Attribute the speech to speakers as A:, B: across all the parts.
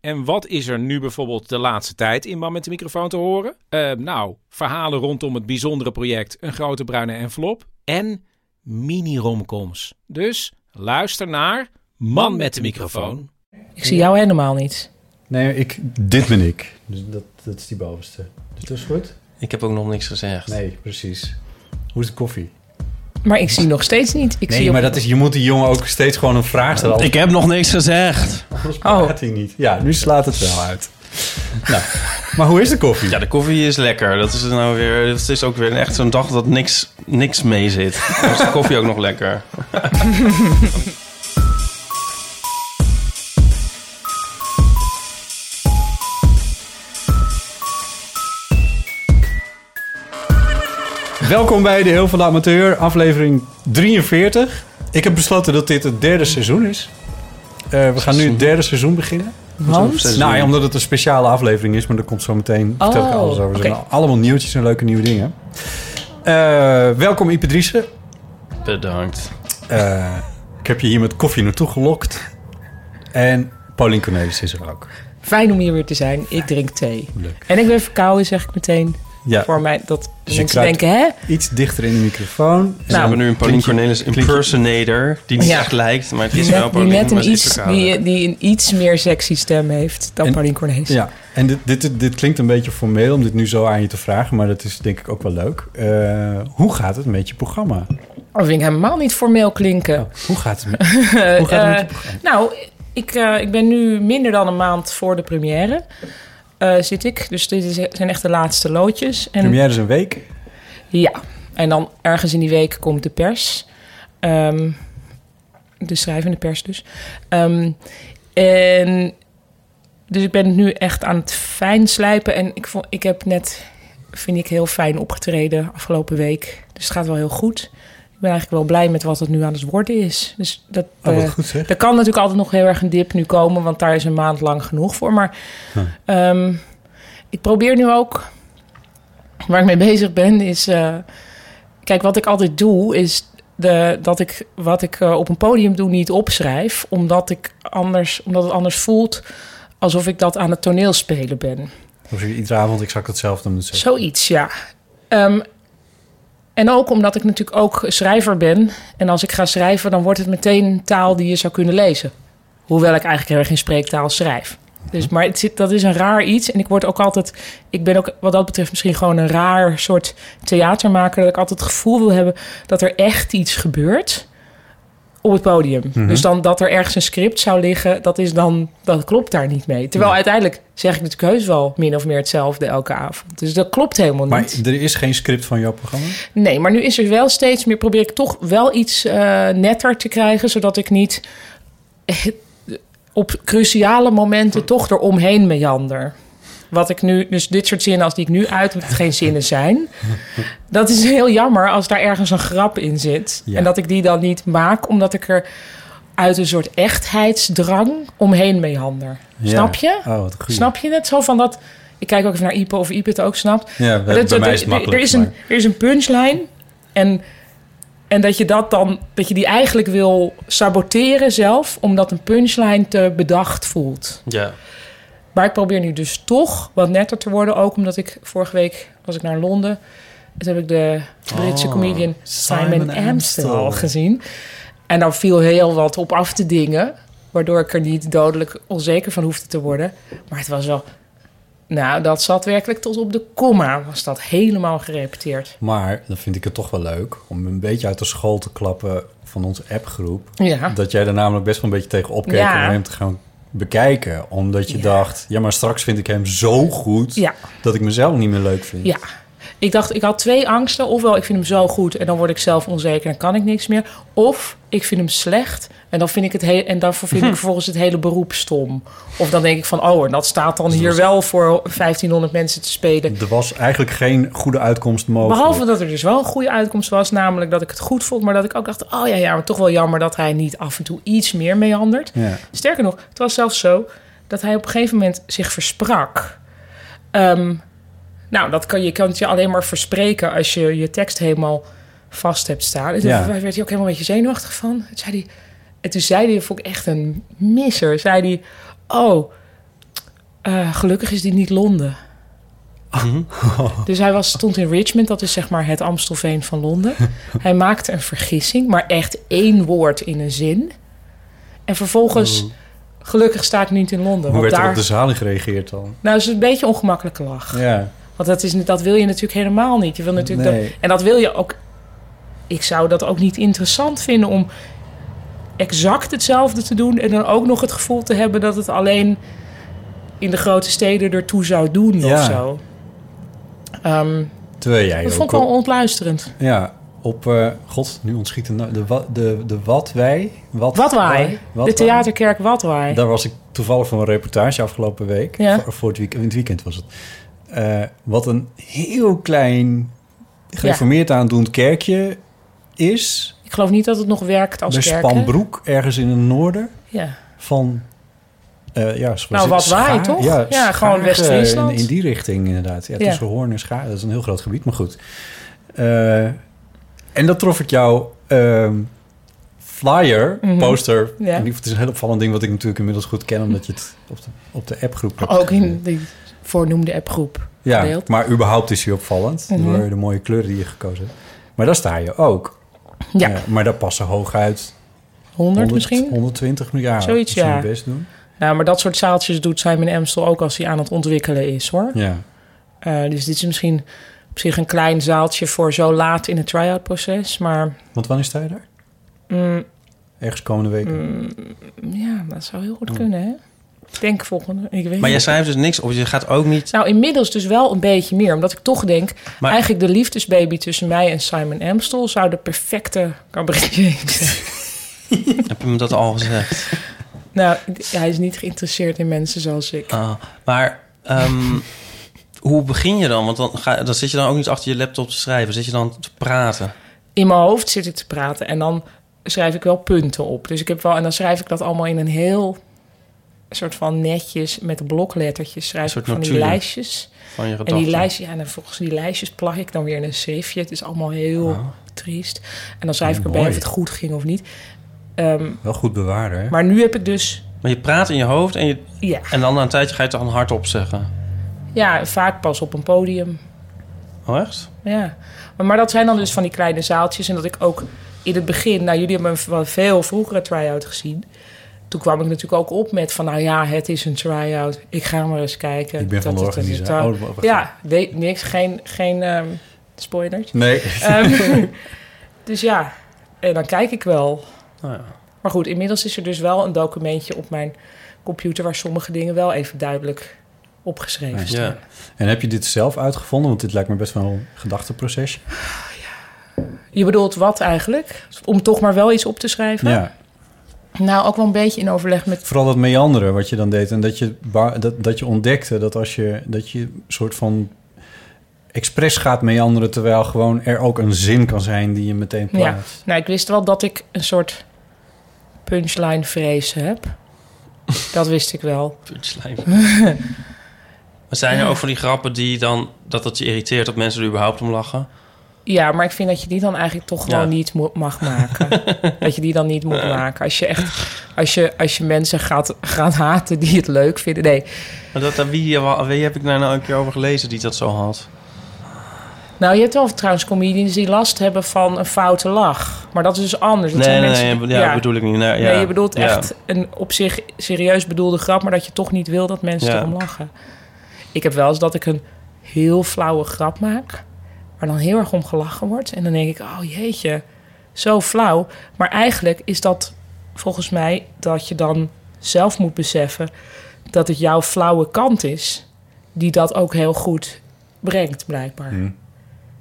A: En wat is er nu bijvoorbeeld de laatste tijd in Man met de microfoon te horen? Eh, nou, verhalen rondom het bijzondere project Een Grote Bruine Envelop en mini-romcoms. Dus luister naar Man met de microfoon.
B: Ik zie jou helemaal niet.
C: Nee, ik, dit ben ik. Dus dat, dat is die bovenste. Dus dat is goed?
D: Ik heb ook nog niks gezegd.
C: Nee, precies. Hoe is de koffie?
B: Maar ik zie nog steeds niet. Ik zie
C: nee,
B: op-
C: maar dat is, je moet die jongen ook steeds gewoon een vraag stellen.
D: Ik heb nog niks gezegd.
C: Anders
B: Oh.
C: praat hij niet. Ja, dus- nu slaat het wel uit. nou, maar hoe is de koffie?
D: Ja, de koffie is lekker. Dat is nou weer. Het is ook weer echt zo'n dag dat niks, niks mee zit. Dan is de koffie ook nog lekker.
C: Welkom bij de Heel van de Amateur, aflevering 43. Ik heb besloten dat dit het derde seizoen is. Eh, we gaan nu het derde seizoen beginnen.
B: Want?
C: Nou ja, omdat het een speciale aflevering is, maar daar komt zo meteen vertel ik
B: Oh,
C: alles over. Er zijn
B: oké.
C: allemaal nieuwtjes en leuke nieuwe dingen. Eh, welkom Ipedrice.
D: Bedankt.
C: Eh, ik heb je hier met koffie naartoe gelokt. En Pauline Cornelis is er ook.
B: Fijn om hier weer te zijn. Ik drink thee.
C: Leuk.
B: En ik ben verkouden, zeg ik meteen.
C: Ja,
B: Voor mij dat
C: Dus je
B: mensen
C: kruipt-
B: denken, hè?
C: iets dichter in de microfoon. En
D: We hebben
C: dan
D: nu een Pauline
C: klink je-
D: Cornelis
C: klink je-
D: impersonator. Die niet
B: Nou, Ja.
D: echt lijkt, maar het is
B: Die
D: wel
B: net, die
D: Pauline.
B: net
D: maar
B: een
D: ze is
B: iets,
D: verkouden.
B: die, die een iets meer sexy stem heeft dan
C: En-
B: Pauline Cornelis.
C: Ja, en dit, dit, dit, klinkt een beetje formeel om dit nu zo aan je te vragen, maar dat is denk ik ook wel leuk. Eh, hoe gaat het met je programma?
B: Dat Oh, vind ik helemaal niet formeel klinken.
C: Hoe gaat het met, hoe gaat het met
B: Eh,
C: je programma?
B: Nou, ik, eh, ik ben nu minder dan een maand voor de première. eh, zit ik. Dus dit is, zijn echt de laatste loodjes. En,
C: Première is dus een week.
B: Ja, en dan ergens in die week komt de pers. Ehm, de schrijvende pers dus. Ehm, en dus ik ben het nu echt aan het fijn slijpen. En ik, vond, ik heb net, vind ik, heel fijn opgetreden afgelopen week. Dus het gaat wel heel goed. Ik ben eigenlijk wel blij met wat het nu aan het worden is. Dus dat,
C: Oh, wat
B: eh,
C: goed zeg.
B: er kan natuurlijk altijd nog heel erg een dip nu komen, want daar is een maand lang genoeg voor. Maar ehm, ik probeer nu ook, waar ik mee bezig ben, is. eh, kijk, wat ik altijd doe, is de, dat ik wat ik eh, op een podium doe niet opschrijf, omdat, ik anders, omdat het anders voelt alsof ik dat aan het toneel spelen ben.
C: Of je iedere avond exact hetzelfde moet zeggen.
B: Zoiets, ja. Ehm, en ook omdat ik natuurlijk ook schrijver ben. En als ik ga schrijven, dan wordt het meteen taal die je zou kunnen lezen. Hoewel ik eigenlijk heel erg in spreektaal schrijf. Dus, maar het zit, dat is een raar iets. En ik word ook altijd. Ik ben ook wat dat betreft misschien gewoon een raar soort theatermaker. Dat ik altijd het gevoel wil hebben dat er echt iets gebeurt op het podium. Dus dan dat er ergens een script zou liggen, dat is dan. Dat klopt daar niet mee. Terwijl uiteindelijk zeg ik natuurlijk heus wel min of meer hetzelfde elke avond. Dus dat klopt helemaal niet.
C: Maar er is geen script van jouw programma?
B: Nee, maar nu is er wel steeds meer. Probeer ik toch wel iets eh, netter te krijgen, zodat ik niet op cruciale momenten toch eromheen meander. Wat ik nu, dus dit soort zinnen als die ik nu uit, omdat het geen zinnen zijn. Dat is heel jammer als daar ergens een grap in zit.
C: Ja.
B: En dat ik die dan niet maak, omdat ik er uit een soort echtheidsdrang omheen meander.
C: Ja.
B: Snap je?
C: Oh, wat goed.
B: Snap je het? Zo van dat. Ik kijk ook even naar Ipe of Ipe het ook snapt.
C: Ja,
B: Maar
C: bij-
B: dat-
C: bij
B: dat-
C: mij is het
B: er- er,
C: makkelijk,
B: is een,
C: maar-
B: er is een punchline. En, en dat je dat dan, dat je die eigenlijk wil saboteren zelf, omdat een punchline te bedacht voelt.
D: Ja.
B: Maar ik probeer nu dus toch wat netter te worden. Ook omdat ik vorige week was ik naar Londen. Toen heb ik de Britse
C: Oh,
B: comedian Simon,
C: Simon
B: Amstel,
C: Amstel.
B: gezien. En daar viel heel wat op af te dingen. Waardoor ik er niet dodelijk onzeker van hoefde te worden. Maar het was wel Nou, dat zat werkelijk tot op de komma. Was dat helemaal gerepeteerd.
C: Maar dan vind ik het toch wel leuk om een beetje uit de school te klappen van onze appgroep.
B: Ja.
C: Dat jij daar namelijk best wel een beetje tegen opkeek
B: Ja.
C: om hem te gaan bekijken. Omdat je dacht, ja, maar straks vind ik hem zo goed
B: Ja.
C: dat ik mezelf niet meer leuk vind.
B: Ja. Ik dacht, ik had twee angsten. Ofwel, ik vind hem zo goed en dan word ik zelf onzeker en kan ik niks meer. Of ik vind hem slecht en, dan vind ik het heel, en daarvoor vind ik vervolgens het hele beroep stom. Of dan denk ik van, oh, en dat staat dan hier wel voor 1500 mensen te spelen.
C: Er was eigenlijk geen goede uitkomst mogelijk.
B: Behalve dat er dus wel een goede uitkomst was, namelijk dat ik het goed vond, maar dat ik ook dacht, oh ja, ja, maar toch wel jammer dat hij niet af en toe iets meer meandert.
C: Ja.
B: Sterker nog, het was zelfs zo dat hij op een gegeven moment zich versprak. Ehm, nou, dat kan, je kan het je alleen maar verspreken als je je tekst helemaal vast hebt staan. En toen
C: Ja.
B: werd hij ook helemaal een beetje zenuwachtig van. Toen zei hij, en toen zei hij, vond ik echt een misser, zei hij... Oh, eh, gelukkig is die niet Londen. Dus hij was, stond in Richmond, dat is zeg maar het Amstelveen van Londen. Hij maakte een vergissing, maar echt één woord in een zin. En vervolgens, gelukkig sta ik niet in Londen.
C: Oh. Hoe
B: want
C: werd er
B: daar,
C: op de zaling gereageerd dan?
B: Nou, is een beetje een ongemakkelijke lach.
C: Ja.
B: Want dat, is, niet- dat wil je natuurlijk helemaal niet. Je wil natuurlijk
C: Nee.
B: dat, en dat wil je ook. Ik zou dat ook niet interessant vinden om exact hetzelfde te doen. En dan ook nog het gevoel te hebben dat het alleen in de grote steden ertoe zou doen
C: Ja.
B: of zo. Ehm,
C: Terwijl jij
B: dat
C: ook
B: vond ik
C: op-
B: wel ontluisterend.
C: Ja, op... eh, God, nu ontschiet de... na- De, wa- de, de wat wij... Wat,
B: Watwaai,
C: Wat
B: de
C: wij?
B: theaterkerk Watwaai.
C: Daar was ik toevallig van een reportage afgelopen week.
B: Ja.
C: Voor, voor het weekend, in het weekend was het. Eh, wat een heel klein gereformeerd aandoend kerkje is.
B: Ik geloof niet dat het nog werkt als
C: bij
B: kerk. hè?
C: Spanbroek, ergens in het noorden
B: Ja.
C: van... eh ja, was
B: Nou,
C: het?
B: wat wij,
C: Schaar-
B: toch?
C: Ja,
B: Ja,
C: Schaar- eh,
B: gewoon West-Friesland.
C: In, in die richting inderdaad. Ja,
B: Ja.
C: Tussen Hoorn en Schaar. Dat is een heel groot gebied, maar goed. Eh, en dat trof ik jou... ehm, flyer,
B: Mhm.
C: poster.
B: Ja.
C: En die- Het is een heel opvallend ding wat ik natuurlijk inmiddels goed ken... omdat je het op de, op de appgroep hebt
B: Ook in
C: gezet.
B: die voornoemde appgroep.
C: Ja,
B: gedeeld.
C: maar überhaupt is hij opvallend...
B: Mhm.
C: door de mooie kleuren die je gekozen hebt. Maar daar sta je ook.
B: Ja,
C: Eh, maar daar passen hooguit
B: 100
C: 100,
B: misschien.
C: 120 miljard.
B: Zoiets,
C: Dat zou
B: ja.
C: je best doen.
B: Nou, maar dat soort zaaltjes doet Simon Amstel ook als hij aan het ontwikkelen is, hoor.
C: Ja.
B: Eh, dus dit is misschien op zich een klein zaaltje voor zo laat in het try-out proces. Maar
C: Want wanneer sta je daar?
B: mm,
C: Ergens komende week.
B: ja, dat zou heel goed kunnen, hè? Ik denk volgende, ik weet
D: Maar jij
B: niet.
D: schrijft dus niks of je gaat ook niet...
B: Nou, inmiddels dus wel een beetje meer. Omdat ik toch denk,
D: Maar-
B: eigenlijk de liefdesbaby tussen mij en Simon Amstel... zou de perfecte cabaretier zijn.
D: Heb je me dat al gezegd?
B: nou, hij is niet geïnteresseerd in mensen zoals ik.
D: Ah, maar ehm, hoe begin je dan? Want dan, ga, dan zit je dan ook niet achter je laptop te schrijven. Zit je dan te praten?
B: in mijn hoofd zit ik te praten en dan schrijf ik wel punten op. Dus ik heb wel en dan schrijf ik dat allemaal in een heel soort van netjes met bloklettertjes schrijf
D: soort
B: ik van die
D: notulen.
B: lijstjes.
D: Van je
B: En
D: gedachten.
B: die lijstjes, ja, en dan volgens die lijstjes plak ik dan weer in een zeefje. Het is allemaal heel
D: Oh.
B: triest. En dan schrijf ik erbij
C: mooi.
B: of het goed ging of niet. Ehm,
C: Wel goed bewaren, hè?
B: maar nu heb ik dus
D: Maar je praat in je hoofd en, je,
B: ja,
D: en dan na een tijdje ga je het dan hardop zeggen.
B: ja, vaak pas op een podium.
D: Oh, echt?
B: Ja, maar, maar dat zijn dan dus van die kleine zaaltjes. En dat ik ook in het begin, nou jullie hebben een v- wel veel vroegere try-out gezien. Toen kwam ik natuurlijk ook op met van, nou ja, het is een try-out. Ik ga maar eens kijken.
C: Ik ben van de
B: Dat- dat- dat- dat-
C: organisatie. Oh, wacht.
B: Ja, weet niks, geen, geen ehm, spoilers.
C: Nee.
B: Ehm, dus ja, en dan kijk ik wel.
D: Nou ja.
B: Maar goed, inmiddels is er dus wel een documentje op mijn computer... waar sommige dingen wel even duidelijk opgeschreven staan.
D: Ja.
C: En heb je dit zelf uitgevonden? Want dit lijkt me best wel een gedachteproces.
B: Je bedoelt wat eigenlijk? Om toch maar wel iets op te schrijven?
C: Ja.
B: Nou, ook wel een beetje in overleg met.
C: Vooral dat meanderen wat je dan deed. En dat je, ba- dat, dat je ontdekte dat als je... dat je een soort van expres gaat meanderen... terwijl gewoon er ook een zin kan zijn die je meteen
B: Ja.
C: plaatst.
B: Nou, ik wist wel dat ik een soort punchline-vrees heb. Dat wist ik wel.
D: Punchline. maar zijn er ook van die grappen die dan... dat het je irriteert dat mensen er überhaupt om lachen?
B: Ja, maar ik vind dat je die dan eigenlijk toch gewoon
D: Ja.
B: niet mo- mag maken. dat je die dan niet moet maken. Als je echt. Als je, als je mensen gaat, gaat haten die het leuk vinden. Nee.
D: Maar dat, aan wie, aan wie heb ik daar nou een keer over gelezen die dat zo had?
B: Nou, je hebt wel trouwens comedians die last hebben van een foute lach. Maar dat is dus anders. Dat
D: Nee,
B: zijn
D: nee,
B: mensen
D: nee,
B: die-
D: ja, bedoel ik niet. Nee, ja.
B: Nee, je bedoelt
D: Ja.
B: echt een op zich serieus bedoelde grap, maar dat je toch niet wil dat mensen
D: Ja.
B: erom lachen. Ik heb wel eens dat ik een heel flauwe grap maak, waar dan heel erg om gelachen wordt. En dan denk ik, oh jeetje, zo flauw. Maar eigenlijk is dat volgens mij dat je dan zelf moet beseffen dat het jouw flauwe kant is, die dat ook heel goed brengt, blijkbaar.
D: Hmm.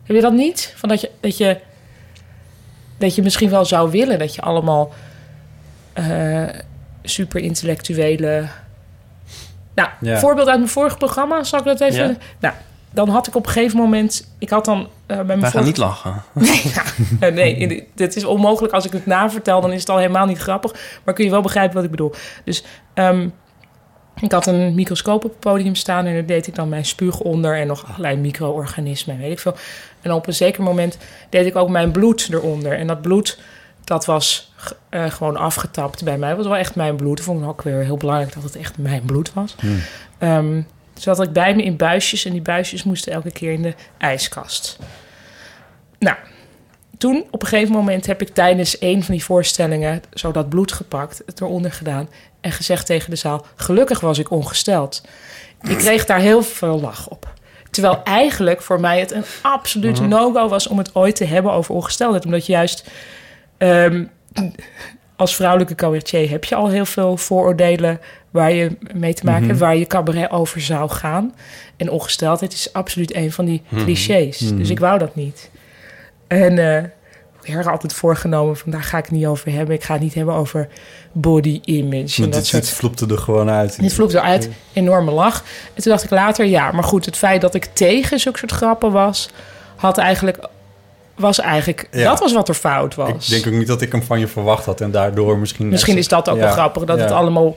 B: Heb je dat niet? Van dat, je, dat, je, dat je misschien wel zou willen dat je allemaal eh, super intellectuele. Nou,
C: Ja.
B: voorbeeld uit mijn vorige programma, zal ik dat even.
D: Ja.
B: Nou, dan had ik op een gegeven moment. Ik had dan eh, bij mijn
D: Wij gaan
B: vorige
D: niet lachen.
B: eh, nee, in de- dit is onmogelijk. Als ik het navertel, dan is het al helemaal niet grappig. Maar kun je wel begrijpen wat ik bedoel. Dus ehm, ik had een microscoop op het podium staan... en daar deed ik dan mijn spuug onder... en nog allerlei micro-organismen en weet ik veel. En op een zeker moment deed ik ook mijn bloed eronder. En dat bloed, dat was ge- eh, gewoon afgetapt bij mij. Het was wel echt mijn bloed. Dat vond ik ook weer heel belangrijk dat het echt mijn bloed was. Ehm, zodat ik bij me in buisjes... en die buisjes moesten elke keer in de ijskast. Nou, toen op een gegeven moment heb ik tijdens een van die voorstellingen zo dat bloed gepakt, het eronder gedaan en gezegd tegen de zaal: Gelukkig was ik ongesteld. Ik kreeg daar heel veel lach op. Terwijl eigenlijk voor mij het een absoluut no-go was om het ooit te hebben over ongesteldheid. Omdat je juist ehm, als vrouwelijke cabaretier heb je al heel veel vooroordelen waar je mee te maken hebt, waar je cabaret over zou gaan. En ongesteldheid is absoluut een van die clichés. Dus ik wou dat niet. En eh ik heb er altijd voorgenomen van daar ga ik het niet over hebben. Ik ga het niet hebben over body image. En dat
C: Want dit,
B: soort
C: dit vloepte er gewoon uit.
B: dit vloept eruit, enorme lach. En toen dacht ik later, ja, maar goed, het feit dat ik tegen zulke soort grappen was, had eigenlijk, was eigenlijk,
C: Ja.
B: dat was wat er fout was.
C: Ik denk ook niet dat ik hem van je verwacht had en daardoor misschien...
B: Misschien is dat ook
C: Ja,
B: wel grappig, dat
C: ja.
B: het allemaal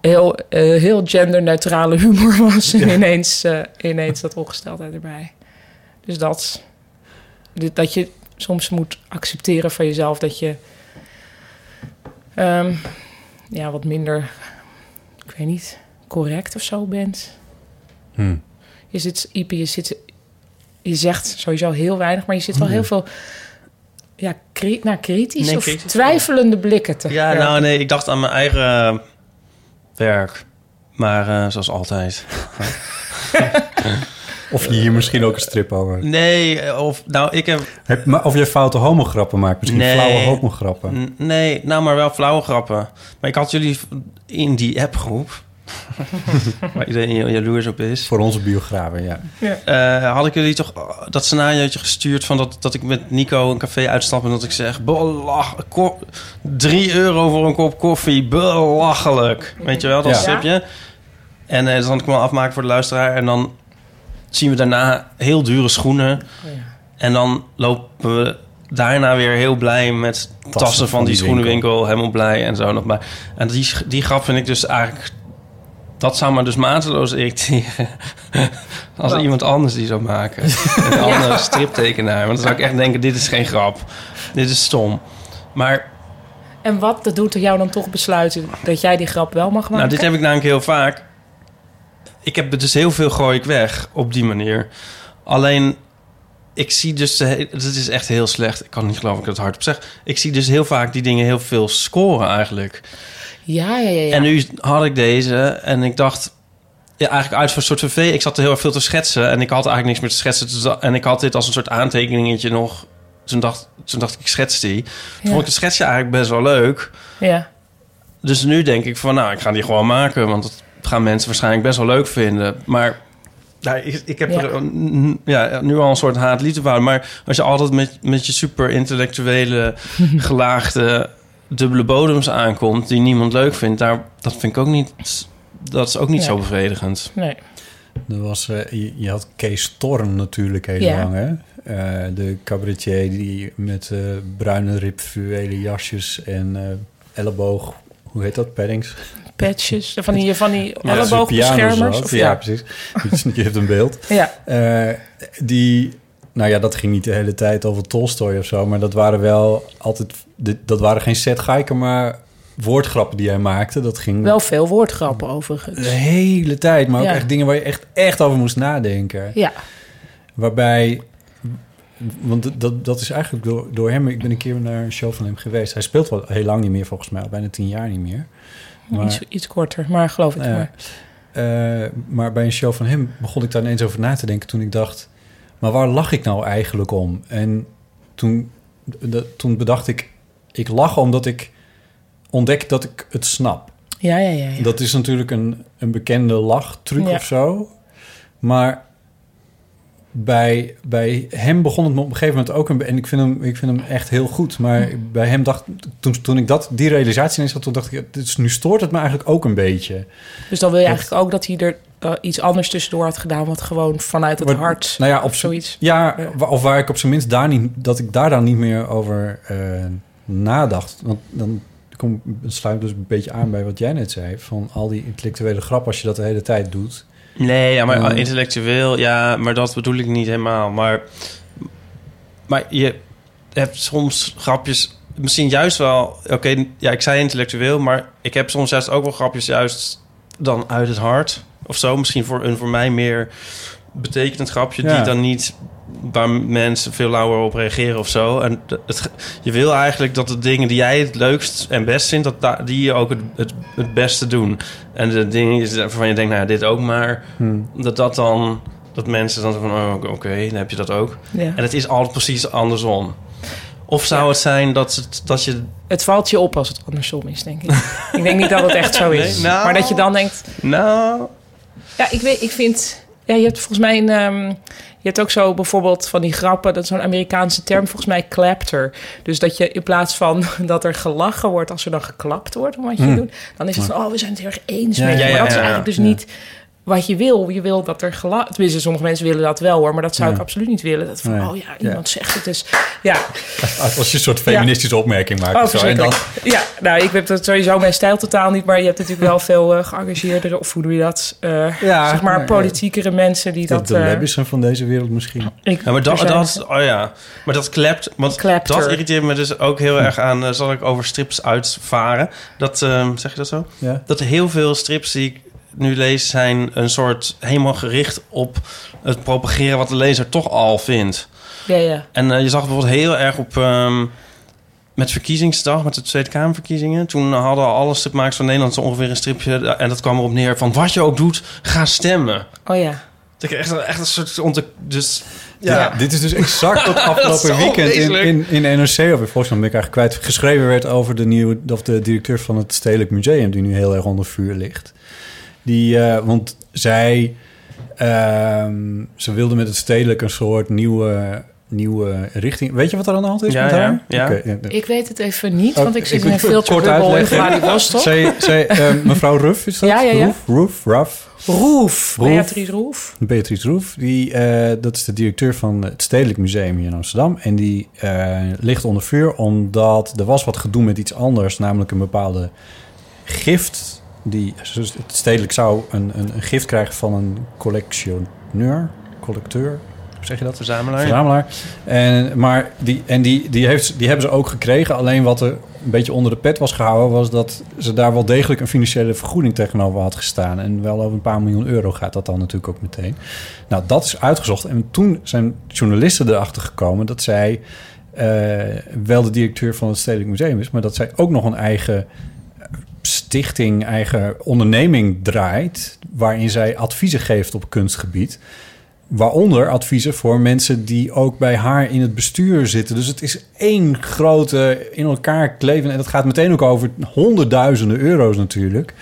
B: heel, eh, heel genderneutrale humor was en ineens, eh, ineens dat ongesteldheid erbij. Dus dat, dit- dat je soms moet accepteren van jezelf dat je ehm, ja, wat minder, ik weet niet, correct of zo bent.
C: Hm.
B: Je zit, Ipe, je zit, je zegt sowieso heel weinig, maar je zit wel
C: Oh,
B: heel veel ja, cri- naar kritisch
D: Nee,
B: of
D: kritisch.
B: twijfelende blikken te
D: Ja, nou nee, ik dacht aan mijn eigen eh, werk. Maar eh, zoals altijd.
C: Of je hier misschien ook een strip over hebt.
D: Nee, eh, of nou, ik heb.
C: Heb- maar Of je foute homograppen maakt. Misschien
D: Nee.
C: flauwe homograppen.
D: n- Nee, nou, maar wel flauwe grappen. Maar ik had jullie v- in die appgroep. waar iedereen heel jaloers op is.
C: Voor onze biografen, ja.
D: eh, had ik jullie toch eh, dat scenariootje gestuurd van dat, dat ik met Nico een café uitstap en dat ik zeg: belach, ko- 3 euro voor een kop koffie, belachelijk. Weet je wel, dat
C: Ja.
D: stripje. En eh, dat had ik wel afmaken voor de luisteraar. En dan zien we daarna heel dure schoenen. En dan lopen we daarna weer heel blij met tassen, van, die, schoenenwinkel. Helemaal blij en zo nog maar. En die, sch- die grap vind ik dus eigenlijk... Dat zou me dus mateloos irriteren. Als
B: Wat?
D: iemand anders die zou maken. Een andere striptekenaar. Want dan zou ik echt denken, dit is geen grap. Dit is stom. Maar
B: En wat dat doet er jou dan toch besluiten dat jij die grap wel mag maken?
D: nou, dit heb ik namelijk heel vaak. Ik heb dus heel veel gooi ik weg op die manier. Alleen, ik zie dus... de he- Dit is echt heel slecht. Ik kan niet geloven dat ik het hardop zeg. Ik zie dus heel vaak die dingen heel veel scoren eigenlijk.
B: Ja, ja, ja. ja.
D: En nu had ik deze en ik dacht... Ja, eigenlijk uit voor een soort van vee. Ik zat er heel erg veel te schetsen en ik had eigenlijk niks meer te schetsen. Dus dat- En ik had dit als een soort aantekeningetje nog. Toen dacht, toen dacht ik, ik schets die. Toen vond ik het schetsje eigenlijk best wel leuk.
B: ja.
D: Dus nu denk ik van, nou, ik ga die gewoon maken. Want dat gaan mensen waarschijnlijk best wel leuk vinden. Maar ja, Nou, ik, ik heb
B: Ja.
D: er een- ja, nu al een soort haat-liefde verhouding. Maar als je altijd met, met je super-intellectuele, gelaagde dubbele bodems aankomt... die niemand leuk vindt, daar, dat vind ik ook niet... Dat is ook niet
B: Ja.
D: zo bevredigend.
B: Nee.
C: Er was, eh, je, je had Kees Storm natuurlijk heel
B: Ja.
C: lang, hè? Eh, de cabaretier die met eh, bruine ripfluwelen jasjes en eh, elleboog... Hoe heet dat? Paddings?
B: Patches, van die, van die
D: Ja,
B: elleboogbeschermers.
C: Of,
B: Of,
C: ja,
B: ja.
C: precies. Je- Je hebt een beeld.
B: Ja.
C: Eh, die, nou ja, dat ging niet de hele tijd over Tolstoy of zo, maar dat waren wel altijd, dit- dat waren geen setgeiken, maar woordgrappen die hij maakte. Dat ging
B: wel veel woordgrappen overigens.
C: de hele tijd, maar ook
B: Ja.
C: echt dingen waar je echt, echt over moest nadenken.
B: Ja,
C: Waarbij, want dat- dat, dat is eigenlijk door, door hem, ik ben een keer naar een show van hem geweest. Hij speelt wel heel lang niet meer volgens mij, al bijna tien jaar niet meer. Maar-
B: iets, iets korter, maar geloof ik
C: ja.
B: maar.
C: Eh, maar bij een show van hem begon ik daar ineens over na te denken toen ik dacht, maar waar lach ik nou eigenlijk om? En toen, dat- toen bedacht ik, ik lach omdat ik ontdek dat ik het snap.
B: Ja, ja, ja. ja.
C: Dat is natuurlijk een, een bekende lachtruc
B: Ja.
C: of zo. Maar bij, bij hem begon het me op een gegeven moment ook... Een, en ik vind, hem, ik vind hem echt heel goed. Maar bij hem dacht... Toen, toen ik dat, die realisatie ineens had, toen dacht ik... ja, Dit is, nu stoort het me eigenlijk ook een beetje.
B: Dus dan wil je
C: Dat-
B: eigenlijk ook dat hij er eh, iets anders tussendoor had gedaan, wat gewoon vanuit het
C: Wat-
B: hart.
C: Nou ja, op
B: of
C: z'n-
B: zoiets.
C: Ja,
B: Ja.
C: wa- of waar ik op zijn minst daar niet... Dat ik daar dan niet meer over eh, nadacht. Want dan kom, sluit dus een beetje aan bij wat jij net zei. Van al die intellectuele grap als je dat de hele tijd doet...
D: Nee, ja, maar oh,
C: Ja.
D: intellectueel, ja, maar dat bedoel ik niet helemaal. Maar, maar je hebt soms grapjes, misschien juist wel, oké, ja, ik zei intellectueel, maar ik heb soms juist ook wel grapjes juist dan uit het hart of zo. Misschien voor een voor mij meer betekenend grapje
C: Ja.
D: die dan niet waar mensen veel lauwer op reageren of zo. En het, je wil eigenlijk dat de dingen die jij het leukst en best vindt, dat da- die je ook het, het, het beste doen. En de dingen is waarvan je denkt, nou ja, dit ook maar. Dat dat dan, dat mensen dan zo van, oh, oké, dan heb je dat ook.
B: Ja.
D: En het is altijd precies andersom. Of zou het zijn dat, het, dat je...
B: Het valt je op als het andersom is, denk ik. ik denk niet dat het echt zo is.
D: Nee, nou.
B: Maar dat je dan denkt,
D: Nou,
B: ja, ik, weet, ik vind... Ja, je hebt volgens mij een... ehm, je hebt ook zo bijvoorbeeld van die grappen, dat is zo'n Amerikaanse term, volgens mij clapter. Dus dat je in plaats van dat er gelachen wordt als er dan geklapt wordt om wat je doet, dan is het van, oh, we zijn het heel erg eens
C: Hmm. Ja,
B: met je. Maar
D: ja, ja,
B: dat is
D: ja, ja.
B: eigenlijk dus niet wat je wil. Je wil dat er gelachen... Tenminste, sommige mensen willen dat wel hoor, maar dat zou
C: Ja.
B: ik absoluut niet willen. Dat van,
C: Nee.
B: oh ja, iemand zegt het dus. Ja,
C: Als je een soort feministische opmerking maakt.
B: Oh,
C: of zo, en dan,
B: verschrikkelijk. Ja, nou, ik heb dat sowieso mijn stijl totaal niet. Maar je hebt natuurlijk wel veel eh geëngageerdere, of hoe doe je dat? eh,
C: Ja,
B: zeg maar
C: nee,
B: politiekere mensen die dat...
C: dat de
B: eh,
C: Lebbison van deze wereld misschien.
B: ik,
D: ja, maar dat,
B: er zijn-
D: dat, oh ja, maar dat klept. Want
B: Klepter.
D: dat irriteert me dus ook heel erg aan, eh, zal ik over strips uitvaren. Dat, ehm, zeg je dat zo?
C: Ja.
D: dat heel veel strips die ik nu lees zijn een soort helemaal gericht op het propageren wat de lezer toch al vindt.
B: Ja, ja.
D: En eh, je zag bijvoorbeeld heel erg op ehm, met verkiezingsdag, met de Tweede Kamerverkiezingen. Toen hadden alle stripmakers van Nederland zo ongeveer een stripje eh, en dat kwam erop neer van wat je ook doet, ga stemmen.
B: Oh ja.
D: Dat ik echt, een- echt een soort onder, dus
C: Ja. dit is dus exact wat afgelopen weekend in, in, in NRC, of in Volkskrant ben ik eigenlijk kwijt, geschreven werd over de, nieuwe, of de directeur van het Stedelijk Museum, die nu heel erg onder vuur ligt. Die, eh, want zij, ehm, ze wilden met het Stedelijk een soort nieuwe, nieuwe richting. Weet je wat er aan de hand is
D: Ja,
C: met
D: ja,
C: haar?
D: ja.
C: Oké, ja.
B: Ik weet het even niet, want ik
C: Oh,
B: zit
C: ik-
B: in een
C: ik-
B: veel te
C: kort
B: bubbel in
C: uitleggen.
B: Vladivostok.
C: Zij, zij, eh, mevrouw Ruff is dat?
B: Ja, ja, ja.
C: Roef, Roef, Raf.
B: Roef.
C: Roef.
B: Beatrice Roef.
C: Beatrice Roef, die, eh, dat is de directeur van het Stedelijk Museum hier in Amsterdam. En die eh, ligt onder vuur omdat er was wat gedoe met iets anders, namelijk een bepaalde gift. Die, dus het Stedelijk zou een, een, een gift krijgen van een collectioneur, collecteur, hoe zeg je dat?
D: verzamelaar.
C: Verzamelaar. En, maar die, en die, die, heeft, die hebben ze ook gekregen. Alleen wat er een beetje onder de pet was gehouden... was dat ze daar wel degelijk een financiële vergoeding tegenover had gestaan. En wel over een paar miljoen euro gaat dat dan natuurlijk ook meteen. Nou, dat is uitgezocht. En toen zijn journalisten erachter gekomen dat zij... eh, wel de directeur van het Stedelijk Museum is... maar dat zij ook nog een eigen stichting, eigen onderneming draait... waarin zij adviezen geeft op kunstgebied... Waaronder adviezen voor mensen die ook bij haar in het bestuur zitten. Dus het is één grote in elkaar kleven. En dat gaat meteen ook over honderdduizenden euro's natuurlijk.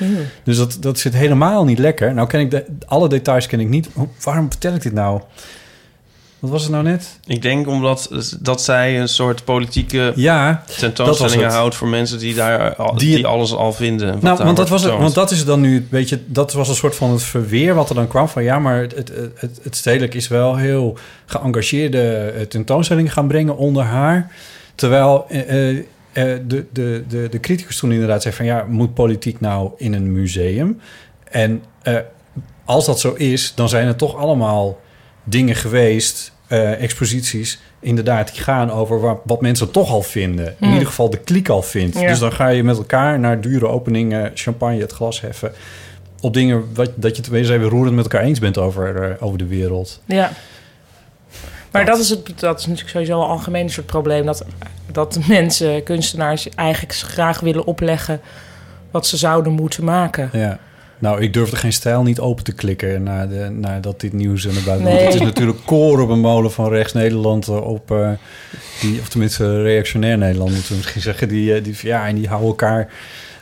C: Dus dat, dat zit helemaal niet lekker. Nou ken ik de, alle details ken ik niet. Hoe- waarom vertel ik dit nou? Wat was het nou net?
D: Ik denk omdat dat zij een soort politieke
C: Ja, dat was
D: tentoonstellingen
C: het.
D: houdt voor mensen die daar eh, al-
C: Die-
D: die, alles al vinden. eh, wat
C: Nou,
D: daar
C: want dat,
D: wordt
C: was het,
D: getoond.
C: want dat is dan nu, weet je, dat was een soort van het verweer wat er dan kwam van ja, maar het, het, het, het stedelijk is wel heel geëngageerde eh, tentoonstellingen gaan brengen onder haar. Terwijl eh, eh, eh, de, de, de, de criticus toen inderdaad zei van ja, moet politiek nou in een museum? En eh, als dat zo is, dan zijn er toch allemaal dingen geweest, eh, exposities, inderdaad, die gaan over wa- wat mensen toch al vinden. In
B: Mm.
C: ieder geval de kliek al vindt.
B: Ja.
C: Dus dan ga je met elkaar naar dure openingen, champagne, het glas heffen. Op dingen wat, dat je tenminste even roerend met elkaar eens bent over, eh, over de wereld.
B: Ja. Maar dat is, het, dat is natuurlijk sowieso een algemeen soort probleem. Dat, dat mensen, kunstenaars, eigenlijk graag willen opleggen wat ze zouden moeten maken.
C: Ja, Nou, ik durfde geen stijl niet open te klikken na de, nadat dit nieuws naar buiten
B: Nee.
C: kwam. Het is natuurlijk koren op een molen van rechts Nederland eh, op, eh, die, of tenminste reactionair Nederland moeten we misschien zeggen. Die, eh, die, ja, en die houden elkaar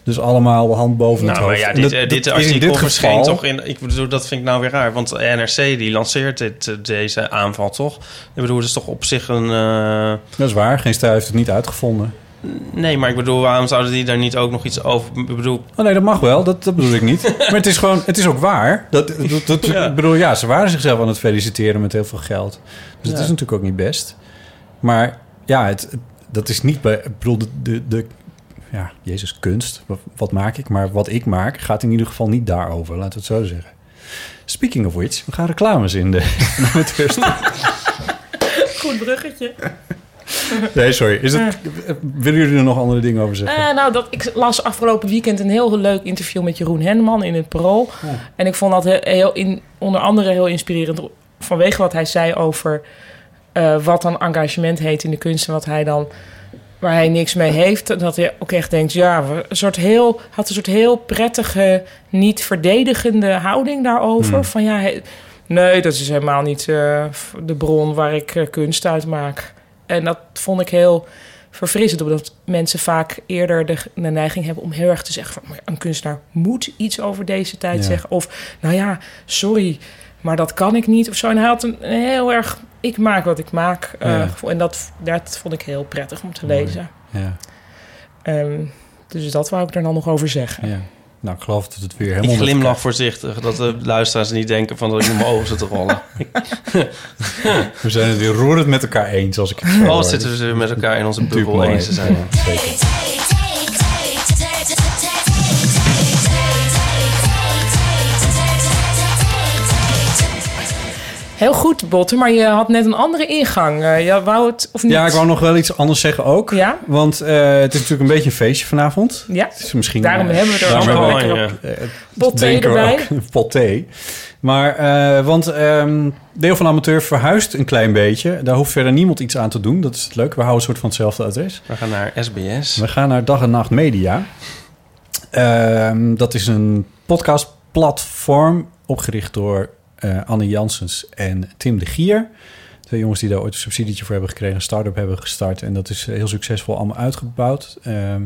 C: dus allemaal de hand boven
D: Nou,
C: het
D: maar
C: hoofd.
D: ja,
C: En
D: dit,
C: dat-
D: eh,
C: dat
D: dit
C: is
D: artikel
C: in dit
D: verscheen
C: geval-
D: toch in... Ik bedoel, dat vind ik nou weer raar. Want NRC die lanceert dit, eh, deze aanval, toch? Ik bedoel, het is toch op zich een... eh,
C: Dat is waar, geen stijl heeft het niet uitgevonden.
D: Nee, maar ik bedoel, waarom zouden die daar niet ook nog iets over... Ik bedoel,
C: Oh nee, dat mag wel, dat, dat bedoel ik niet. Maar het is gewoon, het is ook waar. Dat, dat, dat-
D: Ja.
C: Ik bedoel, ja, ze waren zichzelf aan het feliciteren met heel veel geld. Dus dat is natuurlijk ook niet best. Maar ja, het, het- dat is niet bij, ik bedoel, de, de, de ja, Jezus, kunst. Wat, wat maak ik? Maar wat ik maak gaat in ieder geval niet daarover, laten we het zo zeggen. Speaking of which, we gaan reclames in de. met rust.
B: Goed bruggetje.
C: Nee, sorry. Is het, willen jullie er nog andere dingen over zeggen?
B: Eh, nou, dat, ik las afgelopen weekend een heel leuk interview met Jeroen Henman in het Parool. En ik vond dat heel, heel in, onder andere heel inspirerend vanwege wat hij zei over eh, wat dan engagement heet in de kunst en wat hij dan waar hij niks mee heeft. En Dat hij ook echt denkt, ja, we- een soort heel, had een soort heel prettige, niet verdedigende houding daarover.
C: Hmm.
B: Van ja, he- nee, dat is helemaal niet eh, f- de bron waar ik eh, kunst uit maak. En dat vond ik heel verfrissend, omdat mensen vaak eerder de, de neiging hebben om heel erg te zeggen van maar een kunstenaar moet iets over deze tijd
C: Ja.
B: zeggen. Of nou ja, sorry, maar dat kan ik niet of zo. En hij had een een heel erg, ik maak wat ik maak. eh,
C: Ja.
B: gevoel. En dat, dat vond ik heel prettig om te
C: Mooi.
B: lezen.
D: Eh.
C: Ja,
B: Ehm, dus dat wou ik er dan nog over zeggen.
C: ja. Nou, ik geloof dat het weer
D: ik
C: helemaal... met-
D: glimlach voorzichtig. Dat de luisteraars niet denken van oh, dat ik met mijn ogen zit te rollen.
C: We zijn het weer roerend met elkaar eens, als ik het zo
D: Oh,
C: hoor.
D: zitten we met elkaar in onze
C: Natuurlijk
D: bubbel
C: mooi.
D: eens te zijn.
C: Ja, zeker.
B: Heel goed, Botte, maar je had net een andere ingang. Eh, je wou het, of niet?
C: Ja, ik wou nog wel iets anders zeggen ook.
B: Ja?
C: Want eh, het is natuurlijk een beetje een feestje vanavond.
B: Ja,
C: Het is misschien,
B: daarom
C: eh,
B: hebben we er
D: Daar
B: ook
D: ben
B: wel
D: ik
B: lekker
D: wel,
B: op.
D: ja.
C: eh, het
B: Pot thee
C: denken we
B: erbij.
C: ook- Pot thee. Maar, eh, want ehm, deel van amateur verhuist een klein beetje. Daar hoeft verder niemand iets aan te doen. Dat is het leuke. We houden een soort van hetzelfde adres.
D: We gaan naar SBS.
C: We gaan naar Dag en Nacht Media. Ehm, dat is een podcastplatform opgericht door eh, Anne Janssens en Tim de Gier. Twee jongens die daar ooit een subsidietje voor hebben gekregen, een start-up hebben gestart. En dat is eh, heel succesvol allemaal uitgebouwd. Ehm,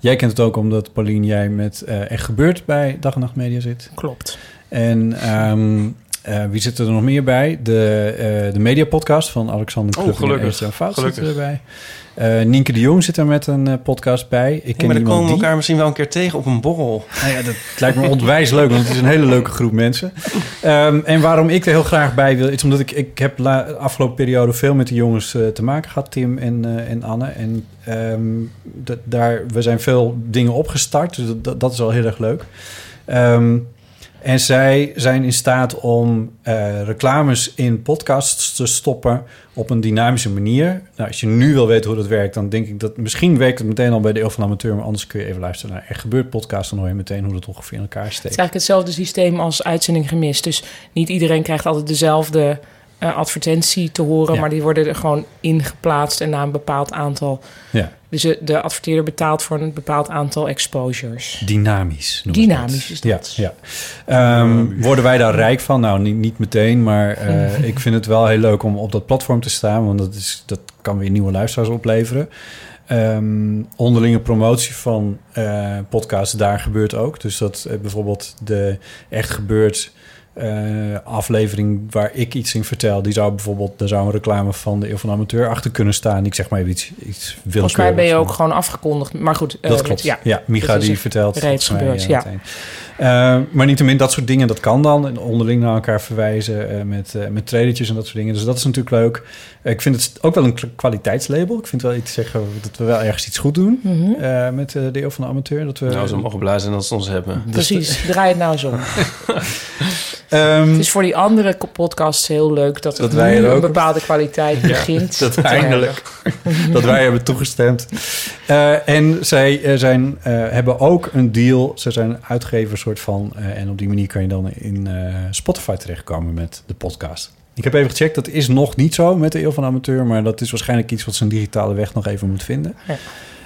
C: jij kent het ook omdat, Paulien, jij met eh, Echt Gebeurd bij Dag en Nacht Media zit.
B: Klopt.
C: En ehm, eh, wie zit er nog meer bij? De, eh de Media Podcast van Alexander
D: Oh,
C: Klupping en
D: gelukkig.
C: Esther Fout
D: Gelukkig.
C: zit erbij. Eh, Nienke de Jong zit er met een eh, podcast bij. Ik
D: Hey,
C: ken
D: Oh, maar dan komen
C: iemand
D: we
C: die...
D: elkaar misschien wel een keer tegen op een borrel.
C: Nou ja, dat lijkt me ontwijs leuk, want het is een hele leuke groep mensen. Ehm, en waarom ik er heel graag bij wil, is omdat ik, ik heb la, afgelopen periode veel met de jongens eh, te maken gehad, Tim en, eh, en Anne. En ehm, dat- daar, we zijn veel dingen opgestart, dus dat, dat is al heel erg leuk. Ehm, en zij zijn in staat om eh, reclames in podcasts te stoppen op een dynamische manier. Nou, als je nu wil weten hoe dat werkt, dan denk ik dat misschien werkt het meteen al bij de Eeuw van de Amateur, maar anders kun je even luisteren naar Er gebeurt podcast, dan hoor je meteen hoe dat ongeveer in elkaar
B: Het
C: steekt.
B: is eigenlijk hetzelfde systeem als uitzending gemist. Dus niet iedereen krijgt altijd dezelfde eh, advertentie te horen,
C: Ja.
B: maar die worden er gewoon ingeplaatst en na een bepaald aantal.
C: Ja.
B: Dus eh, de adverteerder betaalt voor een bepaald aantal exposures.
C: Dynamisch. noemen ze
B: Dynamisch is dat.
C: Ja, ja. Ehm, worden wij daar rijk van? Nou, niet, niet meteen, maar eh, ik vind het wel heel leuk om op dat platform te staan, want dat, is, dat kan weer nieuwe luisteraars opleveren. Ehm, onderlinge promotie van eh, podcasts daar gebeurt ook. Dus dat eh, bijvoorbeeld de Echt Gebeurt eh, aflevering waar ik iets in vertel, die zou bijvoorbeeld, daar zou een reclame van de Eeuw van de Amateur achter kunnen staan. Ik zeg maar even iets, iets
B: Volgens mij ben je
C: willekeurigs.
B: ook gewoon afgekondigd. Maar goed, eh,
C: Dat
B: dit-
C: klopt.
B: Ja.
C: Ja, Micha
B: Dat is
C: die
B: echt
C: vertelt.
B: reeds
C: volgens mij,
B: gebeurd,
C: eh, meteen. Eh, maar niettemin, dat soort dingen, dat kan dan. En onderling naar elkaar verwijzen eh, met, eh met trailertjes en dat soort dingen. Dus dat is natuurlijk leuk. Eh, ik vind het ook wel een k- kwaliteitslabel. Ik vind wel iets zeggen dat we wel ergens iets goed doen
B: Mhm.
C: eh, met eh, de eeuw van de amateur. Dat we,
D: Nou, ze mogen blij zijn dat ze ons hebben.
C: Dus
B: Precies, draai het nou eens om.
C: Ehm,
B: Het is voor die andere ko- podcasts heel leuk dat,
C: Dat
B: het
C: wij
B: nu
C: er ook
B: een bepaalde kwaliteit begint. Eh,
C: dat
B: te
C: eindelijk. dat wij hebben toegestemd. Eh, en zij eh, zijn, eh, hebben ook een deal. Ze zijn uitgever soort van. eh, en op die manier kan je dan in eh, Spotify terechtkomen met de podcast. Ik heb even gecheckt, dat is nog niet zo met de Eeuw van de Amateur. Maar dat is waarschijnlijk iets wat ze een digitale weg nog even moet vinden.
B: Ja.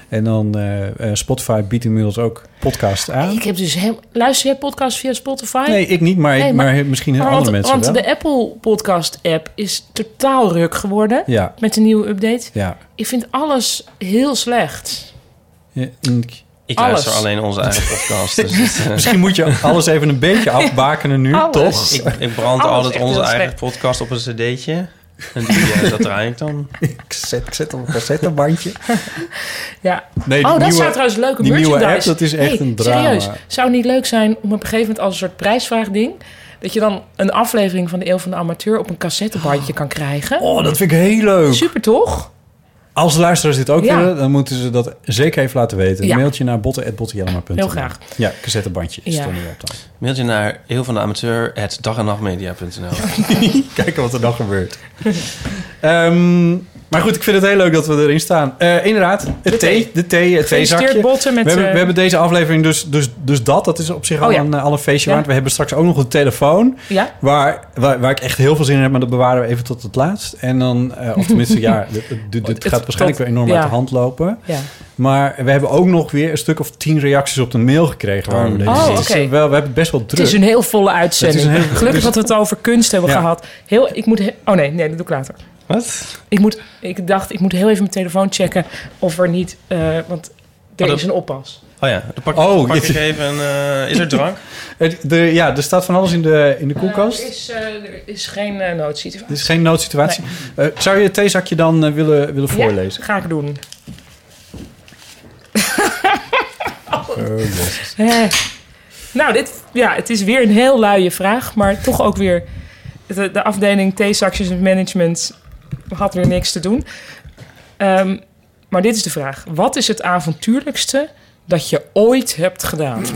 C: En dan eh, eh, Spotify biedt inmiddels ook podcasts aan.
B: Ik heb dus heel... Luister jij podcasts via Spotify?
C: Nee, ik niet, maar, ik-
B: Nee,
C: maar,
B: maar-
C: misschien
B: Maar
C: heel
B: want,
C: andere mensen
B: want
C: wel.
B: de Apple podcast app is totaal ruk geworden
C: Ja,
B: met de nieuwe update.
C: ja.
B: Ik vind alles heel slecht.
C: Ja, mm,
D: Ik
B: Alles.
D: luister alleen onze eigen podcast. Dus het, eh,
C: Misschien moet je alles even een beetje afbakenen nu,
B: Alles.
C: toch?
D: ik, ik brand
B: Alles
D: altijd
B: echt
D: onze
B: heel
D: eigen podcast op een cd'tje. En die, eh, dat draai ik dan.
C: Ik zet, ik zet op een cassettebandje.
B: Ja.
C: Nee, die
B: oh, dat
C: nieuwe-
B: zou trouwens leuke
C: die nieuwe
B: merchandise.
C: app, dat is echt
B: Nee,
C: een drama.
B: Serieus, zou het niet leuk zijn om op een gegeven moment als een soort prijsvraagding... dat je dan een aflevering van de Eeuw van de Amateur op een cassettebandje kan krijgen?
C: Oh, dat vind ik heel leuk.
B: Super toch?
C: Als luisteraars dit ook
B: Ja.
C: willen, dan moeten ze dat zeker even laten weten.
B: Ja.
C: Een mailtje naar botten.bottenjellema.nl
B: Heel graag.
C: Ja, cassettebandje
B: Ja.
C: stond erop dan.
D: Mailtje naar heel van de amateur dag en nachtmedia.nl.
C: Kijken wat er dan gebeurt. Ehm, maar goed, ik vind het heel leuk dat we erin staan. Eh, inderdaad, het thee,
B: thee.
C: de thee, het theezakje.
B: Gefeliciteerd botten met...
C: we, hebben,
B: eh,
C: we hebben deze aflevering dus, dus, dus dat. Dat is op zich
B: Oh
C: al,
B: ja.
C: een, eh, al een feestje
B: Ja.
C: waard. We hebben straks ook nog een telefoon.
B: Ja?
C: Waar, waar, waar ik echt heel veel zin in heb. Maar dat bewaren we even tot het laatst. En dan, eh, of tenminste, ja, dit, dit- dit
B: Het-
C: gaat waarschijnlijk
B: tot-
C: weer enorm
B: ja.
C: uit de hand lopen.
B: Ja.
C: Maar we hebben ook nog weer een stuk of tien reacties op de mail gekregen. Waarom we deze
B: Oh,
C: zitten. Dus,
B: oké.
C: eh, wel, we hebben het best wel
B: Het
C: druk.
B: is een heel volle uitzending.
C: Het is een heel-
B: Gelukkig dat we het over kunst hebben
C: Ja.
B: gehad. Heel, ik moet... he- Oh nee, nee, dat doe ik later.
D: Wat?
B: Ik, moet, ik dacht, ik moet heel even mijn telefoon checken of er niet... eh, want er
D: Oh, dat-
B: is een oppas.
D: Oh ja, dan pak,
C: Oh,
D: pak
C: dit-
D: ik even een... eh, is er drank?
C: Het- de, ja, er staat van alles in de, in de koelkast.
B: Eh, er, is, eh, er is geen eh, noodsituatie.
C: Dit is geen noodsituatie. Eh, zou je het theezakje dan eh, willen, willen voorlezen?
B: Ja, ga ik doen.
C: Eh,
B: Eh, nou, dit, ja, het is weer een heel luie vraag, maar toch ook weer... De, de afdeling theezakjes en management had weer niks te doen. Ehm, maar dit is de vraag. Wat is het avontuurlijkste dat je ooit hebt gedaan?
C: ik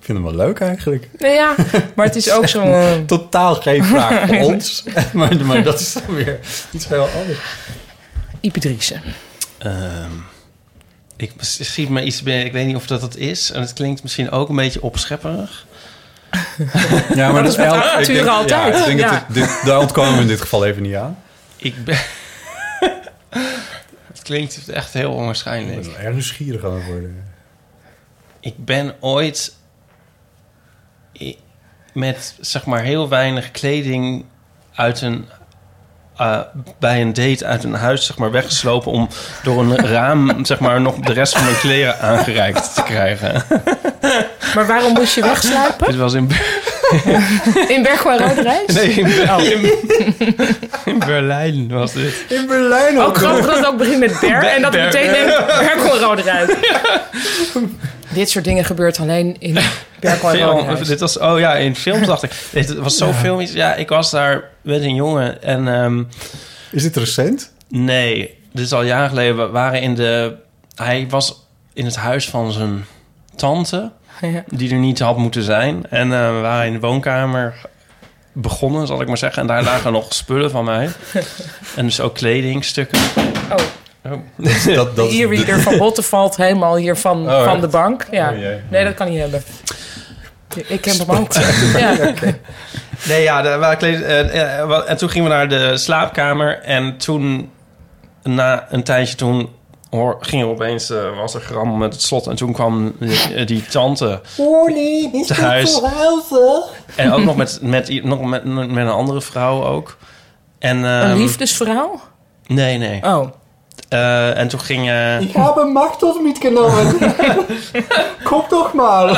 C: vind hem wel leuk eigenlijk.
B: Nou ja, maar het is ook zo'n... eh,
C: Totaal geen vraag voor ons. maar, maar dat is dan weer iets heel anders.
B: Ipedrice.
D: Ehm, ik schiet me iets binnen. Ik weet niet of dat het is. En het klinkt misschien ook een beetje opschepperig.
C: Ja, maar
B: dat is met
C: elk-
B: avonturen
C: ik denk-
B: altijd.
C: Ja, ik denk
B: Ja.
C: Dat het- dit, daar ontkomen we in dit geval even niet aan.
D: Ik ben... het klinkt echt heel onwaarschijnlijk.
C: wel erg nieuwsgierig aan het worden.
D: Ik ben ooit i- met zeg maar heel weinig kleding uit een eh, bij een date uit een huis zeg maar weggeslopen om door een raam zeg maar nog de rest van mijn kleren aangereikt te krijgen.
B: Maar waarom moest je wegsluipen?
D: Dit was in, Ber-
B: In Bergwijn-Roderijs?
D: nee, in, Ber- in- in Berlijn was dit.
C: In Berlijn
B: Ook grappig dat het ook begint met Ber en dat het
D: Ber-
B: meteen neemt Berkelroderijs. Dit soort dingen gebeurt alleen in
D: Film,
B: Berkelroderijs.
D: dit was, oh ja, in films dacht ik. Dit was zo filmisch. Ja, ik was daar met een jongen en ehm,
C: Is dit recent?
D: Nee, dit is al jaren geleden. We waren in de... Hij was in het huis van zijn tante,
B: Ja.
D: die er niet had moeten zijn. En eh, we waren in de woonkamer begonnen, zal ik maar zeggen. En daar lagen nog spullen van mij. En dus ook kledingstukken.
B: Oh,
C: Dat,
B: de e-reader van Botten valt helemaal hier van,
C: Oh,
B: van
C: echt?
B: de bank. Ja.
C: Oh, jee.
B: nee, dat kan niet hebben. Ik heb hem ook. Ja.
D: Nee, ja, daar waren kleding, eh, eh, wa- en toen gingen we naar de slaapkamer. En toen, na een tijdje toen... Hoor, ging er opeens, eh, was er gerammel met het slot. En toen kwam die, die tante te huis. En ook nog met, met, i- nog met, met een andere vrouw ook. En, ehm,
B: Een liefdesverhaal?
D: Nee, nee.
B: Oh,
D: Eh, en toen ging... eh,
E: habe Machtos mitgenommen. Guck doch mal.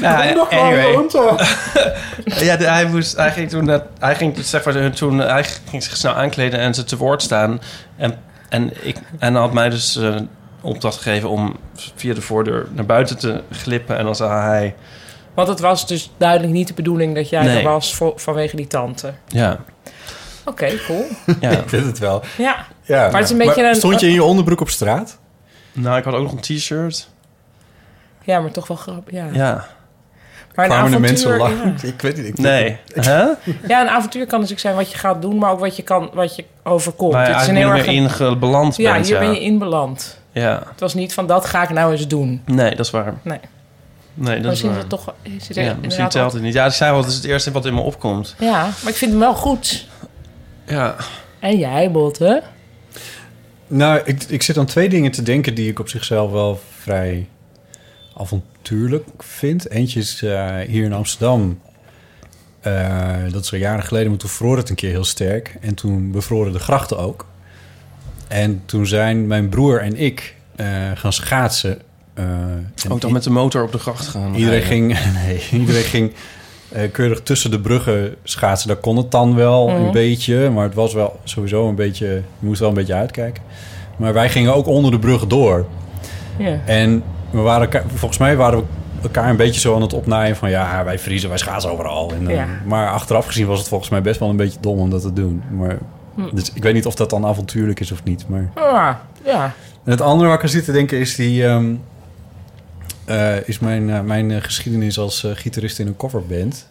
D: nou,
E: Komm doch mal
D: anyway.
E: runter.
D: Ja, de- hij, moest, hij ging toen, dat, hij ging dus zeg maar, toen, hij ging zich snel aankleden en ze te woord staan. En, en, ik, en had mij dus eh opdracht gegeven om via de voordeur naar buiten te glippen. En dan zei hij,
B: want het was dus duidelijk niet de bedoeling dat jij
D: Nee.
B: er was voor, vanwege die tante.
D: ja,
B: Oké, cool.
D: ja.
C: Ik vind het wel.
B: Ja,
C: Ja,
B: maar het is een beetje een-
C: Stond je in je onderbroek op straat?
D: nou, ik had ook nog een t-shirt.
B: ja maar toch wel grappig. Ja.
D: Ja,
B: Maar een
C: Kwamen de
B: avontuur,
C: mensen
B: ja.
C: lang? Ik weet niet. Ik
D: nee. Huh?
B: Ja, een avontuur kan natuurlijk zijn wat je gaat doen, maar ook wat je, kan, wat je overkomt.
D: Waar je
B: het is een
D: eigenlijk
B: heel
D: niet
B: erg.
D: meer
B: een-
D: ingebeland
B: ja,
D: bent.
B: hier
D: Ja,
B: ben je in beland.
D: ja.
B: Het was niet van dat ga ik nou eens doen.
D: Nee, dat is waar.
B: Nee.
D: Nee, dat is
B: misschien
D: waar.
B: is het toch. Is het er
D: ja,
B: inderdaad
D: misschien telt
B: wel-
D: het niet. Ja, ik zei wel, dat is het eerste wat in me opkomt.
B: Ja, maar ik vind hem wel goed.
D: Ja.
B: En jij, Botte?
C: Nou, ik, ik zit aan twee dingen te denken die ik op zichzelf wel vrij avontuurlijk vind. Eentje is eh, hier in Amsterdam. Eh, dat is al jaren geleden, maar toen vroor het een keer heel sterk. En toen bevroren de grachten ook. En toen zijn mijn broer en ik eh, gaan schaatsen. eh, en
D: Ook dan met de motor op de gracht gaan.
C: Iedereen
D: rijden.
C: ging, nee, iedereen ging eh, keurig tussen de bruggen schaatsen. Daar kon het dan wel
B: Mhm.
C: een beetje, maar het was wel sowieso een beetje... Je moest wel een beetje uitkijken. Maar wij gingen ook onder de brug door.
B: Ja.
C: En we waren elkaar- volgens mij waren we elkaar een beetje zo aan het opnaaien van... ja, wij vriezen, wij schaatsen overal. En, eh,
B: Ja.
C: Maar achteraf gezien was het volgens mij best wel een beetje dom om dat te doen. Maar,
B: Mhm.
C: dus ik weet niet of dat dan avontuurlijk is of niet, maar...
B: Ah, ja.
C: En het andere waar ik aan zit te denken is die... ehm, eh, is mijn, eh, mijn eh, geschiedenis als eh, gitarist in een coverband.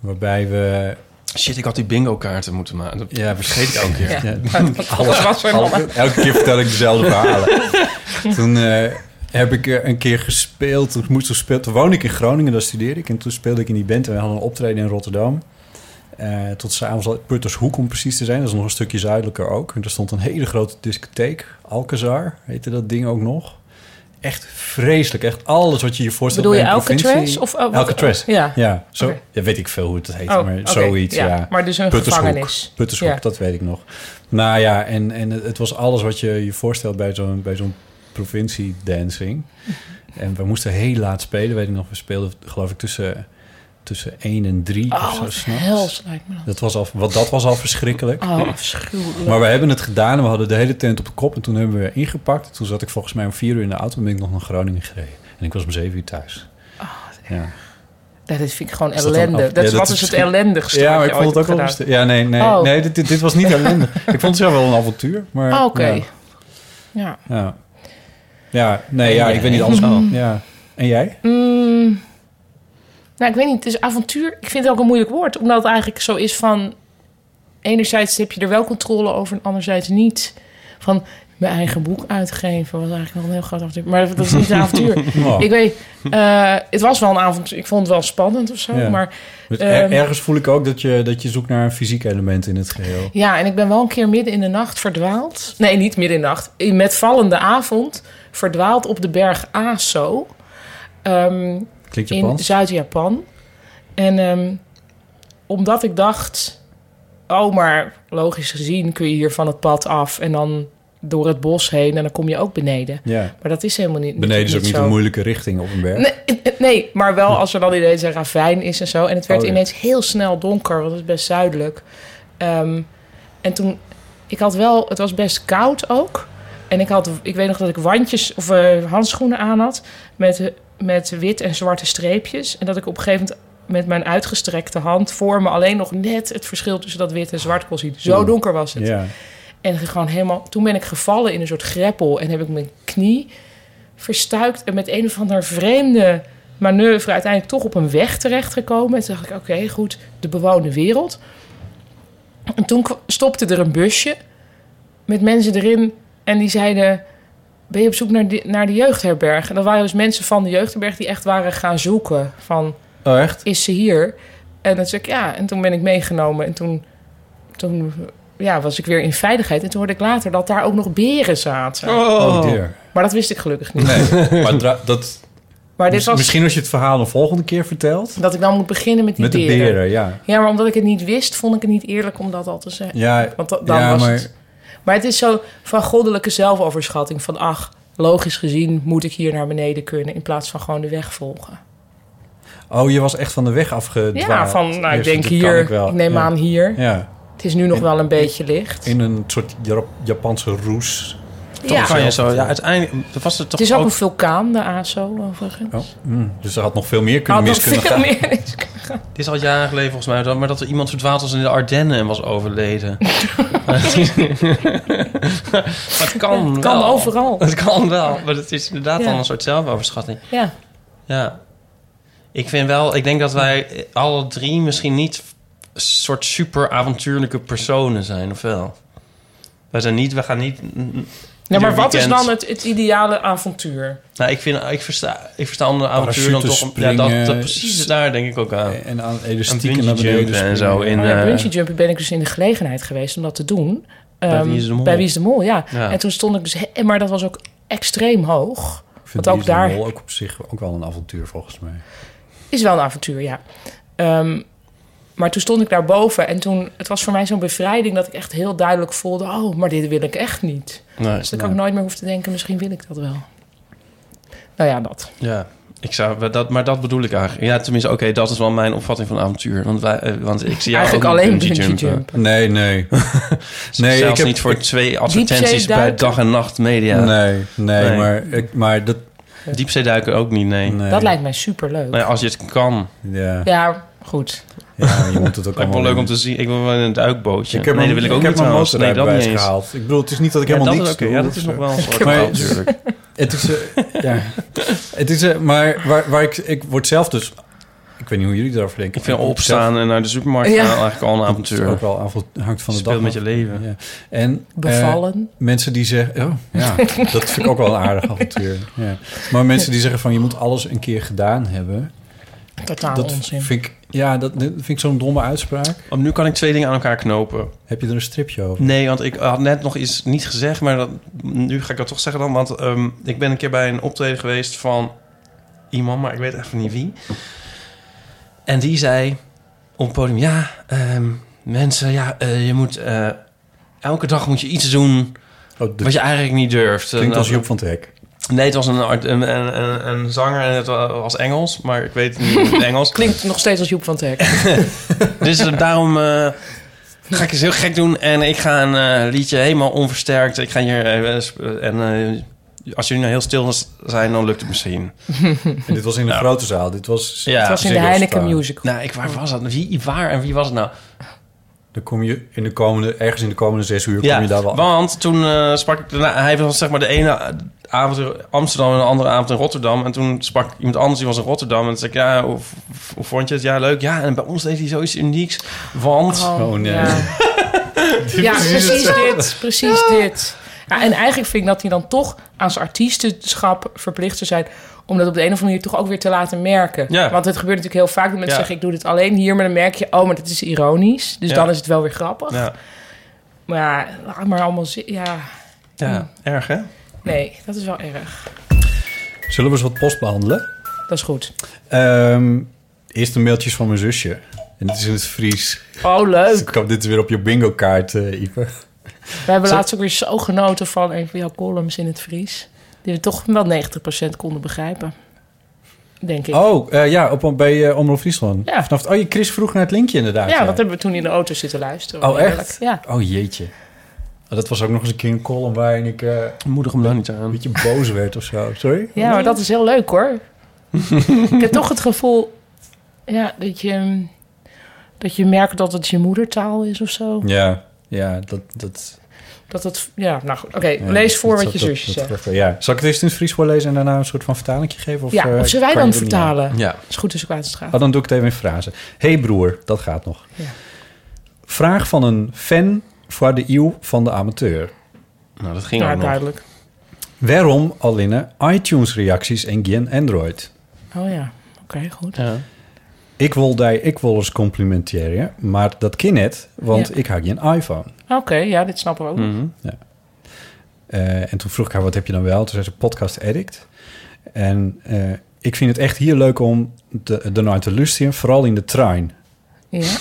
C: Waarbij we...
D: Shit, ik had die bingo kaarten moeten maken. Dat
C: Ja,
D: vergeet ik elke keer.
B: Ja.
C: ja,
B: Alles was er nog.
C: Elke keer vertel ik dezelfde verhalen. toen eh, heb ik eh, een keer gespeeld. Toen, moest ik speel, toen woonde ik in Groningen, daar studeerde ik. En toen speelde ik in die band en we hadden een optreden in Rotterdam. Eh, tot s'avonds al Puttershoek om precies te zijn. Dat is nog een stukje zuidelijker ook. En er stond een hele grote discotheek. Alcazar heette dat ding ook nog. Echt vreselijk. Echt alles wat je je voorstelt
B: Bedoel je
C: bij een provincie.
B: Alcatraz? Of, oh, wat-
C: Alcatraz.
B: Ja.
C: Ja, zo,
B: Oké.
C: ja, weet ik veel hoe het heet,
B: Oh,
C: maar
B: oké,
C: zoiets,
B: ja.
C: ja.
B: Maar dus een
C: Puttershoek.
B: gevangenis.
C: Puttershoek,
B: Ja.
C: dat weet ik nog. Nou ja, en, en het het was alles wat je je voorstelt bij zo'n bij zo'n provincie-dancing.
B: Mhm.
C: En we moesten heel laat spelen, weet ik nog. We speelden, geloof ik, tussen, tussen 1 en 3 of
B: Oh,
C: zo.
B: wat
C: s'nachts.
B: hels lijkt me dat.
C: Dat was al, wat, dat was al verschrikkelijk.
B: Oh, afschuwelijk.
C: Maar we hebben het gedaan en we hadden de hele tent op de kop. En toen hebben we ingepakt. Toen zat ik volgens mij om vier uur in de auto en ben ik nog naar Groningen gereden. En ik was om zeven uur thuis.
B: Oh,
C: ja.
B: Ja, dit vind ik gewoon
C: dat dan
B: ellende.
C: af-
B: Dat,
C: Ja,
B: is
C: dat
B: wat
C: is
B: is het
C: misschien-
B: ellendigste
C: Ja,
B: wat
C: maar
B: je
C: ik vond
B: ooit
C: het ook
B: hebt
C: wel
B: gedaan.
C: lastig. Ja, nee, nee,
B: Oh.
C: nee dit, dit, dit was niet ellendig. ik vond het zelf wel een avontuur. Maar,
B: Ah, Oké.
C: ja,
B: Ja.
C: ja. Ja, nee, ja, ik weet niet alles
D: Oh.
C: wel. Ja. En jij?
B: Mm. nou, ik weet niet. Het is avontuur. Ik vind het ook een moeilijk woord. Omdat het eigenlijk zo is van... Enerzijds heb je er wel controle over en anderzijds niet. Van mijn eigen boek uitgeven was eigenlijk nog een heel groot avontuur. Maar dat is niet een avontuur.
C: Oh,
B: Ik weet, eh, het was wel een avontuur. Ik vond het wel spannend of zo.
C: Ja.
B: Maar
C: dus er-
B: ehm,
C: ergens voel ik ook dat je, dat je zoekt naar een fysiek element in het geheel.
B: Ja, en ik ben wel een keer midden in de nacht verdwaald. Nee, niet midden in de nacht. In- Met vallende avond verdwaald op de berg Aso. ehm,
C: Klinkt
B: in
C: Japans?
B: Zuid-Japan. En ehm, omdat ik dacht... Oh, maar logisch gezien kun je hier van het pad af... en dan door het bos heen en dan kom je ook beneden.
C: Ja.
B: Maar dat is helemaal niet
C: Beneden is ook niet
B: zo.
C: een moeilijke richting op een berg.
B: Nee, nee, maar wel als er dan ineens een ravijn is en zo. En het werd
C: Oh, ja.
B: ineens heel snel donker, want het is best zuidelijk. Ehm, en toen, ik had wel, het was best koud ook. En ik had, ik weet nog dat ik wandjes of eh, handschoenen aan had met, met wit en zwarte streepjes. En dat ik op een gegeven moment met mijn uitgestrekte hand voor me alleen nog net het verschil tussen dat wit en zwart kon zien. Zo
C: Oeh.
B: donker was het.
C: Ja.
B: En gewoon helemaal, toen ben ik gevallen in een soort greppel en heb ik mijn knie verstuikt en met een of andere vreemde manoeuvre uiteindelijk toch op een weg terechtgekomen. En toen dacht ik, oké, goed, de bewoonde wereld. En toen kwa- stopte er een busje met mensen erin en die zeiden, ben je op zoek naar de, naar de jeugdherberg? En dat waren dus mensen van de jeugdherberg die echt waren gaan zoeken van,
C: Oh, echt?
B: is ze hier? En dan zei ik ja. En toen ben ik meegenomen. En toen, toen ja, was ik weer in veiligheid. En toen hoorde ik later dat daar ook nog beren zaten.
C: Oh, dear.
B: Maar dat wist ik gelukkig niet.
C: Nee. maar dra- dat,
B: Maar dit was
C: Misschien als je het verhaal de volgende keer vertelt.
B: dat ik dan moet beginnen met die
C: Met de
B: beren.
C: beren, ja.
B: Ja, maar omdat ik het niet wist, vond ik het niet eerlijk om dat al te zeggen.
C: Ja,
B: Want da- dan
C: ja,
B: was
C: maar...
B: het... Maar het is zo van goddelijke zelfoverschatting. Van ach, logisch gezien moet ik hier naar beneden kunnen... in plaats van gewoon de weg volgen.
C: Oh, je was echt van de weg afgedwaald.
B: Ja, van nou, ik
C: Eerst,
B: denk
C: dat kan
B: hier, ik,
C: ik, wel.
B: neem
C: Ja.
B: aan hier.
C: Ja,
B: Het is nu nog wel een beetje licht.
C: in een soort Jap- Japanse roes.
D: Dan kan
B: ja.
D: je zo, ja, uiteindelijk was het toch
B: Het is ook,
D: ook
B: een vulkaan, de ASO, overigens.
C: Oh, mm. Dus er had nog veel meer kunnen
B: Had nog
C: mis kunnen
B: veel
C: gaan.
B: meer is-
D: Dit is al jaren geleden volgens mij, maar dat er iemand verdwaald was in de Ardennen en was overleden. dat kan
B: Het kan
D: wel.
B: overal.
D: Het kan wel, maar het is inderdaad
B: Ja.
D: dan een soort zelfoverschatting.
B: Ja.
D: Ja. Ik vind wel, ik denk dat wij alle drie misschien niet een soort super avontuurlijke personen zijn, of wel? Wij zijn niet, we gaan niet...
B: ja, maar
D: ieder
B: wat is
D: weekend-
B: dan het, het ideale avontuur?
D: Nou, ik, vind, ik, versta, ik versta onder avontuur dan toch...
C: Parachute
D: Ja, dat, dat,
C: springen,
D: precies daar denk ik ook aan.
C: En aan
D: Een
C: elastieken eh, naar
D: bungee
C: beneden
D: jumpen en zo.
C: springen.
D: In,
B: Maar Oh Nou ja,
D: eh,
B: bungee jumping ben ik dus in de gelegenheid geweest om dat te doen.
D: Bij
B: ehm,
D: Wie is de Mol.
B: bij Wie is de Mol, ja.
D: Ja.
B: En toen stond ik dus... he- Maar dat was ook extreem hoog.
C: Ik vind
B: Want
C: ook
B: ook daar-
C: Mol ook op zich ook wel een avontuur volgens mij.
B: Is wel een avontuur, ja. Ehm, maar toen stond ik daarboven en toen... Het was voor mij zo'n bevrijding dat ik echt heel duidelijk voelde... Oh, maar dit wil ik echt niet.
D: Nee.
B: Dus dat ik ook nooit meer hoef te denken, misschien wil ik dat wel. Nou ja, dat.
D: Ja, ik zou, dat, maar dat bedoel ik eigenlijk. Ja, tenminste, oké, dat is wel mijn opvatting van avontuur. Want, wij, eh, want ik zie jou
B: Eigenlijk
D: ook niet
B: alleen
D: bungee
B: bungee
D: jumpen.
B: jumpen.
C: Nee, nee. nee,
D: Zelfs
C: ik heb,
D: niet voor twee advertenties
B: Diepzee
D: bij
B: duiken.
D: dag en nacht media.
C: Nee, nee,
D: Nee.
C: maar, ik, maar dat...
D: Diepzeeduiken ook niet, nee.
C: Eh, Nee.
B: Dat lijkt mij superleuk.
D: Nou ja, als je het kan.
C: Ja,
B: Ja, goed.
C: ja, je moet het
D: Lijkt
C: ook
D: wel
C: allemaal
D: leuk
C: doen.
D: om te zien. Ik wil wel in een duikbootje.
C: Ik heb
D: nee,
C: mijn-
D: dat wil ik ook
C: heb
D: niet
C: mijn
D: trouwens. Nee, dat niet
C: motorrijbewijs
D: eens.
C: gehaald. Ik bedoel, het is niet dat ik
D: Ja,
C: helemaal
D: dat is
C: niks
D: oké.
C: doe.
D: Ja, dat is nog wel een soort
C: Maar-
D: taal, natuurlijk.
C: Het is, eh, ja. Het is, eh, maar waar, waar ik, ik word zelf dus, ik weet niet hoe jullie daarover denken.
D: Ik vind
C: maar word
D: opstaan en naar de supermarkt
B: Ja.
D: gaan eigenlijk al een
C: zelf- Het is
D: avontuur.
C: ook wel avond, hangt van de dag.
D: Speel met je
C: af.
D: leven.
C: Ja. En eh,
B: Bevallen.
C: mensen die zeggen, oh, ja, dat vind ik ook wel een aardig avontuur. Ja. Maar mensen die zeggen van je moet alles een keer gedaan hebben,
B: totaal
C: dat
B: onzin.
C: vind ik, ja, dat, dat vind ik zo'n domme uitspraak.
D: Oh, nu kan ik twee dingen aan elkaar knopen.
C: Heb je er een stripje over?
D: Nee, want ik had net nog iets niet gezegd, maar dat, nu ga ik dat toch zeggen dan. Want ehm, ik ben een keer bij een optreden geweest van iemand, maar ik weet even niet wie. En die zei op het podium, ja, ehm, mensen, ja, eh, je moet eh, elke dag moet je iets doen
C: Oh,
D: wat
C: dat
D: je eh, eigenlijk niet durft.
C: klinkt
D: En
C: als Joep van het Hek.
D: Nee, het was een, art- een, een, een, een zanger en het wa- was Engels, maar ik weet niet hoe het Engels.
B: Klinkt nog steeds als Joep van het Hek.
D: Dus eh, daarom eh, ga ik eens heel gek doen. En ik ga een eh, liedje helemaal onversterkt. Ik ga hier... eh, sp- en eh, als jullie nou heel stil s- zijn, dan lukt het misschien.
C: En dit was in een grote zaal. Dit was,
D: Ja.
B: het was in de
C: Ziggo
B: Heineken
C: Star.
B: Musical.
D: Nou, ik, waar was dat? Wie, waar en wie was het nou?
C: Dan kom je in de komende, ergens in de komende zes uur kom je daar wel.
D: want toen eh, sprak ik... daarna- hij was zeg maar de ene avond in Amsterdam en de andere avond in Rotterdam. En toen sprak iemand anders, die was in Rotterdam. En toen zei ik, ja, hoe, hoe vond je het? Ja, leuk. Ja, en bij ons deed hij zoiets unieks. Want...
C: Oh, nee.
B: Ja, Ja, precies dit. Precies dit. Ja, en eigenlijk vind ik dat hij dan toch aan zijn artiestenschap verplicht zou zijn... om dat op de een of andere manier toch ook weer te laten merken.
D: Ja.
B: Want het gebeurt natuurlijk heel vaak dat mensen
D: Ja.
B: zeggen... ik doe dit alleen hier, maar dan merk je... oh, maar dat is ironisch. Dus
D: Ja.
B: dan is het wel weer grappig.
D: Ja,
B: Maar ja, laat maar allemaal... zi- Ja,
D: ja erg hè?
B: nee, dat is wel erg.
C: Zullen we eens wat post behandelen?
B: Dat is goed.
C: Ehm, eerst de mailtjes van mijn zusje. En het is in het Fries.
B: Oh,
C: Dus
B: leuk.
C: ik hoop dit is weer op je bingo kaart, eh, Ipe.
B: We hebben laatst ook weer zo genoten van een van jouw columns in het Fries. Die we toch wel 90% konden begrijpen. Denk ik.
C: Oh, eh, ja, op, bij eh, Omroep Friesland.
B: Ja.
C: Vanaf, oh, je Chris vroeg naar het linkje inderdaad.
B: ja, dat hebben we toen in de auto zitten luisteren.
C: eh, Oh,
B: Heerlijk.
C: echt?
B: Ja.
C: Oh, jeetje. Oh, dat was ook nog eens een keer een column waarin ik eh,
D: Moedig hem daar niet aan.
C: een beetje boos werd of zo. Sorry?
B: ja, maar dat is heel leuk hoor. ik heb toch het gevoel ja, dat, je, dat je merkt dat het je moedertaal is of zo.
C: Ja, ja, dat... dat
B: Dat het, ja, nou goed. Oké,
C: ja,
B: lees voor
C: dat-
B: wat je
C: dat-
B: zusje
C: dat-
B: zegt.
C: dat- ja. Zal ik het eerst in het Fries voorlezen en daarna een soort van vertalingje geven? Of,
B: Ja,
C: eh,
B: of zullen wij
C: kan
B: dan
C: je dat niet aan?
B: vertalen?
D: Ja.
B: Is goed tussen kwaad straat.
C: Oh, dan doe ik het even in frase. hey broer, dat gaat nog.
B: Ja.
C: Vraag van een fan voor de eeuw van de amateur.
D: Nou, dat ging
B: Ja,
D: ook nog.
B: duidelijk.
C: Waarom alleen iTunes-reacties en geen Android?
B: Oh ja, oké, goed.
D: Ja.
C: Ik wil die, ik wil eens complimenteren, maar dat kan net, want
B: Ja.
C: ik heb geen iPhone.
B: Oké, ja, dit snappen we
C: Hm.
B: ook.
D: Mhm.
C: Eh, en toen vroeg ik haar, wat heb je dan wel? Toen zei ze, podcast addict. En eh, ik vind het echt hier leuk om de- ernaar te luisteren, vooral in de trein.
B: Ja.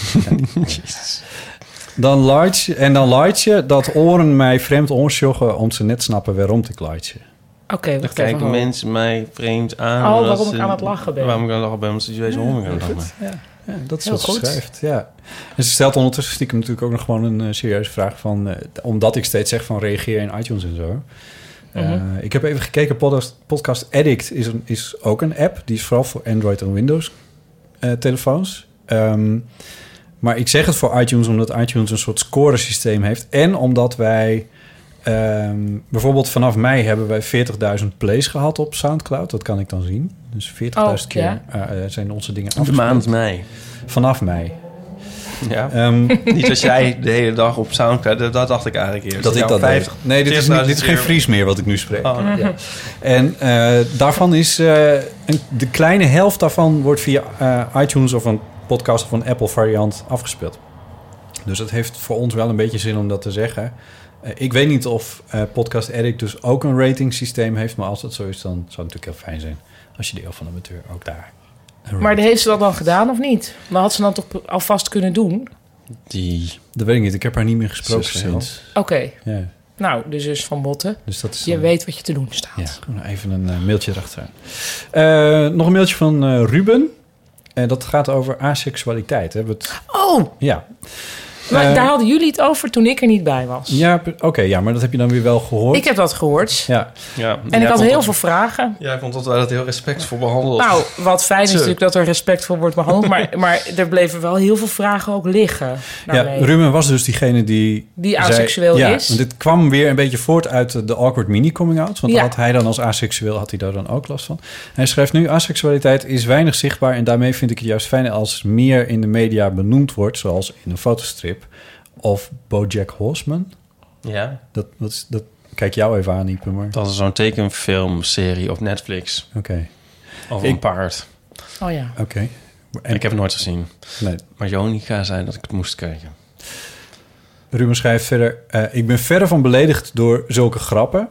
C: Dan laat je, en dan laat je dat oren mij vreemd aansjoggen om ze net snappen waarom ik laat je.
B: Oké,
D: Dan
B: wacht even.
D: kijken
B: ho.
D: mensen mij vreemd aan.
B: Oh,
D: omdat
B: waarom ik
D: ze-
B: aan het lachen ben.
D: Waarom ik aan het lachen ben, omdat ze deze honger hebben. dan maar.
C: Ja, eh. dat is
B: Heel
C: wat ze
B: goed.
C: schrijft. Ja. En ze stelt ondertussen stiekem natuurlijk ook nog gewoon een eh, serieuze vraag van... eh, omdat ik steeds zeg van reageer in iTunes en zo. Eh,
B: Mhm.
C: ik heb even gekeken, podcast, podcast Addict is, een, is ook een app. Die is vooral voor Android en Windows eh, telefoons. Ehm, maar ik zeg het voor iTunes omdat iTunes een soort scoresysteem heeft. En omdat wij... ehm, bijvoorbeeld vanaf mei hebben wij 40.000 plays gehad op Soundcloud. Dat kan ik dan zien. Dus 40.000
B: Oh,
C: keer
B: ja.
C: eh, eh, zijn onze dingen
D: De
C: afgespeeld.
D: maand mei.
C: Vanaf mei.
D: Ja.
C: Ehm,
D: niet dat jij de hele dag op Soundcloud... Dat, dat dacht ik eigenlijk eerst.
C: dat ik
D: Ja,
C: dat
D: 50.
C: deed. Nee, dit is, nou niet, dit is geen
D: 40.000
C: Fries meer wat ik nu spreek.
D: Oh, nee.
C: Ja. En eh, daarvan is... eh, een, de kleine helft daarvan wordt via eh, iTunes of een podcast of een Apple variant afgespeeld. Dus dat heeft voor ons wel een beetje zin om dat te zeggen. Eh, ik weet niet of eh, Podcast Eric dus ook een rating systeem heeft. Maar als dat zo is, dan zou het natuurlijk heel fijn zijn... als je de Eeuw van de Amateur ook daar... een
B: Maar
C: rating-
B: heeft ze dat dan gedaan of niet? Maar had ze dan toch alvast kunnen doen?
D: Die
C: Dat weet ik niet. Ik heb haar niet meer gesproken
D: Zo
C: sinds.
B: Oké,
C: Ja,
B: nou, de zus van Botten.
C: dus dat is
B: Je
C: dan-
B: weet wat je te doen staat.
C: Ja, gewoon even een eh, mailtje erachteraan. Eh, nog een mailtje van eh, Ruben. en dat gaat over aseksualiteit. Hebben we het...
B: Oh,
C: Ja,
B: maar
C: Eh.
B: daar hadden jullie het over toen ik er niet bij was.
C: ja pe- oké, ja, maar dat heb je dan weer wel gehoord.
B: Ik heb dat gehoord.
C: Ja,
D: Ja,
B: En ik had heel veel vragen.
D: Ja, ik vond dat wij dat heel respectvol behandeld.
B: Nou, wat fijn is
D: Zo.
B: natuurlijk dat er respectvol wordt behandeld. Maar, maar er bleven wel heel veel vragen ook liggen.
C: ja
B: daarmee.
C: Ruben was dus diegene die...
B: Nou, Die
C: zei-
B: aseksueel
C: ja,
B: is.
C: want dit kwam weer een beetje voort uit eh, de awkward mini-coming-out. Want
B: Ja.
C: had hij dan als aseksueel, had hij daar dan ook last van. Hij schrijft nu, aseksualiteit is weinig zichtbaar... en daarmee vind ik het juist fijn als meer in de media benoemd wordt... zoals in een fotostrip of BoJack Horseman.
D: Ja,
C: Dat, dat, is- dat kijk jou even aan, Ipe, maar...
D: dat is zo'n tekenfilmserie op Netflix
C: Oké,
D: over
C: Ik-
D: een paard.
B: Oh ja.
C: oké. En
D: En ik heb het nooit gezien.
C: nee.
D: Maar Jonica zei dat ik het moest kijken.
C: Ruben schrijft verder... eh, ik ben verder van beledigd door zulke grappen.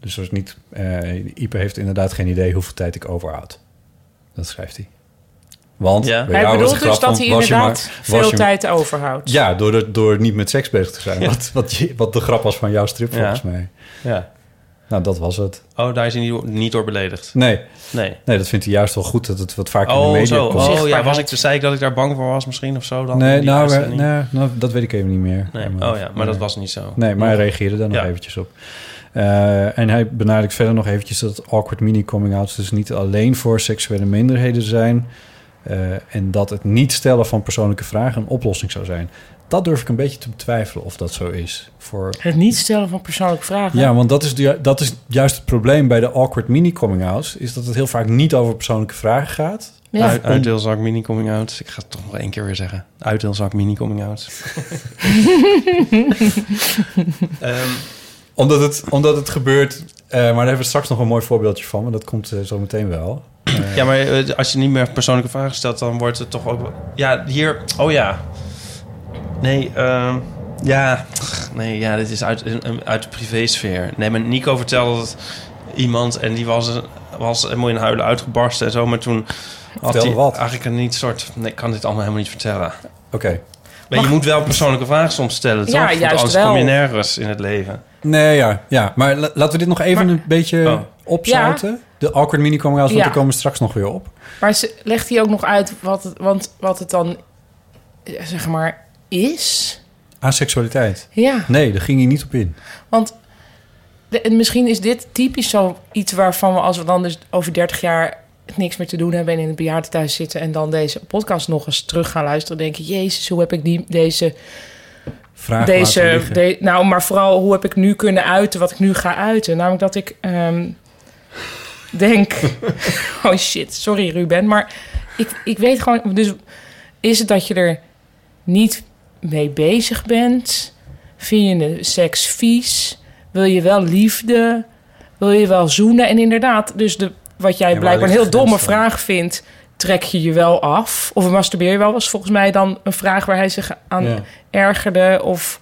C: Dus dat is niet... eh Ipe heeft inderdaad geen idee hoeveel tijd ik overhoud. Dat schrijft hij. Want...
D: Ja.
C: bij
B: Hij
C: jou was
B: bedoelt
C: het
B: dus
C: grap
B: dat
C: van,
B: hij
C: was je
B: inderdaad
C: maar- was
B: veel
C: je-
B: tijd overhoudt.
C: Ja, door, de- door niet met seks bezig te zijn. Wat, wat, je- wat de grap was van jouw strip,
D: Ja.
C: volgens mij.
D: Ja.
C: Nou, dat was het.
D: Oh, daar is hij niet door, niet door beledigd.
C: Nee,
D: Nee.
C: nee, dat vindt hij juist wel goed dat het wat vaker in de
D: Oh,
C: media
D: zo.
C: komt.
D: Oh, ja.
B: Zichtbaarheid.
D: Was ik, zei ik dat ik daar bang voor was misschien of zo? Dan
C: Nee,
D: Die
C: nou, we-
D: uitzending?
C: nou, nou, dat weet ik even niet meer.
D: Nee.
C: Maar-
D: Oh ja, maar dat was niet zo.
C: Nee, maar hij reageerde daar nog
D: Ja.
C: eventjes op. Eh, en hij benadrukt verder nog eventjes dat awkward mini-coming-outs dus niet alleen voor seksuele minderheden zijn. eh, en dat het niet stellen van persoonlijke vragen een oplossing zou zijn. Dat durf ik een beetje te betwijfelen of dat zo is. Voor...
B: Het niet stellen van persoonlijke vragen.
C: Ja, want dat is, ju- dat is juist het probleem bij de awkward mini-coming-outs. Is dat het heel vaak niet over persoonlijke vragen gaat.
B: Ja.
D: Uit, uitdeelzak mini coming out. Ik ga het toch nog één keer weer zeggen. Uitdeelzak mini coming out. Ehm,
C: Omdat het, omdat het gebeurt. eh, maar daar hebben we straks nog een mooi voorbeeldje van. Maar dat komt eh, zo meteen wel.
D: ja, maar eh, als je niet meer persoonlijke vragen stelt, dan wordt het toch ook. wel- Ja, hier. Oh ja. Nee, ehm, ja. Nee, ja, dit is uit, een- een- uit de privésfeer. Nee, maar Nico vertelde dat iemand en die was, was helemaal in huilen uitgebarsten en zo. Maar toen had
C: Vertelde
D: hij
C: wat?
D: eigenlijk een niet soort. Nee, ik kan dit allemaal helemaal niet vertellen.
C: Oké.
D: Maar je moet wel persoonlijke vragen soms stellen, toch?
B: Ja,
D: Want
B: juist
D: anders kom je
B: wel.
D: nergens in het leven.
C: Nee, ja. ja. Maar la- laten we dit nog even een beetje
D: Oh.
C: opzouten. De awkward mini coming outs, want
B: Ja.
C: die komen straks nog weer op.
B: Maar ze- legt hij ook nog uit wat het, want, wat het dan, eh, zeg maar, is?
C: Aseksualiteit.
B: Ja,
C: Nee, daar ging hij niet op in.
B: want de- en misschien is dit typisch zo iets waarvan we... als we dan dus over 30 jaar niks meer te doen hebben... en in het bejaardentehuis zitten... en dan deze podcast nog eens terug gaan luisteren... denk je, jezus, hoe heb ik die, deze...
C: Vraag laten
B: deze
C: liggen.
B: de- nou, maar vooral hoe heb ik nu kunnen uiten wat ik nu ga uiten? Namelijk dat ik ehm, denk... oh shit, sorry Ruben, maar ik, ik weet gewoon... Dus is het dat je er niet mee bezig bent? Vind je de seks vies? Wil je wel liefde? Wil je wel zoenen? En inderdaad, dus de, wat jij
C: Ja, maar
B: blijkbaar een
C: ligt
B: heel
C: de grens
B: domme
C: dan?
B: vraag vindt... trek je je wel af? Of masturbeer je wel? was volgens mij dan een vraag waar hij zich aan
C: Ja.
B: ergerde of,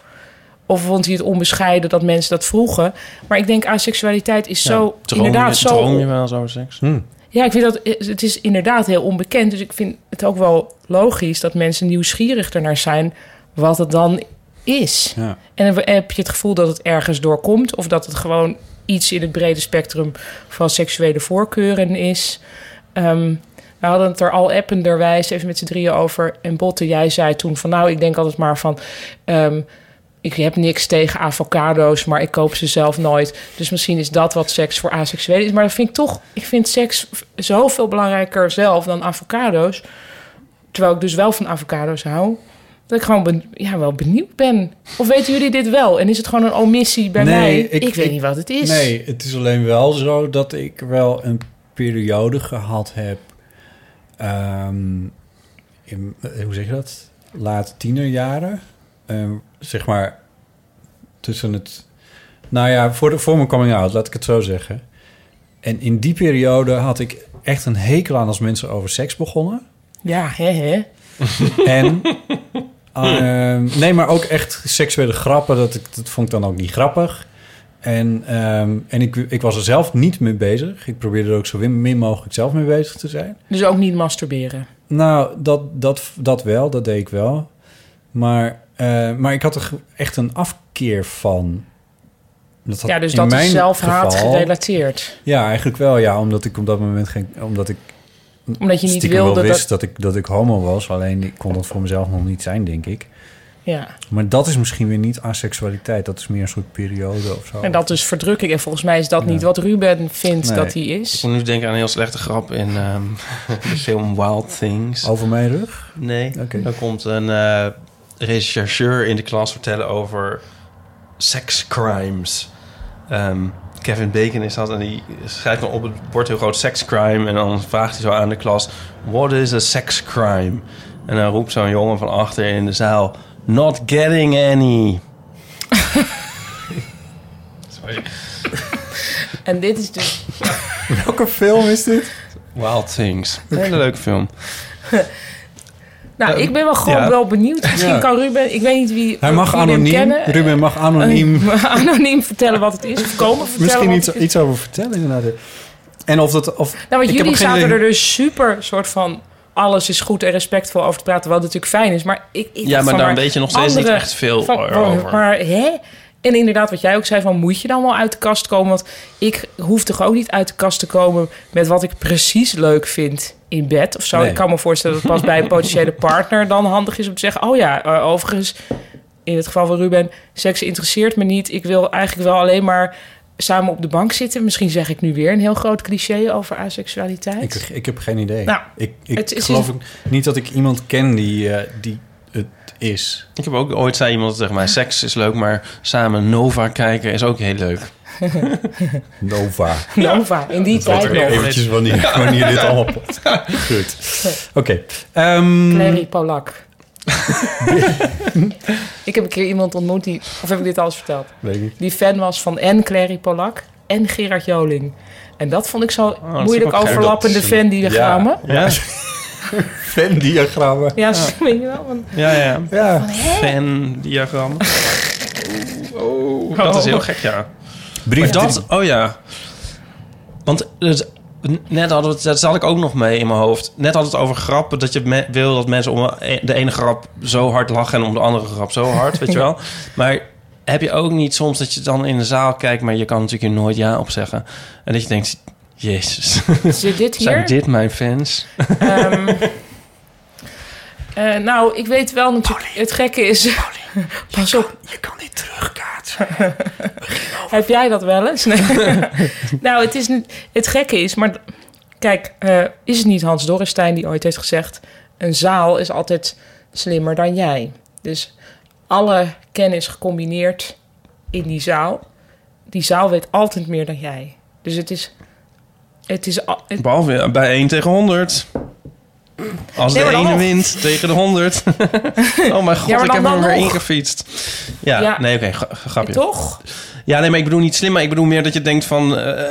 B: of vond hij het onbescheiden dat mensen dat vroegen. Maar ik denk aseksualiteit is zo
D: Droom
B: inderdaad
D: je,
B: zo.
D: Droom je wel zo over seks?
B: Ja, ik vind dat het is inderdaad heel onbekend. Dus ik vind het ook wel logisch dat mensen nieuwsgierig ernaar zijn wat het dan is.
C: Ja.
B: En dan heb je het gevoel dat het ergens doorkomt of dat het gewoon iets in het brede spectrum van seksuele voorkeuren is. Ehm, we hadden het er al appenderwijs even met z'n drieën over. En Botte, jij zei toen van nou, ik denk altijd maar van... ehm, ik heb niks tegen avocado's, maar ik koop ze zelf nooit. Dus misschien is dat wat seks voor asexuelen is. Maar dat vind ik toch... Ik vind seks v- zoveel belangrijker zelf dan avocado's. Terwijl ik dus wel van avocado's hou. Dat ik gewoon ben- ja, wel benieuwd ben. Of weten jullie dit wel? En is het gewoon een omissie bij
C: Nee,
B: mij?
C: ik-
B: Ik, weet
C: ik-
B: niet wat het is.
C: Nee, het is alleen wel zo dat ik wel een periode gehad heb. ehm, in, eh, hoe zeg je dat? Laat tienerjaren. Ehm, zeg maar tussen het. Nou ja, voor, de, voor mijn coming out, laat ik het zo zeggen. En in die periode had ik echt een hekel aan als mensen over seks begonnen.
B: Ja, hè, hè.
C: En Ehm, nee, maar ook echt seksuele grappen. Dat, ik- dat vond ik dan ook niet grappig. En, ehm, en ik, ik was er zelf niet mee bezig. Ik probeerde er ook zo win- min mogelijk zelf mee bezig te zijn.
B: Dus ook niet masturberen.
C: Nou, dat, dat, dat wel, dat deed ik wel. Maar, eh, maar ik had er echt een afkeer van. Dat had
B: Ja, dus
C: in
B: dat
C: mijn
B: is zelfhaat
C: geval-
B: gerelateerd.
C: Ja, eigenlijk wel, ja. Omdat ik op dat moment geen... Omdat ik
B: Omdat je niet
C: stiekem
B: wilde
C: wel
B: dat-
C: wist dat... ik, dat ik homo was. Alleen ik kon dat voor mezelf nog niet zijn, denk ik.
B: Ja.
C: Maar dat is misschien weer niet asexualiteit. Dat is meer een soort periode of zo.
B: En dat is verdrukking. En volgens mij is dat niet wat Ruben vindt
C: Oh. Nee.
B: dat hij is.
D: Ik moet nu denken aan een heel slechte grap in ehm, de film Wild Things.
C: Over mijn rug?
D: Nee,
C: Oké.
D: dan komt een eh rechercheur in de klas vertellen over sekscrimes. Ehm, Kevin Bacon is dat en die schrijft dan op het bord heel groot sekscrime. En dan vraagt hij zo aan de klas, what is a sexcrime? En dan roept zo'n jongen van achter in de zaal, not getting any. Sorry.
B: En dit is dus...
C: Welke film is dit?
D: Wild Things. Een hele leuke film.
B: Nou,
D: Ehm,
B: ik ben wel gewoon
D: ja.
B: wel benieuwd. Misschien
C: Eh, Ja.
B: kan Ruben... Ik weet niet wie
C: Hij mag
B: wie we hem
C: anoniem.
B: kennen.
C: Ruben mag anoniem.
B: Eh, anoniem vertellen wat het is. Of komen vertellen
C: misschien
B: wat
C: iets,
B: het is.
C: iets over vertellen inderdaad. En of dat... Of,
B: Nou,
C: ik
B: want
C: heb
B: jullie
C: ook geen
B: zaten
C: idee.
B: er dus super soort van... Alles is goed en respectvol over te praten, wat natuurlijk fijn is. Maar ik, ik
D: Ja,
B: dacht
D: maar
B: van,
D: daar weet je nog steeds niet
B: andere-
D: echt veel
B: van,
D: over.
B: Maar hè? En inderdaad, wat jij ook zei, van moet je dan wel uit de kast komen? Want ik hoef toch ook niet uit de kast te komen met wat ik precies leuk vind in bed of zo.
C: Nee.
B: Ik kan me voorstellen dat het pas bij een potentiële partner dan handig is om te zeggen... oh ja, eh, overigens, in het geval van Ruben, seks interesseert me niet. Ik wil eigenlijk wel alleen maar samen op de bank zitten. Misschien zeg ik nu weer een heel groot cliché over aseksualiteit.
C: Ik, ik heb geen idee.
B: Nou,
C: ik ik
B: het is-
C: geloof ook niet dat ik iemand ken die, eh, die het is.
D: Ik heb ook ooit zei iemand tegen mij: seks is leuk, maar samen Nova kijken is ook heel leuk.
C: Nova.
B: Nova, in die tijd nog.
C: Eventjes wanneer, wanneer dit allemaal pot. Goed. Oké. ehm,
B: Clary Polak. ik heb een keer iemand ontmoet die... Of heb ik dit alles verteld?
C: weet ik niet.
B: Die fan was van en Clary Polak en Gerard Joling. En dat vond ik zo
D: Ah, is
B: moeilijk
D: ook gek.
B: overlappende
C: Dat is een-
B: fan-diagrammen.
D: Ja,
C: Venn-diagrammen.
B: Ja, zo weet je wel. want-
D: ja, ja.
C: Ja.
D: Fan-diagram. Oh, oh, dat is heel gek, ja.
C: Brief
D: Maar dat, oh ja. Want het- net hadden we, het- dat zat ik ook nog mee in mijn hoofd. Net had het over grappen, dat je me- wil dat mensen om de ene grap zo hard lachen en om de andere grap zo hard, weet je wel. Maar heb je ook niet soms dat je dan in de zaal kijkt, maar je kan natuurlijk hier nooit ja op zeggen. En dat je denkt, jezus,
B: Zit dit
D: zijn
B: hier?
D: dit mijn fans?
B: Ehm, eh, nou, ik weet wel natuurlijk... Het gekke is... Pas op. Je kan dit terugkaatsen. Heb jij dat wel eens? Nee. nou, het, is, niet- het gekke is... Maar kijk, eh, is het niet Hans Dorrestein die ooit heeft gezegd... een zaal is altijd slimmer dan jij. Dus alle kennis gecombineerd in die zaal... die zaal weet altijd meer dan jij. Dus het is... Het is al- het-
D: Behalve eh, bij 1 tegen 100. Als
B: Nee,
D: de
B: maar dan
D: ene
B: nog.
D: wint tegen de 100. oh mijn god,
B: Ja, maar
D: ik
B: dan-
D: heb
B: dan
D: hem weer
B: nog.
D: ingefietst. Ja,
B: Ja.
D: nee, oké, gra- grapje.
B: toch?
D: Ja, nee, maar ik bedoel niet slim, maar ik bedoel meer dat je denkt van... eh,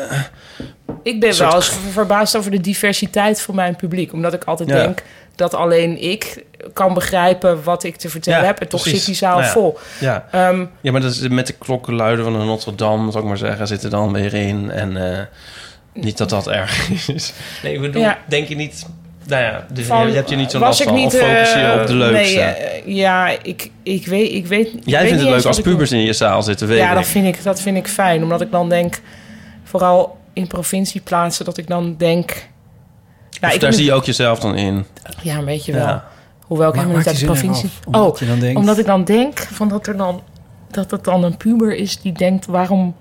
B: Ik ben
D: soort-
B: wel eens verbaasd over de diversiteit van mijn publiek. Omdat ik altijd
D: Ja.
B: denk dat alleen ik kan begrijpen wat ik te vertellen
D: Ja,
B: heb. En toch
D: precies.
B: zit die zaal
D: Nou ja. Dus
B: vol.
D: ja.
B: Ehm,
D: ja, maar dat is met de klokkenluiden van de Notre Dame, zal ik maar zeggen, zitten dan weer in. En eh, niet dat dat erg is. Nee, ik bedoel,
B: Ja.
D: denk je niet... Nou ja, dus
B: van,
D: je hebt je niet zo'n
B: was
D: last
B: ik
D: van.
B: niet,
D: Of focus je
B: eh,
D: op de leukste.
B: Nee, eh, ja, ik, ik weet ik weet. ik weet
D: Jij
B: niet
D: vindt het
B: eens
D: leuk
B: wat
D: als
B: ik wil.
D: pubers in je zaal zitten, weet
B: Ja,
D: ik.
B: dat vind, ik, dat vind ik fijn. Omdat ik dan denk, vooral in provincieplaatsen, dat ik dan denk... Nou,
D: Of
B: ik
D: daar
B: ben-
D: zie je ook jezelf dan in.
B: Ja, een beetje wel.
D: Ja.
B: Hoewel ik
C: Maar
B: helemaal niet uit
C: maakt
B: de
C: die
B: provincie...
C: zin eraf, omdat
B: oh,
C: je dan denkt-
B: omdat ik dan denk van dat, er dan, dat het dan een puber is die denkt... waarom,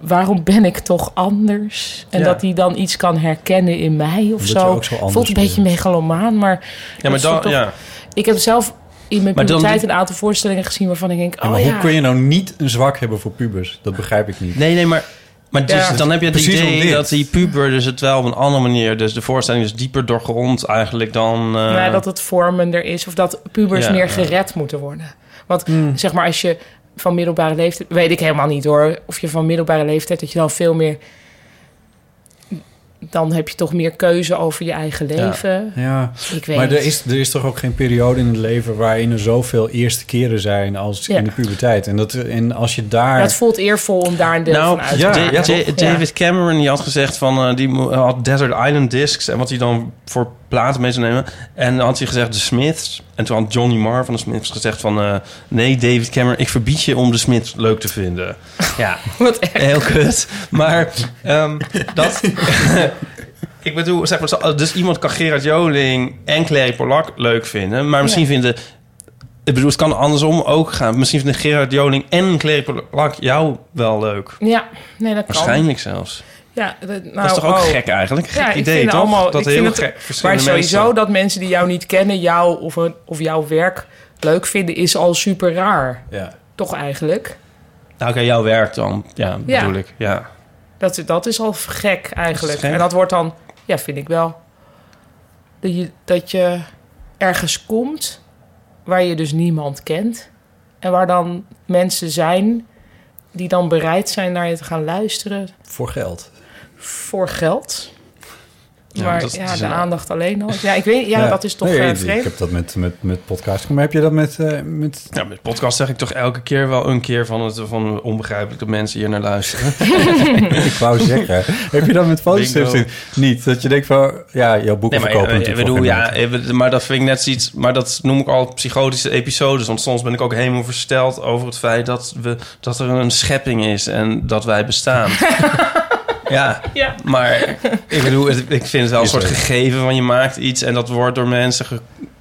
B: waarom ben ik toch anders? En
D: Ja.
B: dat die dan iets kan herkennen in mij of
C: Omdat je
B: zo.
C: ook zo anders
B: Voelt een beetje
C: bent.
B: megalomaan, maar...
D: Ja,
B: dat
D: maar
B: is
D: dan...
B: toch-
D: Ja.
B: Ik heb zelf in mijn
D: Maar dan-
B: puberteit een aantal voorstellingen gezien... waarvan ik denk,
C: Ja,
B: oh
C: maar
B: ja...
C: hoe kun je nou niet een zwak hebben voor pubers? Dat begrijp ik niet.
D: Nee, nee, maar, maar dus,
B: Ja.
D: dan heb je het
C: Precies om
D: idee
C: dit.
D: dat die puber dus het wel op een andere manier... Dus de voorstelling is dieper doorgrond eigenlijk dan... eh,
B: Nou, dat het vormender is of dat pubers
D: Ja,
B: meer
D: ja.
B: gered moeten worden. Want
C: Hmm.
B: zeg maar, als je van middelbare leeftijd, weet ik helemaal niet hoor, of je van middelbare leeftijd dat je dan veel meer dan heb je toch meer keuze over je eigen leven.
C: Ja.
B: Ik weet
C: maar er
B: het.
C: is, er is toch ook geen periode in het leven waarin er zoveel eerste keren zijn als
B: Ja.
C: in de puberteit. En, dat, en als je daar.
B: Maar het voelt eervol om daar een deel
D: Nou,
B: van uit te
D: Ja,
B: maken.
D: Ja, Ja,
B: toch?
D: David Cameron die had gezegd van eh, die mo- had Desert Island Discs en wat hij dan voor platen mee zou nemen. En dan had hij gezegd de Smiths. En toen had Johnny Marr van de Smiths gezegd van eh, nee David Cameron, ik verbied je om de Smiths leuk te vinden. Ja,
B: Wat erg.
D: heel kut. Maar ehm, dat. ik bedoel, zeg maar, zo- dus iemand kan Gerard Joling en Clary Polak leuk vinden, maar misschien vinden. Ik bedoel, het kan andersom ook gaan. Misschien vinden Gerard Joling en Clary Polak jou wel leuk.
B: Ja, nee, dat kan.
D: Waarschijnlijk zelfs.
B: Ja, dat, nou,
D: dat is toch ook
B: oh.
D: gek eigenlijk? Gek
B: Ja, ik
D: idee
B: vind
D: toch?
B: allemaal-
D: dat
B: ik
D: heel
B: vind het-
D: gek
B: Maar
D: verschillende
B: sowieso
D: mensen.
B: dat mensen die jou niet kennen, jou of, hun- of jouw werk leuk vinden, is al super raar.
C: Ja.
B: Toch eigenlijk?
D: Nou, oké, jouw werk dan. Ja,
B: Ja.
D: bedoel ik. Ja.
B: Dat, dat is al gek eigenlijk.
D: gek?
B: En dat wordt dan, ja, vind ik wel. Dat je, dat je ergens komt waar je dus niemand kent. En waar dan mensen zijn die dan bereid zijn naar je te gaan luisteren
C: Voor geld.
B: voor geld.
D: Ja,
B: maar
D: dat
B: ja,
D: is
B: de
D: een-
B: aandacht alleen al. Ja, ik weet, ja, dat is toch
C: Nee,
B: eh,
C: ik- Ik
B: vreemd.
C: heb dat met, met, met podcast. Maar heb je dat met. eh, met...
D: Nou, met podcast zeg ik toch elke keer wel een keer van het van onbegrijpelijke mensen hier naar luisteren.
C: ik wou zeggen. heb je dat met positives
D: Bingo.
C: in- niet? Dat je denkt van. Ja, jouw
D: Nee,
C: boeken
D: maar eh,
C: verkopen.
D: ik
C: natuurlijk
D: bedoel,
C: voor geen
D: ja,
C: meter.
D: eh, we- maar dat vind ik net zoiets. Maar dat noem ik al psychotische episodes. Want soms ben ik ook helemaal versteld over het feit dat, we, dat er een schepping is en dat wij bestaan. ja.
B: Ja.
D: maar ik bedoel, het- ik vind het wel een
C: Is
D: soort
C: het.
D: gegeven van je maakt iets en dat wordt door mensen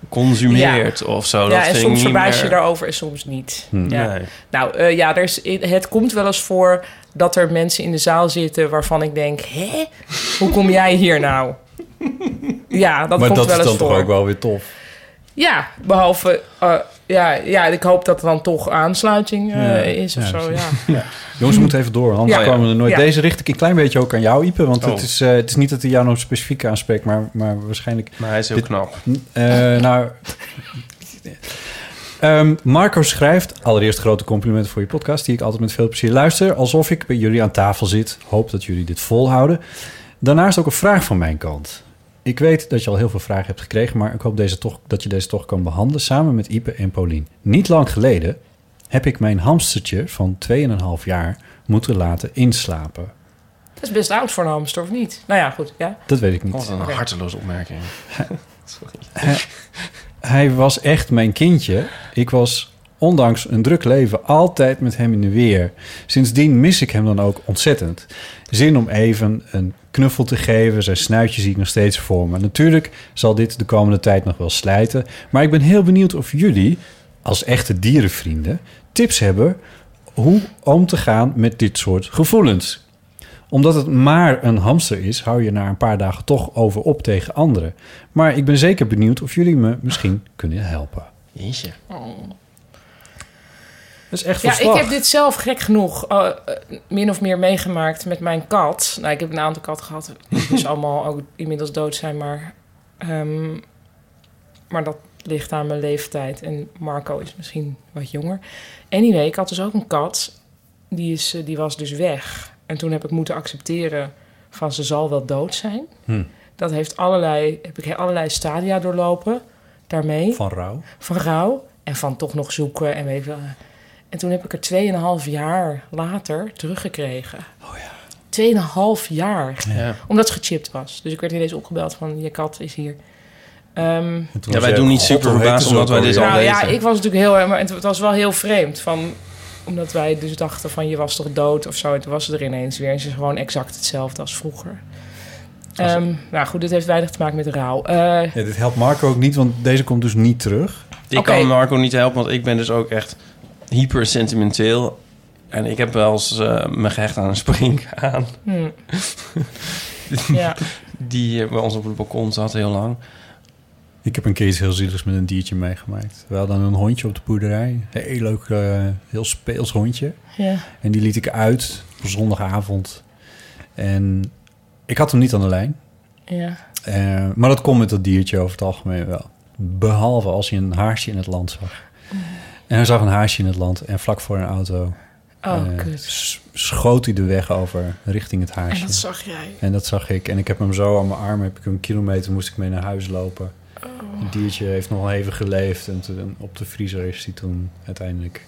D: geconsumeerd of
C: oh,
D: zo. dat
B: ja, en
D: vind
B: soms
D: ik niet
B: verbaas je
D: meer-
B: daarover en soms niet.
C: Hm.
B: Ja.
D: Nee.
B: Nou eh, ja, er is, het komt wel eens voor dat er mensen in de zaal zitten waarvan ik denk: hè, hoe kom jij hier nou? Ja, dat
C: maar
B: komt
C: dat
B: wel
C: is
B: eens
C: dan
B: voor.
C: toch ook wel weer tof.
B: Ja, behalve, eh, ja, ja, ik hoop dat er dan toch aansluiting eh,
C: Ja,
B: is of
C: ja,
B: zo.
C: precies.
B: Ja.
C: Jongens, we moeten even door, want anders
B: Ja.
C: kwamen we er nooit.
B: Ja.
C: Deze richt ik een klein beetje ook aan jou, Ipe. Want
D: Oh.
C: het, is, eh, het is niet dat hij jou nou specifiek aanspreekt, maar, maar waarschijnlijk
D: Maar hij is heel
C: Dit-
D: knap.
C: Eh, nou. Ehm, Marco schrijft, allereerst grote complimenten voor je podcast... die ik altijd met veel plezier luister. Alsof ik bij jullie aan tafel zit. Hoop dat jullie dit volhouden. Daarnaast ook een vraag van mijn kant. Ik weet dat je al heel veel vragen hebt gekregen... maar ik hoop deze toch, dat je deze toch kan behandelen... samen met Ipe en Paulien. Niet lang geleden heb ik mijn hamstertje van 2,5 jaar... moeten laten inslapen.
B: Dat is best oud voor een hamster, of niet? Nou ja, goed. Ja.
C: Dat weet ik niet.
D: Oh, Wat een harteloze opmerking. Sorry.
C: hij was echt mijn kindje. Ik was, ondanks een druk leven, altijd met hem in de weer. Sindsdien mis ik hem dan ook ontzettend. Zin om even een knuffel te geven. Zijn snuitje zie ik nog steeds voor me. Natuurlijk zal dit de komende tijd nog wel slijten. Maar ik ben heel benieuwd of jullie, als echte dierenvrienden, tips hebben hoe om te gaan met dit soort gevoelens omdat het maar een hamster is, hou je na een paar dagen toch over op tegen anderen. Maar ik ben zeker benieuwd of jullie me misschien kunnen helpen.
D: Jeetje.
C: Dat is echt
B: Ja,
C: verslag.
B: ik heb dit zelf gek genoeg eh, eh, min of meer meegemaakt met mijn kat. Nou, ik heb een aantal katten gehad, die dus allemaal ook inmiddels dood zijn, maar, ehm, maar dat ligt aan mijn leeftijd. En Marco is misschien wat jonger. Anyway, ik had dus ook een kat, die, is, eh, die was dus weg. En toen heb ik moeten accepteren van ze zal wel dood zijn.
C: Hm.
B: Dat heeft allerlei, heb ik allerlei stadia doorlopen daarmee
C: Van rouw.
B: van rouw en van toch nog zoeken en weet ik wel. En toen heb ik er 2,5 jaar later teruggekregen. Oh ja. 2,5 jaar.
D: Ja.
B: Omdat het gechipt was. Dus ik werd ineens opgebeld van je kat is hier. Ehm,
C: En toen
D: Ja,
C: was
D: wij
C: jij,
D: doen niet
C: "God,
D: super
C: hoe heet
D: verbaasd
C: ze
D: omdat
C: ook
D: wij dit
C: alweer?"
D: al
B: nou ja,
D: weten.
B: ik was natuurlijk heel erg, maar het was wel heel vreemd. Van, omdat wij dus dachten van je was toch dood of zo. En toen was ze er ineens weer. En ze is gewoon exact hetzelfde als vroeger. Ehm, nou goed, dit heeft weinig te maken met rouw. Eh,
C: Ja, dit helpt Marco ook niet, want deze komt dus niet terug.
D: Ik
B: Oké.
D: kan Marco niet helpen, want ik ben dus ook echt hyper sentimenteel. En ik heb wel eens eh, me gehecht aan een springkaan.
B: hm. ja.
D: Die eh, bij ons op het balkon zat heel lang.
C: Ik heb een keer iets heel zieligs met een diertje meegemaakt. We hadden een hondje op de boerderij. Een heel leuk, eh, heel speels hondje.
B: ja.
C: En die liet ik uit op zondagavond. En ik had hem niet aan de lijn.
B: Ja.
C: Eh, maar dat komt met dat diertje over het algemeen wel. Behalve als hij een haarsje in het land zag. En hij zag een haarsje in het land en vlak voor een auto.
B: Oh,
C: eh,
B: kut.
C: s- schoot hij de weg over richting het
B: En
C: haarsje.
B: dat zag jij.
C: En dat zag ik. En ik heb hem zo aan mijn arm, heb ik hem een kilometer, moest ik mee naar huis lopen.
B: Oh.
C: Het diertje heeft nog wel even geleefd. En toen, op de vriezer is hij toen uiteindelijk...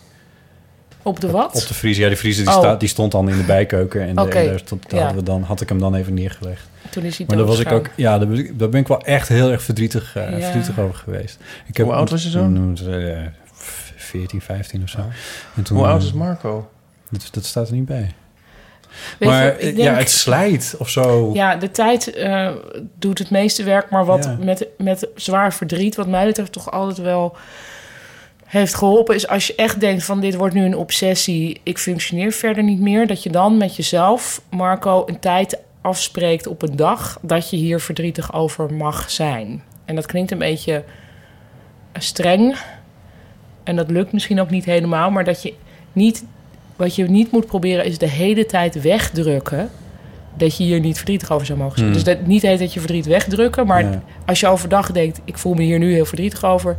B: Op de wat?
C: Op de vriezer, ja, die vriezer die,
B: Oh.
C: staat, die stond dan in de bijkeuken. En de-
B: Oké,
C: en daar stond- daar
B: ja.
C: hadden we dan, had ik hem dan even neergelegd.
B: Toen is hij
C: Maar daar was ik ook,
B: doodgegaan.
C: ja, daar ben ik, daar ben ik wel echt heel erg verdrietig, eh,
B: Ja.
C: verdrietig over geweest. Ik
D: Hoe oud was je zoon?
C: toen, eh, 14, 15 of zo.
D: Ah.
C: En toen,
D: Hoe oud
C: eh,
D: is Marco?
C: Dat, dat staat er niet bij.
B: Weet je,
C: maar
B: ik
C: eh, ja,
B: denk-
C: het slijt of zo.
B: Ja, de tijd eh, doet het meeste werk, maar wat
C: Ja.
B: met, met zwaar verdriet, wat mij betreft toch altijd wel heeft geholpen, is als je echt denkt van dit wordt nu een obsessie, ik functioneer verder niet meer, dat je dan met jezelf, Marco, een tijd afspreekt op een dag dat je hier verdrietig over mag zijn. En dat klinkt een beetje streng en dat lukt misschien ook niet helemaal, maar dat je niet, wat je niet moet proberen is de hele tijd wegdrukken dat je hier niet verdrietig over zou mogen zijn.
C: Hmm.
B: Dus dat, niet heet dat je verdriet wegdrukken, maar
C: Ja.
B: als je overdag denkt, ik voel me hier nu heel verdrietig over.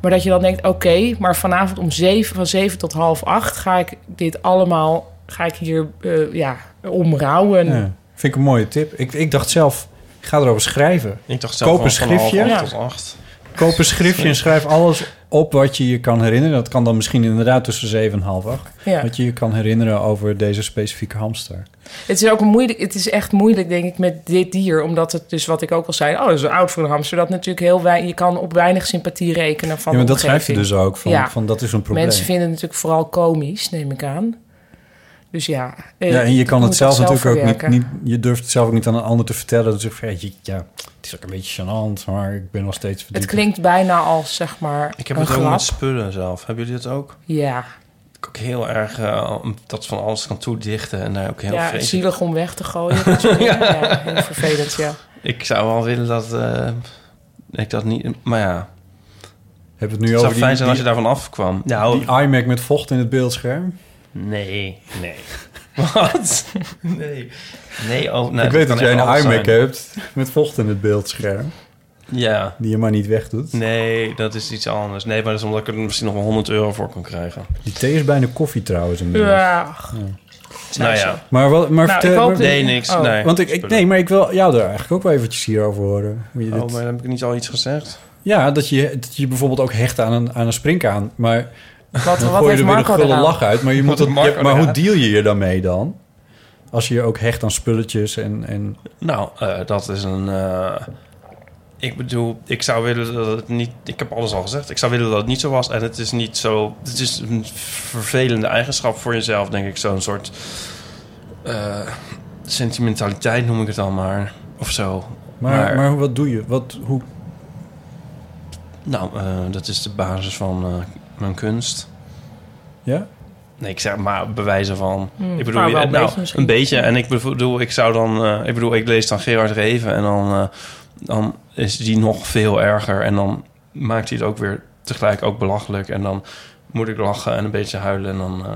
B: Maar dat je dan denkt, oké, maar vanavond om zeven, van zeven tot half acht ga ik dit allemaal, ga ik hier eh, ja, omrouwen.
C: Ja, Vind ik een mooie tip. Ik, ik dacht zelf, ik ga erover schrijven.
D: Ik dacht zelf
C: Koop een
D: van van half
C: schriftje.
D: acht
B: Ja.
D: tot acht.
C: Koop een schriftje en schrijf alles op wat je je kan herinneren. Dat kan dan misschien inderdaad tussen 7 en half acht.
B: Ja.
C: Wat je je kan herinneren over deze specifieke hamster.
B: Het is ook een moeilijk, het is echt moeilijk, denk ik, met dit dier. Omdat het dus, wat ik ook al zei, oh, dat is een oud voor een hamster. Dat natuurlijk heel wij, je kan op weinig sympathie rekenen van
C: ja, maar
B: de
C: dat schrijf je
B: omgeving.
C: dus ook. Van,
B: Ja.
C: van dat is een probleem.
B: Mensen vinden het natuurlijk vooral komisch, neem ik aan. Dus ja. eh,
C: ja, en je kan
B: moet
C: het zelf, natuurlijk ook
B: verwerken.
C: niet, niet... Je durft het zelf ook niet aan een ander te vertellen. Dat je zegt, ja, je- ja, het is ook een beetje gênant, maar ik ben nog
B: Het
C: steeds verdrietig.
B: klinkt bijna als, zeg maar,
D: Ik heb
B: een
D: het ook
B: grap.
D: met spullen zelf. Hebben jullie dat ook?
B: Ja,
D: Ik ook heel erg eh, dat van alles kan toedichten en daar ook heel
B: ja
D: vreselijk-
B: zielig om weg te gooien. dat soort dingen. ja. heel vervelend, ja.
D: Ik zou wel willen dat eh, ik dat niet. Maar ja,
C: Heb het nu
D: het
C: over
D: zou
C: die,
D: fijn zijn als je
C: die-
D: daarvan afkwam. Nou,
C: die iMac met vocht in het beeldscherm?
D: nee, nee. Wat? Nee, nee. Oh, nee
C: ik weet dat
D: kan
C: jij
D: echt
C: een
D: alles
C: iMac
D: zijn.
C: hebt met vocht in het beeldscherm.
D: Ja.
C: Die je maar niet wegdoet.
D: Nee, dat is iets anders. Nee, maar dat is omdat ik er misschien nog wel 100 euro voor kon krijgen.
C: Die thee is bijna koffie trouwens. inmiddels.
B: ja.
D: nou
B: zo.
D: ja,
C: Maar, wat, maar
B: Nou,
C: vertel-
B: ik hoop
C: maar-
B: dat-
D: nee, niks.
B: Oh.
D: Nee.
C: want ik, ik, nee, maar ik wil jou daar eigenlijk ook wel eventjes hierover horen. Hoe je dit-
D: Oh, maar heb ik niet al iets gezegd?
C: Ja, dat je, dat je bijvoorbeeld ook hecht aan een, aan een springkaan. Maar
B: Wat,
C: dan
B: wat
C: gooi je
B: heeft
C: er weer een
B: Marco
C: gulle
B: dan?
C: lach uit. Maar, je
D: Wat
C: moet dat,
D: heeft Marco
C: ja, maar hoe
D: eraan?
C: deal je je daarmee dan? Als je je ook hecht aan spulletjes en... en
D: Nou, eh, dat is een. eh, ik bedoel, ik zou willen dat het niet. Ik heb alles al gezegd. Ik zou willen dat het niet zo was. En het is niet zo. Het is een vervelende eigenschap voor jezelf, denk ik. Zo'n soort. eh, sentimentaliteit noem ik het dan maar. Of zo.
C: maar, maar,
D: Maar-
C: wat doe je? Wat, hoe,
D: Nou, eh, dat is de basis van eh, mijn kunst.
C: ja?
D: Nee, ik zeg maar bewijzen van.
B: Hmm,
D: ik bedoel,
B: maar wel
D: je-
B: een
D: nou,
B: beetje misschien.
D: een beetje. En ik bedoel, ik zou dan. eh, ik bedoel, ik lees dan Gerard Reven en dan, eh, dan is die nog veel erger. En dan maakt hij het ook weer tegelijk ook belachelijk. En dan moet ik lachen en een beetje huilen. En dan eh,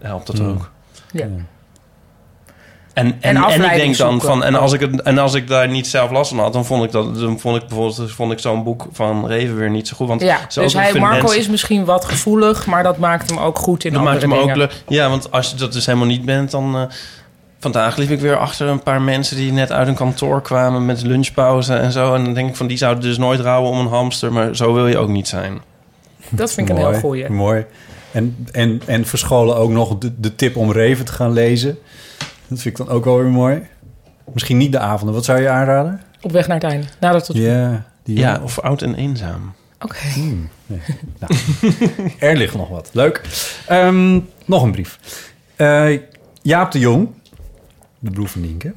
D: helpt dat
C: Hmm.
D: ook.
B: Ja.
D: En, en, en, ik
B: afleiding
D: denk dan
B: zoeken.
D: van. En als, ik het, en als ik daar niet zelf last van had, dan vond ik dat. Dan vond ik bijvoorbeeld vond ik zo'n boek van Reven weer niet zo goed. Want
B: Ja,
D: zo
B: dus
D: ook
B: hij,
D: vinden
B: Marco
D: mensen-
B: is misschien wat gevoelig, maar dat maakt hem ook goed in
D: Dat maakt
B: andere
D: hem ook
B: dingen.
D: leuk. Ja, want als je dat dus helemaal niet bent, dan. eh, vandaag liep ik weer achter een paar mensen die net uit hun kantoor kwamen met lunchpauze en zo. En dan denk ik van die zouden dus nooit rouwen om een hamster, maar zo wil je ook niet zijn.
B: Dat vind ik een
C: Mooi,
B: heel goeie.
C: Mooi. En, en, en verscholen ook nog de, de tip om Reven te gaan lezen. Dat vind ik dan ook wel weer mooi. Misschien niet de avonden. Wat zou je aanraden?
B: Op weg naar het einde. Nadat tot...
C: Ja, die
D: Ja, of oud en eenzaam.
B: Oké.
C: er ligt nog wat. Leuk. Ehm, nog een brief. Eh, Jaap de Jong, de broer van Nienke.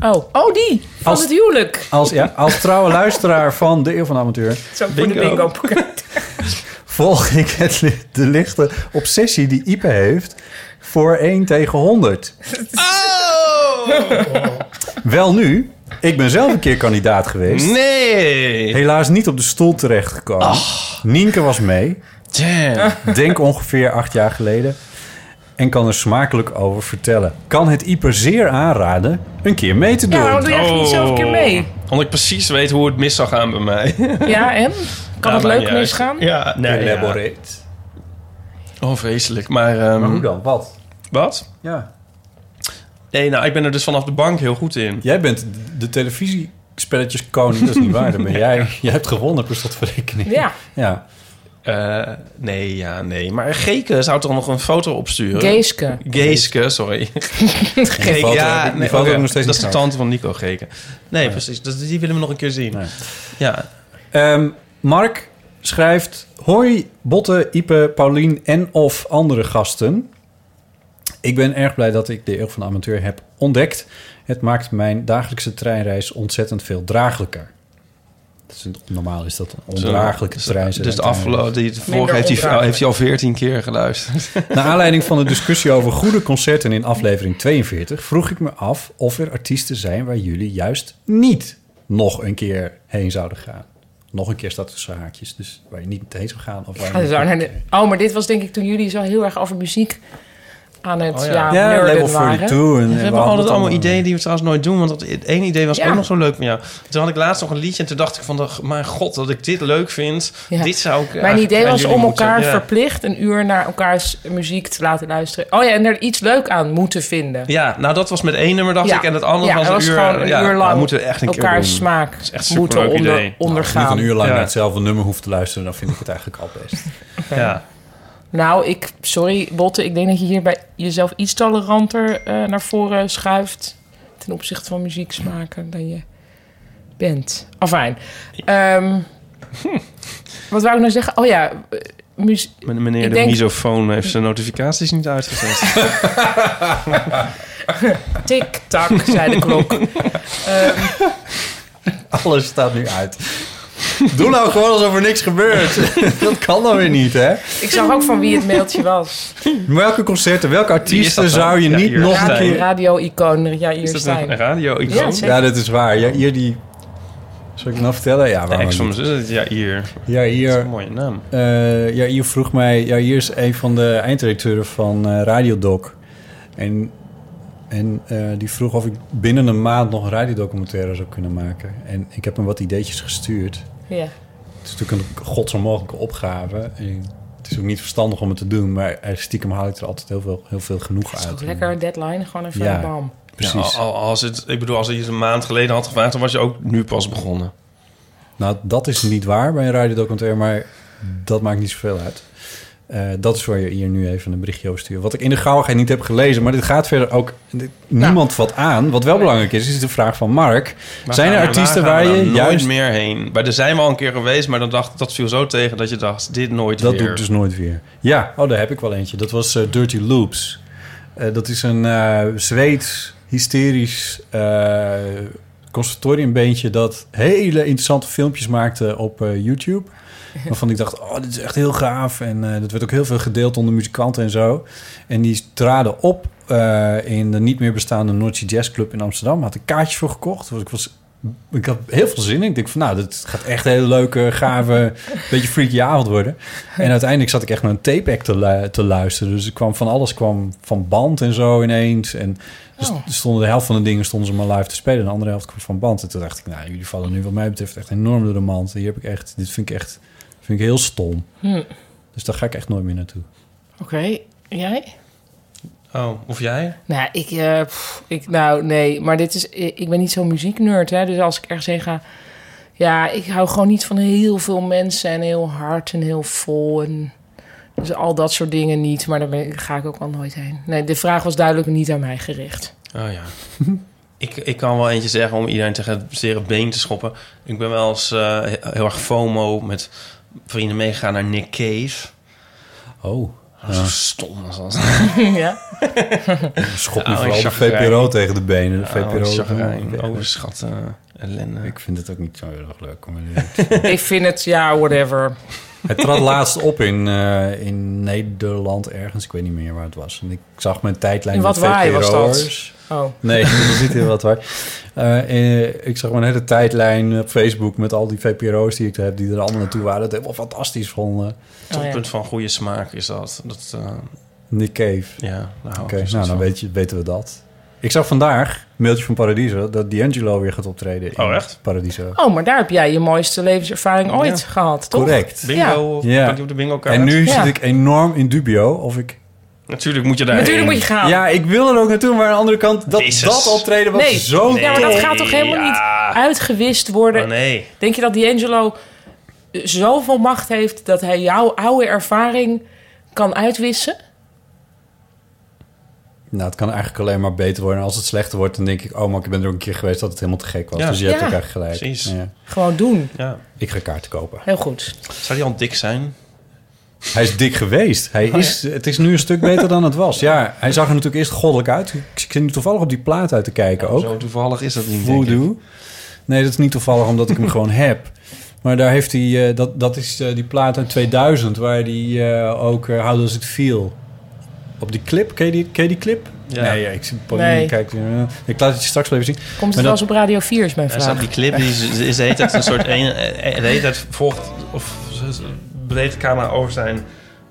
B: Oh. oh, die! Van
C: Als-
B: het huwelijk.
C: Als, ja, als trouwe luisteraar van de Eeuw van de Amateur...
B: Zo voor de
D: Bingo.
B: bingo.
C: volg ik het, li- de lichte obsessie die Ipe heeft voor 1 tegen 100. Oh! Wel nu, ik ben zelf een keer kandidaat geweest.
D: Nee!
C: Helaas niet op de stoel terechtgekomen. Nienke was mee,
D: Damn.
B: Ah,
C: denk ongeveer acht jaar geleden. En kan er smakelijk over vertellen. Kan het Ipe zeer aanraden een keer mee te doen.
B: Ja, waarom Nou, doe jij niet zelf een
D: Oh.
B: keer mee?
D: Omdat ik precies weet hoe het mis zou gaan bij mij.
B: Ja, en? Kan
D: Ja,
B: het
D: maar
B: leuk
D: juist.
B: misgaan?
D: Ja, nee. ja.
C: Elaborate.
D: Oh, vreselijk. Maar, ehm,
C: Maar hoe dan? Wat?
D: Wat?
C: Mhm. Ja.
D: Nee, nou, ik ben er dus vanaf de bank heel goed in.
C: Jij bent de televisiespelletjes koning. Dat is niet waar. Dan ben jij. Jij hebt gewonnen per slotverrekening.
B: Ja,
C: Ja.
D: Eh, nee, ja, nee. Maar Geke zou toch nog een foto opsturen?
B: Geeske.
D: Geeske, sorry. Geke,
C: foto heb ik-
D: ja,
C: die
D: nee,
C: foto heb ik
D: oké.
C: nog steeds
D: dat is de
C: niet gehad.
D: tante van Nico Geke. Nee, precies. Dat, die willen we nog een keer zien.
C: Nee.
D: Ja,
C: Ehm, Mark schrijft... Hoi Botte, Ipe, Paulien en of andere gasten. Ik ben erg blij dat ik de Eeuw van de Amateur heb ontdekt. Het maakt mijn dagelijkse treinreis ontzettend veel draaglijker. Dat is een- normaal is dat een ondraaglijke
D: Dus-
C: trein.
D: Dus de afgelopen, die, de vorige
B: Minder
D: heeft hij, oh,
B: ondraaglijk.
D: heeft hij al veertien keer geluisterd.
C: Naar aanleiding van de discussie over goede concerten in aflevering 42... vroeg ik me af of er artiesten zijn waar jullie juist niet nog een keer heen zouden gaan. Nog een keer staat tussen haakjes, dus waar je niet heen zou gaan. Of waar je
B: Ah,
C: niet-
B: zo, nee, nee. Oh, maar dit was denk ik toen jullie zo heel erg over muziek aan het
D: Oh, ja.
B: ja.
C: Ja,
B: nerden
C: level
B: waren.
C: 42. En,
D: we hebben altijd allemaal ideeën die we trouwens nooit doen. Want dat het één idee was
B: Ja.
D: ook nog zo leuk van jou. Toen had ik laatst nog een liedje en toen dacht ik van... de- Mijn god, dat ik dit leuk vind.
B: Ja.
D: Dit zou ik
B: Mijn
D: eigenlijk
B: idee
D: aan
B: was
D: jullie
B: om
D: moeten-
B: elkaar
D: ja.
B: verplicht een uur naar elkaars muziek te laten luisteren. Oh ja, en er iets leuk aan moeten vinden.
D: Ja, nou dat was met één nummer dacht
B: Ja.
D: ik. En het andere
B: Ja,
D: was,
B: dat was
D: een uur,
B: gewoon een
D: ja,
B: uur lang
D: nou, moeten we echt een keer
B: elkaars
D: doen.
B: smaak
D: is echt een
B: moeten
D: superleuk
B: onder,
D: idee.
C: Niet
B: ondergaan.
C: een uur lang
D: Ja.
C: naar hetzelfde nummer hoeft te luisteren, dan vind ik het eigenlijk al best.
D: Ja.
B: Nou, ik, sorry Botte, ik denk dat je hier bij jezelf iets toleranter eh, naar voren schuift ten opzichte van muzieksmaken dan je bent. Afijn. Ehm, Wat wou ik nou zeggen? Oh ja, eh, muzie-
D: Men- Meneer
B: Ik
D: de
B: denk-
D: misofoon heeft zijn notificaties niet uitgezet.
B: tik-tak, zei de klok. Ehm,
C: Alles staat nu uit. Doe nou gewoon alsof er niks gebeurt. Dat kan dan weer niet, hè?
B: ik zag ook van wie het mailtje was.
C: Welke concerten, welke
D: Wie is dat
C: artiesten
D: dan?
C: zou je
D: Ja,
C: niet
D: hier
C: nog
D: is
C: een
D: hij.
C: keer...
B: Radio-icoon, ja,
D: Is
B: hier
D: dat een
B: zijn.
D: radio? Ik
B: Ja,
D: ja,
B: zeker.
C: Ja, dat is waar. Ja, hier die... Zal ik het nou vertellen? Ja, waarom
D: ex van
C: niet?
D: mijn zus. eh, Ja, hier.
C: Ja,
D: Dat is
C: hier...
D: een mooie naam.
C: eh, ja, hier vroeg mij... Ja, hier is een van de eindredacteuren van eh Radiodoc. En, en eh, die vroeg of ik binnen een maand nog een radiodocumentaire zou kunnen maken. En ik heb hem wat ideetjes gestuurd.
B: Ja.
C: Het is natuurlijk een godsonmogelijke opgave. En het is ook niet verstandig om het te doen, maar eh, stiekem haal ik er altijd heel veel, heel veel genoeg
B: Het is
C: uit.
B: toch lekker een deadline, gewoon even
C: Ja.
B: bam.
D: Ja,
C: Precies.
D: al- al- als het, ik bedoel, als hij het een maand geleden had gevraagd, dan was je ook nu pas begonnen.
C: Nou, dat is niet waar bij een radiodocumentaire, maar dat maakt niet zoveel uit. Eh, dat is waar je hier nu even een berichtje over stuurt. Wat ik in de gauwigheid niet heb gelezen, maar dit gaat verder ook dit- niemand wat aan. Wat wel belangrijk is, is de vraag van Mark. zijn er artiesten waar,
D: je
C: je
D: nooit
C: juist...
D: meer heen? Maar er zijn we al een keer geweest, maar dan dacht, dat viel zo tegen dat je dacht, dit nooit
C: Dat
D: weer.
C: doe ik dus nooit weer. Ja, oh, daar heb ik wel eentje. Dat was eh, Dirty Loops. Eh, dat is een eh Zweeds hysterisch eh conservatoriumbeentje... dat hele interessante filmpjes maakte op eh, YouTube. Waarvan ik dacht, oh, dit is echt heel gaaf. En eh, dat werd ook heel veel gedeeld onder muzikanten en zo. En die traden op eh, in de niet meer bestaande Noordse Jazz Club in Amsterdam. Had ik kaartjes voor gekocht. Want ik, was, ik had heel veel zin in. Ik denk van, nou, dit gaat echt een hele leuke, gave, beetje freaky avond worden. En uiteindelijk zat ik echt naar een tape act te, lu- te luisteren. Dus er kwam van alles kwam van band en zo ineens. En dus
B: Oh.
C: er stonden de helft van de dingen stonden ze maar live te spelen. En de andere helft kwam van band. En toen dacht ik, nou, jullie vallen nu wat mij betreft echt enorm door de mand. Hier heb ik echt, dit vind ik echt, vind ik heel stom.
B: Hm.
C: Dus daar ga ik echt nooit meer naartoe.
B: Oké, jij?
D: Oh, of jij?
B: Nou, ik, eh, pff, ik, nou, nee, maar dit is, ik ik ben niet zo'n muzieknerd, hè. Dus als ik ergens heen ga, ja, ik hou gewoon niet van heel veel mensen en heel hard en heel vol en dus al dat soort dingen niet. Maar daar ben ik- ga ik ook al nooit heen. Nee, de vraag was duidelijk niet aan mij gericht.
D: Oh ja. ik, ik kan wel eentje zeggen om iedereen tegen het zere been te schoppen. Ik ben wel eens eh, he- heel erg FOMO met vrienden meegegaan naar Nick Cave.
C: Oh,
D: Dat is zo stom als dat.
B: ja.
C: schop me
D: Oh,
C: vooral de
D: chagrijn.
C: VPRO tegen de benen. De
D: Oh,
C: VPRO. Oh,
D: chagrijn, overschatten, ellende.
C: ik vind het ook niet zo heel erg leuk. om-
B: ik vind het, ja, whatever.
C: Hij trad laatst op in, eh, in Nederland ergens. Ik weet niet meer waar het was. En ik zag mijn tijdlijn
B: In
C: van
B: wat waai was dat?
C: VPRO'ers.
B: Oh,
C: Nee, dat is niet heel wat waar. Eh, eh, ik zag mijn hele tijdlijn op Facebook met al die VPRO's die ik heb, die er allemaal naartoe waren. Dat helemaal fantastisch vonden.
B: oh ja.
D: Toppunt van goede smaak is dat. dat eh,
C: Nick Cave.
D: ja, nou,
C: Oké, nou dan weet je, weten we dat. Ik zag vandaag, mailtje van Paradiso, dat D'Angelo weer gaat optreden in
D: Oh, echt?
C: Paradiso.
B: Oh, maar daar heb jij je mooiste levenservaring ooit gehad, toch?
C: Correct.
D: Bingo,
B: Ja.
D: of
C: Ja.
D: kunt u op de bingo kaart.
C: En nu
B: Ja.
C: zit ik enorm in dubio of ik...
D: Natuurlijk moet je daar
B: Natuurlijk moet je gaan.
C: Ja, ik wil er ook naartoe, maar aan de andere kant... Dat,
D: Jezus.
C: dat optreden was
B: nee.
C: zo...
B: ja, maar dat
D: tof.
B: gaat toch helemaal
D: Ja.
B: niet uitgewist worden?
D: Oh nee.
B: Denk je dat D'Angelo eh, zoveel macht heeft dat hij jouw oude ervaring kan uitwissen?
C: Nou, het kan eigenlijk alleen maar beter worden. En als het slechter wordt, dan denk ik... Oh, maar ik ben er ook een keer geweest dat het helemaal te gek was.
D: Ja.
C: Dus je hebt
B: Ja.
C: ook eigenlijk gelijk.
D: Precies.
C: Ja.
B: Gewoon doen.
D: Ja.
C: Ik ga kaarten kopen.
B: Heel goed.
D: Zou die al dik zijn?
C: Hij is dik geweest.
B: Oh,
C: Hij is, Het is nu een stuk beter dan het was. Ja, hij zag er natuurlijk eerst goddelijk uit. Ik zit nu toevallig op die plaat uit te kijken ook.
D: Zo toevallig is dat niet, denk ik.
C: Voodoo. Nee, dat is niet toevallig omdat ik hem gewoon heb. Maar daar heeft hij, eh, dat, dat is eh, die plaat uit 2000, waar hij eh, ook eh, How Does It Feel? Op die clip, ken je die, ken je die clip?
D: Ja.
C: Nee, ja, ik zie Pauline
B: Nee.
C: kijkt. eh, ik laat het je straks wel even zien.
B: Komt
C: Maar
B: het wel
C: dat-
B: eens op Radio 4 is mijn
D: Er staat
B: vraag.
D: die clip, die is, is de hele tijd een soort... Een, eh, de hele tijd volgt of breedt de camera over zijn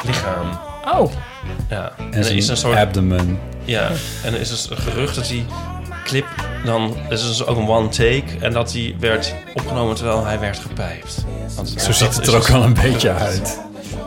D: lichaam.
B: Oh,
D: Ja. En,
C: En
D: er is een soort...
C: abdomen.
D: Ja. En er is dus een gerucht dat die clip dan... Er is dus ook een one take. En dat die werd opgenomen terwijl hij werd gepijpt. Want,
C: Zo ziet het er
D: dus-
C: ook wel een beetje uit.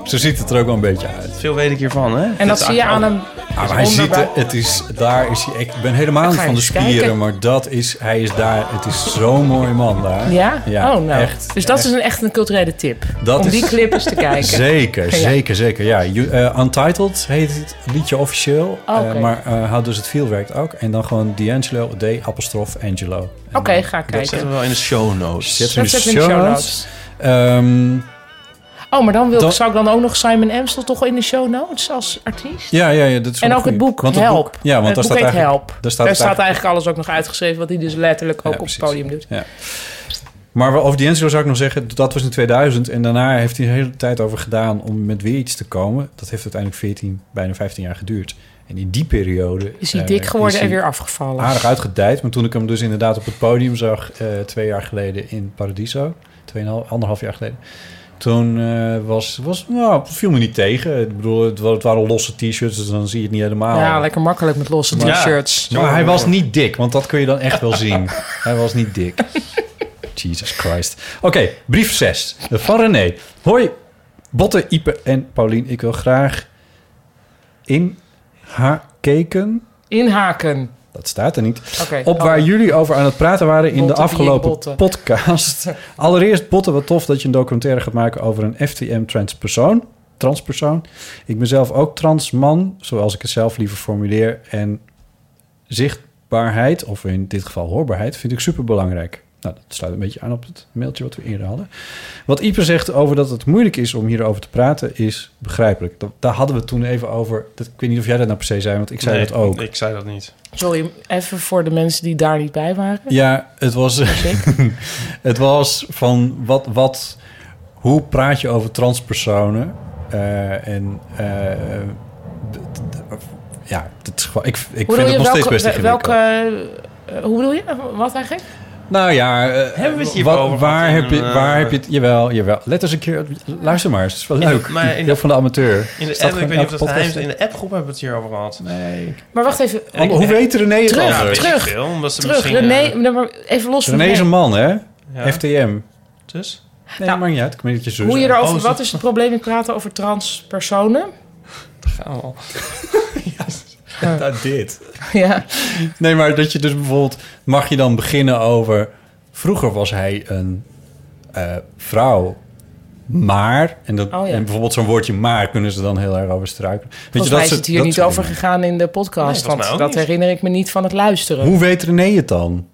C: Zo ziet het er ook wel een beetje uit.
D: Veel weet ik hiervan, hè?
B: en dat zie je aan hem.
C: Ah, maar hij ziet
B: onderbouw-
C: er, het is, daar is hij, ik ben helemaal niet
B: ga
C: van de
B: eens
C: spieren,
B: kijken.
C: maar dat is, hij is daar, het is zo'n mooi man daar.
B: Ja? oh, nou.
C: Echt,
B: dus dat is een, echt een culturele tip.
C: Dat
B: om
C: is-
B: die clip eens te kijken.
C: Zeker,
B: Ja.
C: zeker, zeker. Ja, You- eh, Untitled heet het liedje officieel.
B: Oh, oké.
C: Eh, maar eh How Does It Feel werkt ook. En dan gewoon D'Angelo, D, apostrof, Angelo. En
B: Oké,
C: dan-
B: ga
D: Dat zetten
B: kijken.
D: we wel in de show notes.
C: Zet
B: Dat zetten we in de show notes.
C: Ehm,
B: Oh, maar dan wil, ik
C: Dan-
B: zou ik dan ook nog Simon Amstel toch in de show notes als artiest?
C: ja, ja, ja, dat is wel
B: En
C: een
B: ook het
C: goeie.
B: boek
C: Want het
B: Help.
C: ja, want
B: het
C: daar
B: boek
C: staat
B: heet
C: eigenlijk...
B: Help.
C: Daar staat
B: Daar
C: het
B: staat
C: eigenlijk-
B: eigenlijk alles ook nog uitgeschreven, wat hij dus letterlijk ook op het
C: precies.
B: podium doet.
C: Maar over D'Angelo zou ik nog zeggen, dat was in 2000. En daarna heeft hij een hele tijd over gedaan om met weer iets te komen. Dat heeft uiteindelijk 14, bijna 15 jaar geduurd. En in die periode...
B: Is hij
C: eh,
B: dik geworden en
C: is hij
B: weer afgevallen?
C: aardig uitgedijd. Maar toen ik hem dus inderdaad op het podium zag, eh, twee jaar geleden in Paradiso, tweeënhalf, anderhalf jaar geleden. Toen eh, was, was, nou, het viel me niet tegen. Ik bedoel, het, wa- het waren losse t-shirts, dus dan zie je het niet helemaal.
B: Ja, lekker makkelijk met losse
D: Maar-
B: t-shirts.
C: Maar hij was niet dik, want dat kun je dan echt wel zien. Hij was niet dik. Jesus Christ. Oké, brief 6. Van René. Hoi, Botte, Ipe en Paulien. Ik wil graag in haar keken.
B: Inhaken.
C: Dat staat er niet.
B: Oké. oh.
C: Op waar jullie over aan het praten waren in
B: Botte,
C: de afgelopen
B: Iep, Botte.
C: podcast. Allereerst, Botte, wat tof dat je een documentaire gaat maken over een FTM transpersoon. Transpersoon. Ik ben zelf ook transman, zoals ik het zelf liever formuleer. En zichtbaarheid, of in dit geval hoorbaarheid, vind ik superbelangrijk. Nou, dat sluit een beetje aan op het mailtje wat we eerder hadden. Wat Ieper zegt over dat het moeilijk is om hierover te praten, is begrijpelijk. Dat, daar hadden we het toen even over. Dat, ik weet niet of jij dat nou per se zei, want ik zei
D: Nee,
C: dat ook.
D: Ik zei dat niet.
B: Sorry, even voor de mensen die daar niet bij waren.
C: Ja, het was, het was van wat, wat, hoe praat je over transpersonen? Eh, en eh, d- d- ja, het is gewoon, ik, ik
B: Hoe bedoel
C: vind het nog
B: je,
C: steeds best
B: welke,
C: ingewikkeld.
B: welke, eh, Hoe bedoel je? Wat eigenlijk?
C: Nou ja, eh,
D: Hebben we het hier
C: wat-
D: over gehad
C: waar,
D: in
C: heb je,
D: een,
C: waar
D: eh,
C: heb je het? Jawel, jawel. Let eens een keer, luister maar, eens, het is wel
D: In de-
C: leuk.
D: maar in de-
C: Heel van de amateur.
D: In de
C: Staat
D: app, ik weet
C: gewoon
D: niet of
C: elke
D: dat geheim
C: podcast
D: is. In de appgroep hebben we het hier over gehad.
C: Nee.
B: Maar wacht even.
C: Al- hoe weet René het
B: Terug,
D: ja,
C: anders?
D: weet ik
B: terug,
D: Nou, veel, omdat ze
B: Terug,
D: misschien,
B: René,
D: eh,
B: nee, maar even los van
C: René is een man, hè?
D: ja,
C: FTM.
D: dus?
C: Nee, maakt niet uit. Ik weet dat je zus
B: Nou, Hoe je
C: bent.
B: erover,
D: Oh,
B: wat is het probleem met praten over transpersonen?
D: Gaan we al.
C: Nou, dit.
B: Ja.
C: Nee, maar dat je dus bijvoorbeeld... mag je dan beginnen over... vroeger was hij een eh, vrouw, maar... En, dat,
B: Oh ja.
C: en bijvoorbeeld zo'n woordje maar... kunnen ze dan heel erg over struikelen. Weet
B: Volgens
C: je, dat
B: mij is
C: soort-
B: het hier
C: dat
B: niet
C: soort
B: over
C: dingen.
B: gegaan in de podcast,
D: Nee, volgens mij
B: want
D: ook
B: dat
D: niet.
B: herinner ik me niet van het luisteren.
C: Hoe weet René het dan?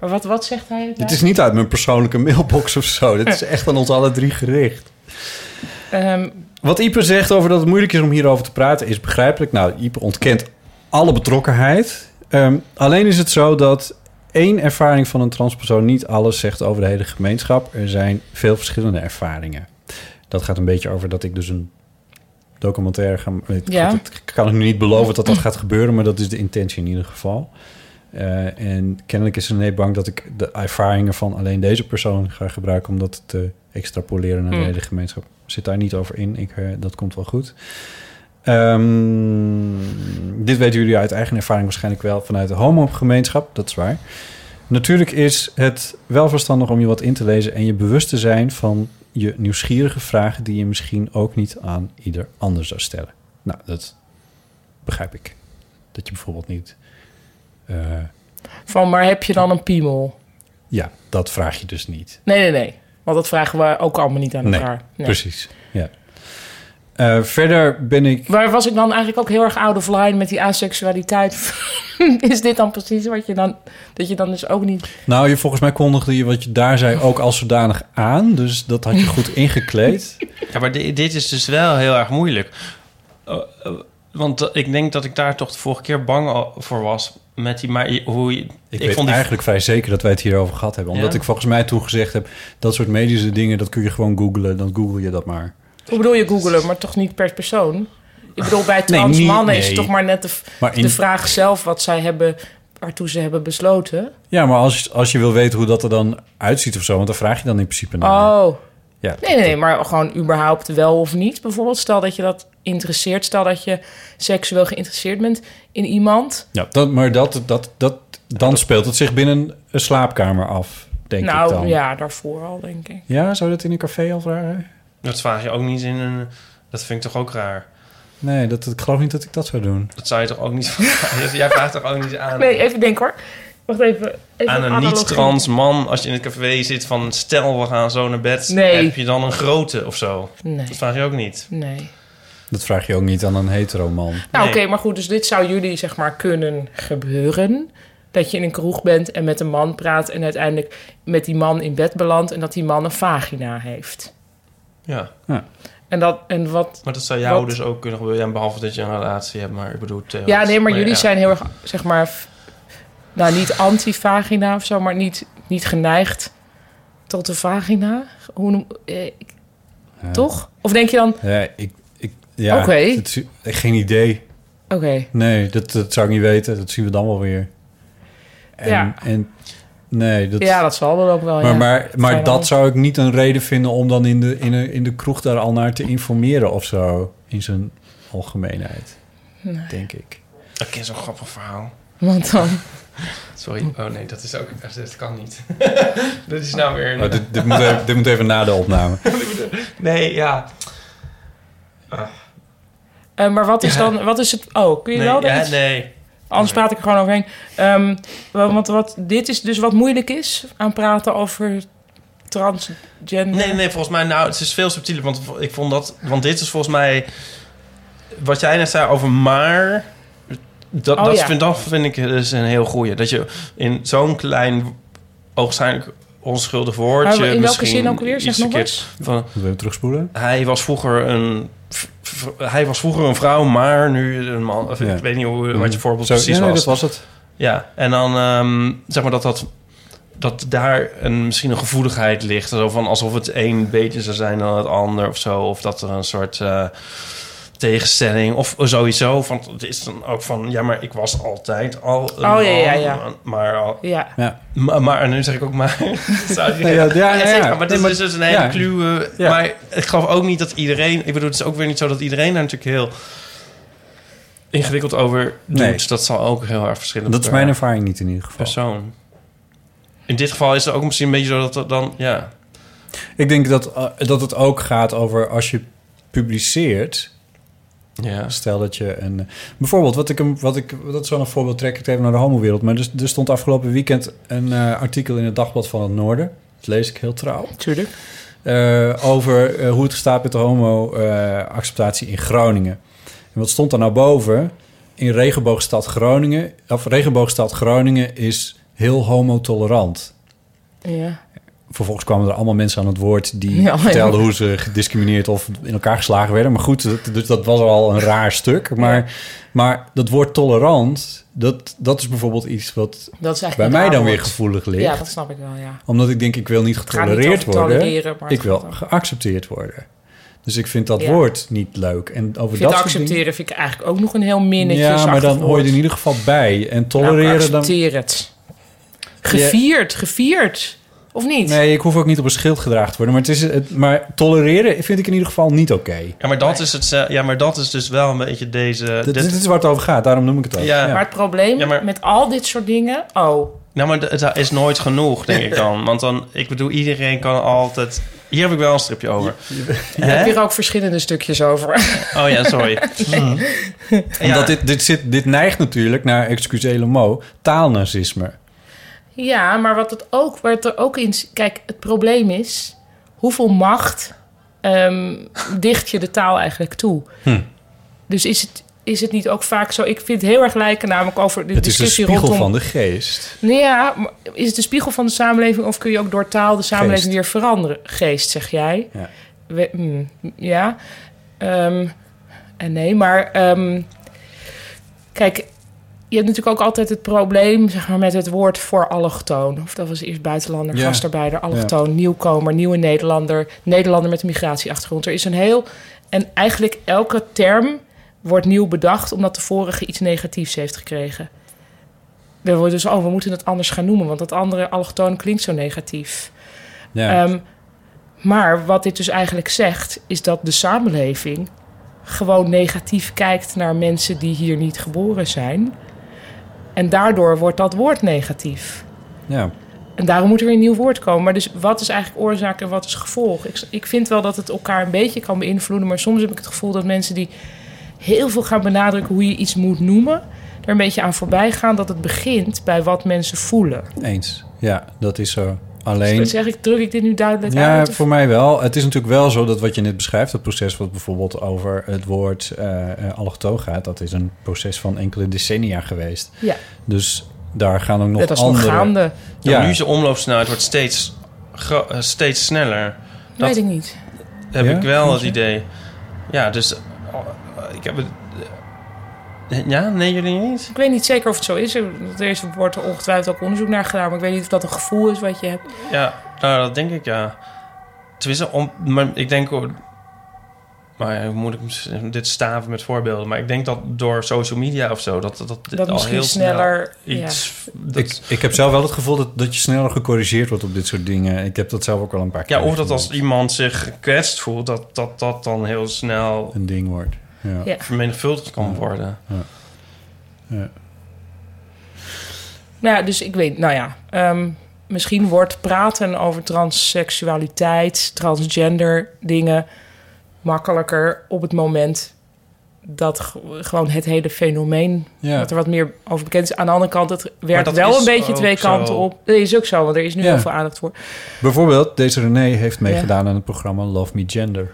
B: Maar wat, wat zegt hij?
C: Dit is niet uit mijn persoonlijke mailbox of zo. Dit is echt aan ons alle drie gericht.
B: Ehm,
C: Wat Ieper zegt over dat het moeilijk is om hierover te praten, is begrijpelijk. Nou, Ieper ontkent alle betrokkenheid. Ehm, alleen is het zo dat één ervaring van een transpersoon niet alles zegt over de hele gemeenschap. Er zijn veel verschillende ervaringen. Dat gaat een beetje over dat ik dus een documentaire ga. Ik,
B: Ja.
C: dat kan ik nu niet beloven dat dat gaat gebeuren, maar dat is de intentie in ieder geval. Eh, en kennelijk is René bang dat ik de ervaringen van alleen deze persoon ga gebruiken... om dat te extrapoleren naar de
B: Hmm.
C: hele gemeenschap. Zit daar niet over in. Ik, eh, dat komt wel goed. Ehm, dit weten jullie uit eigen ervaring waarschijnlijk wel vanuit de homo-gemeenschap, dat is waar. Natuurlijk is het wel verstandig om je wat in te lezen en je bewust te zijn van je nieuwsgierige vragen die je misschien ook niet aan ieder ander zou stellen. Nou, dat begrijp ik. Dat je bijvoorbeeld niet. eh,
B: Van, maar heb je dan een piemel?
C: ja, dat vraag je dus niet.
B: Nee, nee, nee. Want dat vragen we ook allemaal niet aan
C: Nee,
B: elkaar. Nee.
C: precies. Ja. Eh, verder ben ik.
B: Maar was ik dan eigenlijk ook heel erg out of line met die asexualiteit? is dit dan precies wat je dan... Dat je dan dus ook niet...
C: Nou, je, volgens mij kondigde je wat je daar zei ook als zodanig aan. Dus dat had je goed ingekleed.
D: Ja, maar di- dit is dus wel heel erg moeilijk. Eh, eh, want eh, ik denk dat ik daar toch de vorige keer bang al voor was. Met die, maar je- hoe je,
C: Ik, weet eigenlijk vrij zeker dat wij het hierover gehad hebben. Omdat
D: Ja?
C: ik volgens mij toen gezegd heb... dat soort medische dingen, dat kun je gewoon googlen. Dan google je dat maar.
B: Hoe bedoel je googelen, maar toch niet per persoon? Ik bedoel, bij
C: Nee,
B: trans
C: niet-
B: mannen is
C: nee.
B: het toch maar net de, v-
C: Maar in-
B: de vraag zelf... wat zij hebben, waartoe ze hebben besloten.
C: Ja, maar als, als je wil weten hoe dat er dan uitziet of zo... want dan vraag je dan in principe naar.
B: Oh.
C: Ja.
B: Nee, nee, nee, maar gewoon überhaupt wel of niet. Bijvoorbeeld, stel dat je dat interesseert. Stel dat je seksueel geïnteresseerd bent in iemand.
C: Ja, dat, maar dat, dat, dat, dan speelt het zich binnen een slaapkamer af, denk ik
B: nou
C: dan.
B: ja, daarvoor al, denk ik.
C: Ja, zou je dat in een café al vragen?
D: Dat vraag je ook niet in een... Dat vind ik toch ook raar.
C: Nee, dat, ik geloof niet dat ik dat zou doen.
D: Dat zou je toch ook niet... vragen? Jij vraagt toch ook niet aan...
B: Nee, even denken hoor. Wacht even. even
D: aan een
B: analogie.
D: niet-trans man, als je in het café zit van stel we gaan zo naar bed,
B: Nee.
D: heb je dan een grote of zo?
B: Nee.
D: Dat vraag je ook niet.
B: Nee.
C: Dat vraag je ook niet aan een hetero man.
B: Nou,
D: Nee.
B: oké, maar goed. Dus dit zou jullie, zeg maar, kunnen gebeuren. Dat je in een kroeg bent en met een man praat... en uiteindelijk met die man in bed belandt... en dat die man een vagina heeft.
D: Ja,
B: En, dat, en wat...
D: maar dat zou jou
B: Wat?
D: dus ook kunnen gebeuren, ja, behalve dat je een relatie hebt, maar ik bedoel... theoretisch.
B: Ja, nee, maar jullie
D: ja.
B: zijn heel erg, zeg maar... f- Nou, niet anti-vagina of zo, maar niet, niet geneigd tot de vagina. Hoe noem... eh, ik- Toch? Of denk je dan... Oké,
C: Ja, ik... ik ja,
B: Oké.
C: het is- geen idee. Nee, dat, dat zou ik niet weten. Dat zien we dan wel weer. En,
B: Ja.
C: En, nee, dat...
B: ja, dat zal dan ook wel,
C: maar,
B: ja.
C: maar,
B: Fijn
C: maar
B: allemaal.
C: dat zou ik niet een reden vinden om dan in de, in, de, in de kroeg daar al naar te informeren of zo. In zijn algemeenheid, denk ik.
D: Ik ken zo'n grappig verhaal.
B: Want dan...
D: Sorry, oh nee, dat is ook... Dat kan niet. dat is nou weer... een-
C: Oh, dit, dit, moet even, dit moet even na de opname.
D: Nee, ja.
B: Eh, maar wat is dan... Wat is het... Oh, kun je
D: Nee,
B: wel daar
D: ja,
B: iets-
D: nee.
B: Anders praat ik er gewoon overheen. Ehm, wa- want wat, dit is dus wat moeilijk is aan praten over transgender.
D: Nee, nee, volgens mij, nou, het is veel subtieler. Want ik vond dat, want dit is volgens mij, wat jij net zei over maar. Dat,
B: Oh,
D: dat,
B: ja.
D: vind, dat vind ik dus een heel goeie. Dat je in zo'n klein, oogschijnlijk onschuldig
B: Maar
D: woordje.
B: in welke
D: misschien
B: zin ook alweer?
D: iets
B: Zeg nog
D: verkeerds Van,
C: Moeten we hem terugspoelen?
D: hij was vroeger een. v- v- Hij was vroeger een vrouw, maar nu een man. Of
C: Ja. Mhm.
D: Ik weet niet hoe, wat je voorbeeld
C: Zo,
D: precies
C: nee, nee,
D: was.
C: dat was het.
D: Ja, en dan ehm, zeg maar dat, dat, dat daar een, misschien een gevoeligheid ligt. Zo van alsof het een beter zou zijn dan het ander of zo. Of dat er een soort eh, tegenstelling of sowieso. Van, het is dan ook van, ja, maar ik was altijd al een
B: Oh, ja, ja,
D: man,
B: ja.
D: Maar, al-
B: Ja.
C: Ja,
D: maar, maar- en nu zeg ik ook maar. Zou je-
C: Nee, ja, ja, ja,
D: zeg
C: ja.
D: maar, maar dit
C: Nee,
D: is
C: maar-
D: dus een hele
C: ja.
D: kluwe...
C: Ja.
D: Maar ik geloof ook niet dat iedereen... Ik bedoel, het is ook weer niet zo dat iedereen daar natuurlijk heel ingewikkeld over doet.
C: Nee.
D: Dus dat zal ook heel erg verschillend eh,
C: Dat is
D: per-
C: mijn ervaring niet in ieder geval.
D: persoon. In dit geval is het ook misschien een beetje zo dat dat dan... Ja,
C: Ik denk dat, eh, dat het ook gaat over als je publiceert.
D: ja.
C: Stel dat je een. eh, Bijvoorbeeld, wat ik hem. Wat ik, dat is wel een voorbeeld, trek ik het even naar de homowereld. Maar er, er stond afgelopen weekend een eh, artikel in het dagblad van het Noorden. Dat lees ik heel trouw.
B: Tuurlijk.
C: eh, over eh, hoe het staat met de homo-acceptatie in Groningen. En wat stond daar nou boven? In regenboogstad Groningen, of regenboogstad Groningen is heel homotolerant.
B: Ja.
C: Vervolgens kwamen er allemaal mensen aan het woord die
B: Ja, ja.
C: vertelden hoe ze gediscrimineerd of in elkaar geslagen werden. Maar goed, dat, dus dat was al een raar stuk. Maar, maar dat woord tolerant, dat, dat is bijvoorbeeld iets wat
B: Dat is eigenlijk
C: bij
B: een
C: mij
B: raar
C: dan
B: woord.
C: weer gevoelig ligt.
B: Ja, dat snap ik wel, ja.
C: Omdat ik denk, ik wil niet
B: gaat niet
C: getolereerd
B: over tolereren,
C: worden.
B: maar het
C: ik wil
B: gaat over-
C: geaccepteerd worden. Dus ik vind dat
B: Ja.
C: woord niet leuk. En over
B: Ik vind
C: dat soort
B: accepteren vind ik eigenlijk ook nog een heel
C: dingen-
B: minnetje.
C: Ja, maar
B: zacht
C: dan hoor je
B: woord.
C: er in ieder geval bij. En
B: Nou,
C: tolereren dan...
B: accepteer het. Gevierd, gevierd. Of niet?
C: Nee, ik hoef ook niet op een schild gedragen te worden. Maar, het is, het, maar tolereren vind ik in ieder geval niet oké.
D: Ja maar, dat is het, eh, ja, maar dat is dus wel een beetje deze...
C: Dit,
D: dit-
C: dit is waar het over gaat, daarom noem ik het ook.
D: Eh, Ja.
B: Maar het probleem
D: Ja, maar-
B: met al dit soort dingen... Oh,
D: Nou, maar d- het is nooit genoeg, denk ik dan. Want dan, ik bedoel, iedereen kan altijd... Hier heb ik wel een stripje over.
B: daar heb
D: Hè?
B: je er ook verschillende stukjes over.
D: Oh ja, sorry.
C: Mhm. Omdat
D: Ja.
C: dit, dit, zit, dit neigt natuurlijk naar, excusez mo, taalnazisme.
B: Ja, maar wat het ook, waar het er ook in... z- Kijk, het probleem is... hoeveel macht ehm, dicht je de taal eigenlijk toe?
C: Hm.
B: Dus is het, is het niet ook vaak zo... Ik vind het heel erg lijken namelijk over de
C: Het is een
B: discussie
C: spiegel
B: rondom...
C: van de geest.
B: Nou ja, maar is het de spiegel van de samenleving... of kun je ook door taal de samenleving
C: Geest.
B: weer veranderen? Geest, zeg jij.
C: Ja.
B: We- mm, ja. Ehm, en nee, maar... ehm, kijk, je hebt natuurlijk ook altijd het probleem zeg maar, met het woord voor allochtoon. Of dat was eerst buitenlander,
C: Ja.
B: gastarbeider, allochtoon, nieuwkomer, nieuwe Nederlander, Nederlander met een migratieachtergrond. Er is een heel. En eigenlijk elke term wordt nieuw bedacht omdat de vorige iets negatiefs heeft gekregen. Er wordt dus, oh, we moeten het anders gaan noemen, want dat andere allochtoon klinkt zo negatief.
C: Ja.
B: Ehm, maar wat dit dus eigenlijk zegt, is dat de samenleving gewoon negatief kijkt naar mensen die hier niet geboren zijn. En daardoor wordt dat woord negatief.
C: ja.
B: En daarom moet er weer een nieuw woord komen. Maar dus wat is eigenlijk oorzaak en wat is gevolg? Ik, ik vind wel dat het elkaar een beetje kan beïnvloeden. Maar soms heb ik het gevoel dat mensen die heel veel gaan benadrukken hoe je iets moet noemen, er een beetje aan voorbij gaan dat het begint bij wat mensen voelen.
C: Eens. Ja, dat is zo.
B: Dus
C: Alleen,
B: zeg ik, druk ik dit nu duidelijk
C: ja,
B: uit? Of-
C: voor mij wel. Het is natuurlijk wel zo dat wat je net beschrijft, dat proces wat bijvoorbeeld over het woord eh eh, allochtoon gaat, dat is een proces van enkele decennia geweest.
B: ja,
C: Dus daar gaan ook nog
B: dat was nog
C: andere...
B: gaande.
D: Ja.
C: Ja.
D: Nu is de omloopsnelheid wordt steeds, gro- eh, steeds sneller. Dat-
B: Weet ik niet.
D: Heb
C: Ja?
D: ik wel het idee. Ja, dus... eh, ik heb het... eh, ja, nee, jullie niet?
B: Ik weet niet zeker of het zo is. Er is- wordt er ongetwijfeld ook onderzoek naar gedaan. Maar ik weet niet of dat een gevoel is wat je hebt.
D: Ja, nou, dat denk ik, ja. Tenminste, om, maar ik denk... oh, Maar ja, hoe moet ik misschien- dit staven met voorbeelden? Maar ik denk dat door social media of zo... Dat, dat, dat, dit
B: Dat
D: al
B: misschien
D: heel
B: sneller.
D: snel
B: ja.
D: iets... dat-
C: Ik, ik heb zelf wel het gevoel dat, dat je sneller gecorrigeerd wordt op dit soort dingen. Ik heb dat zelf ook wel een paar keer
D: ja, of dat als
C: meegemaakt.
D: iemand zich gekwetst voelt... dat dat, dat dan heel snel
C: Een ding wordt. Ja.
B: Ja.
D: vermenigvuldigd kan
C: Ja.
D: worden.
B: Nou ja, dus ik weet, nou ja. ehm, misschien wordt praten over transseksualiteit, transgender dingen makkelijker op het moment dat ge- gewoon het hele fenomeen.
C: Ja.
B: Dat er wat meer over bekend is. Aan de andere kant, het werkt
D: dat
B: wel
D: is
B: een beetje
D: ook
B: twee
D: zo.
B: kanten op. Dat is ook zo, want er is nu
C: Ja.
B: heel veel aandacht voor.
C: Bijvoorbeeld, deze René heeft meegedaan aan het programma Love Me Gender.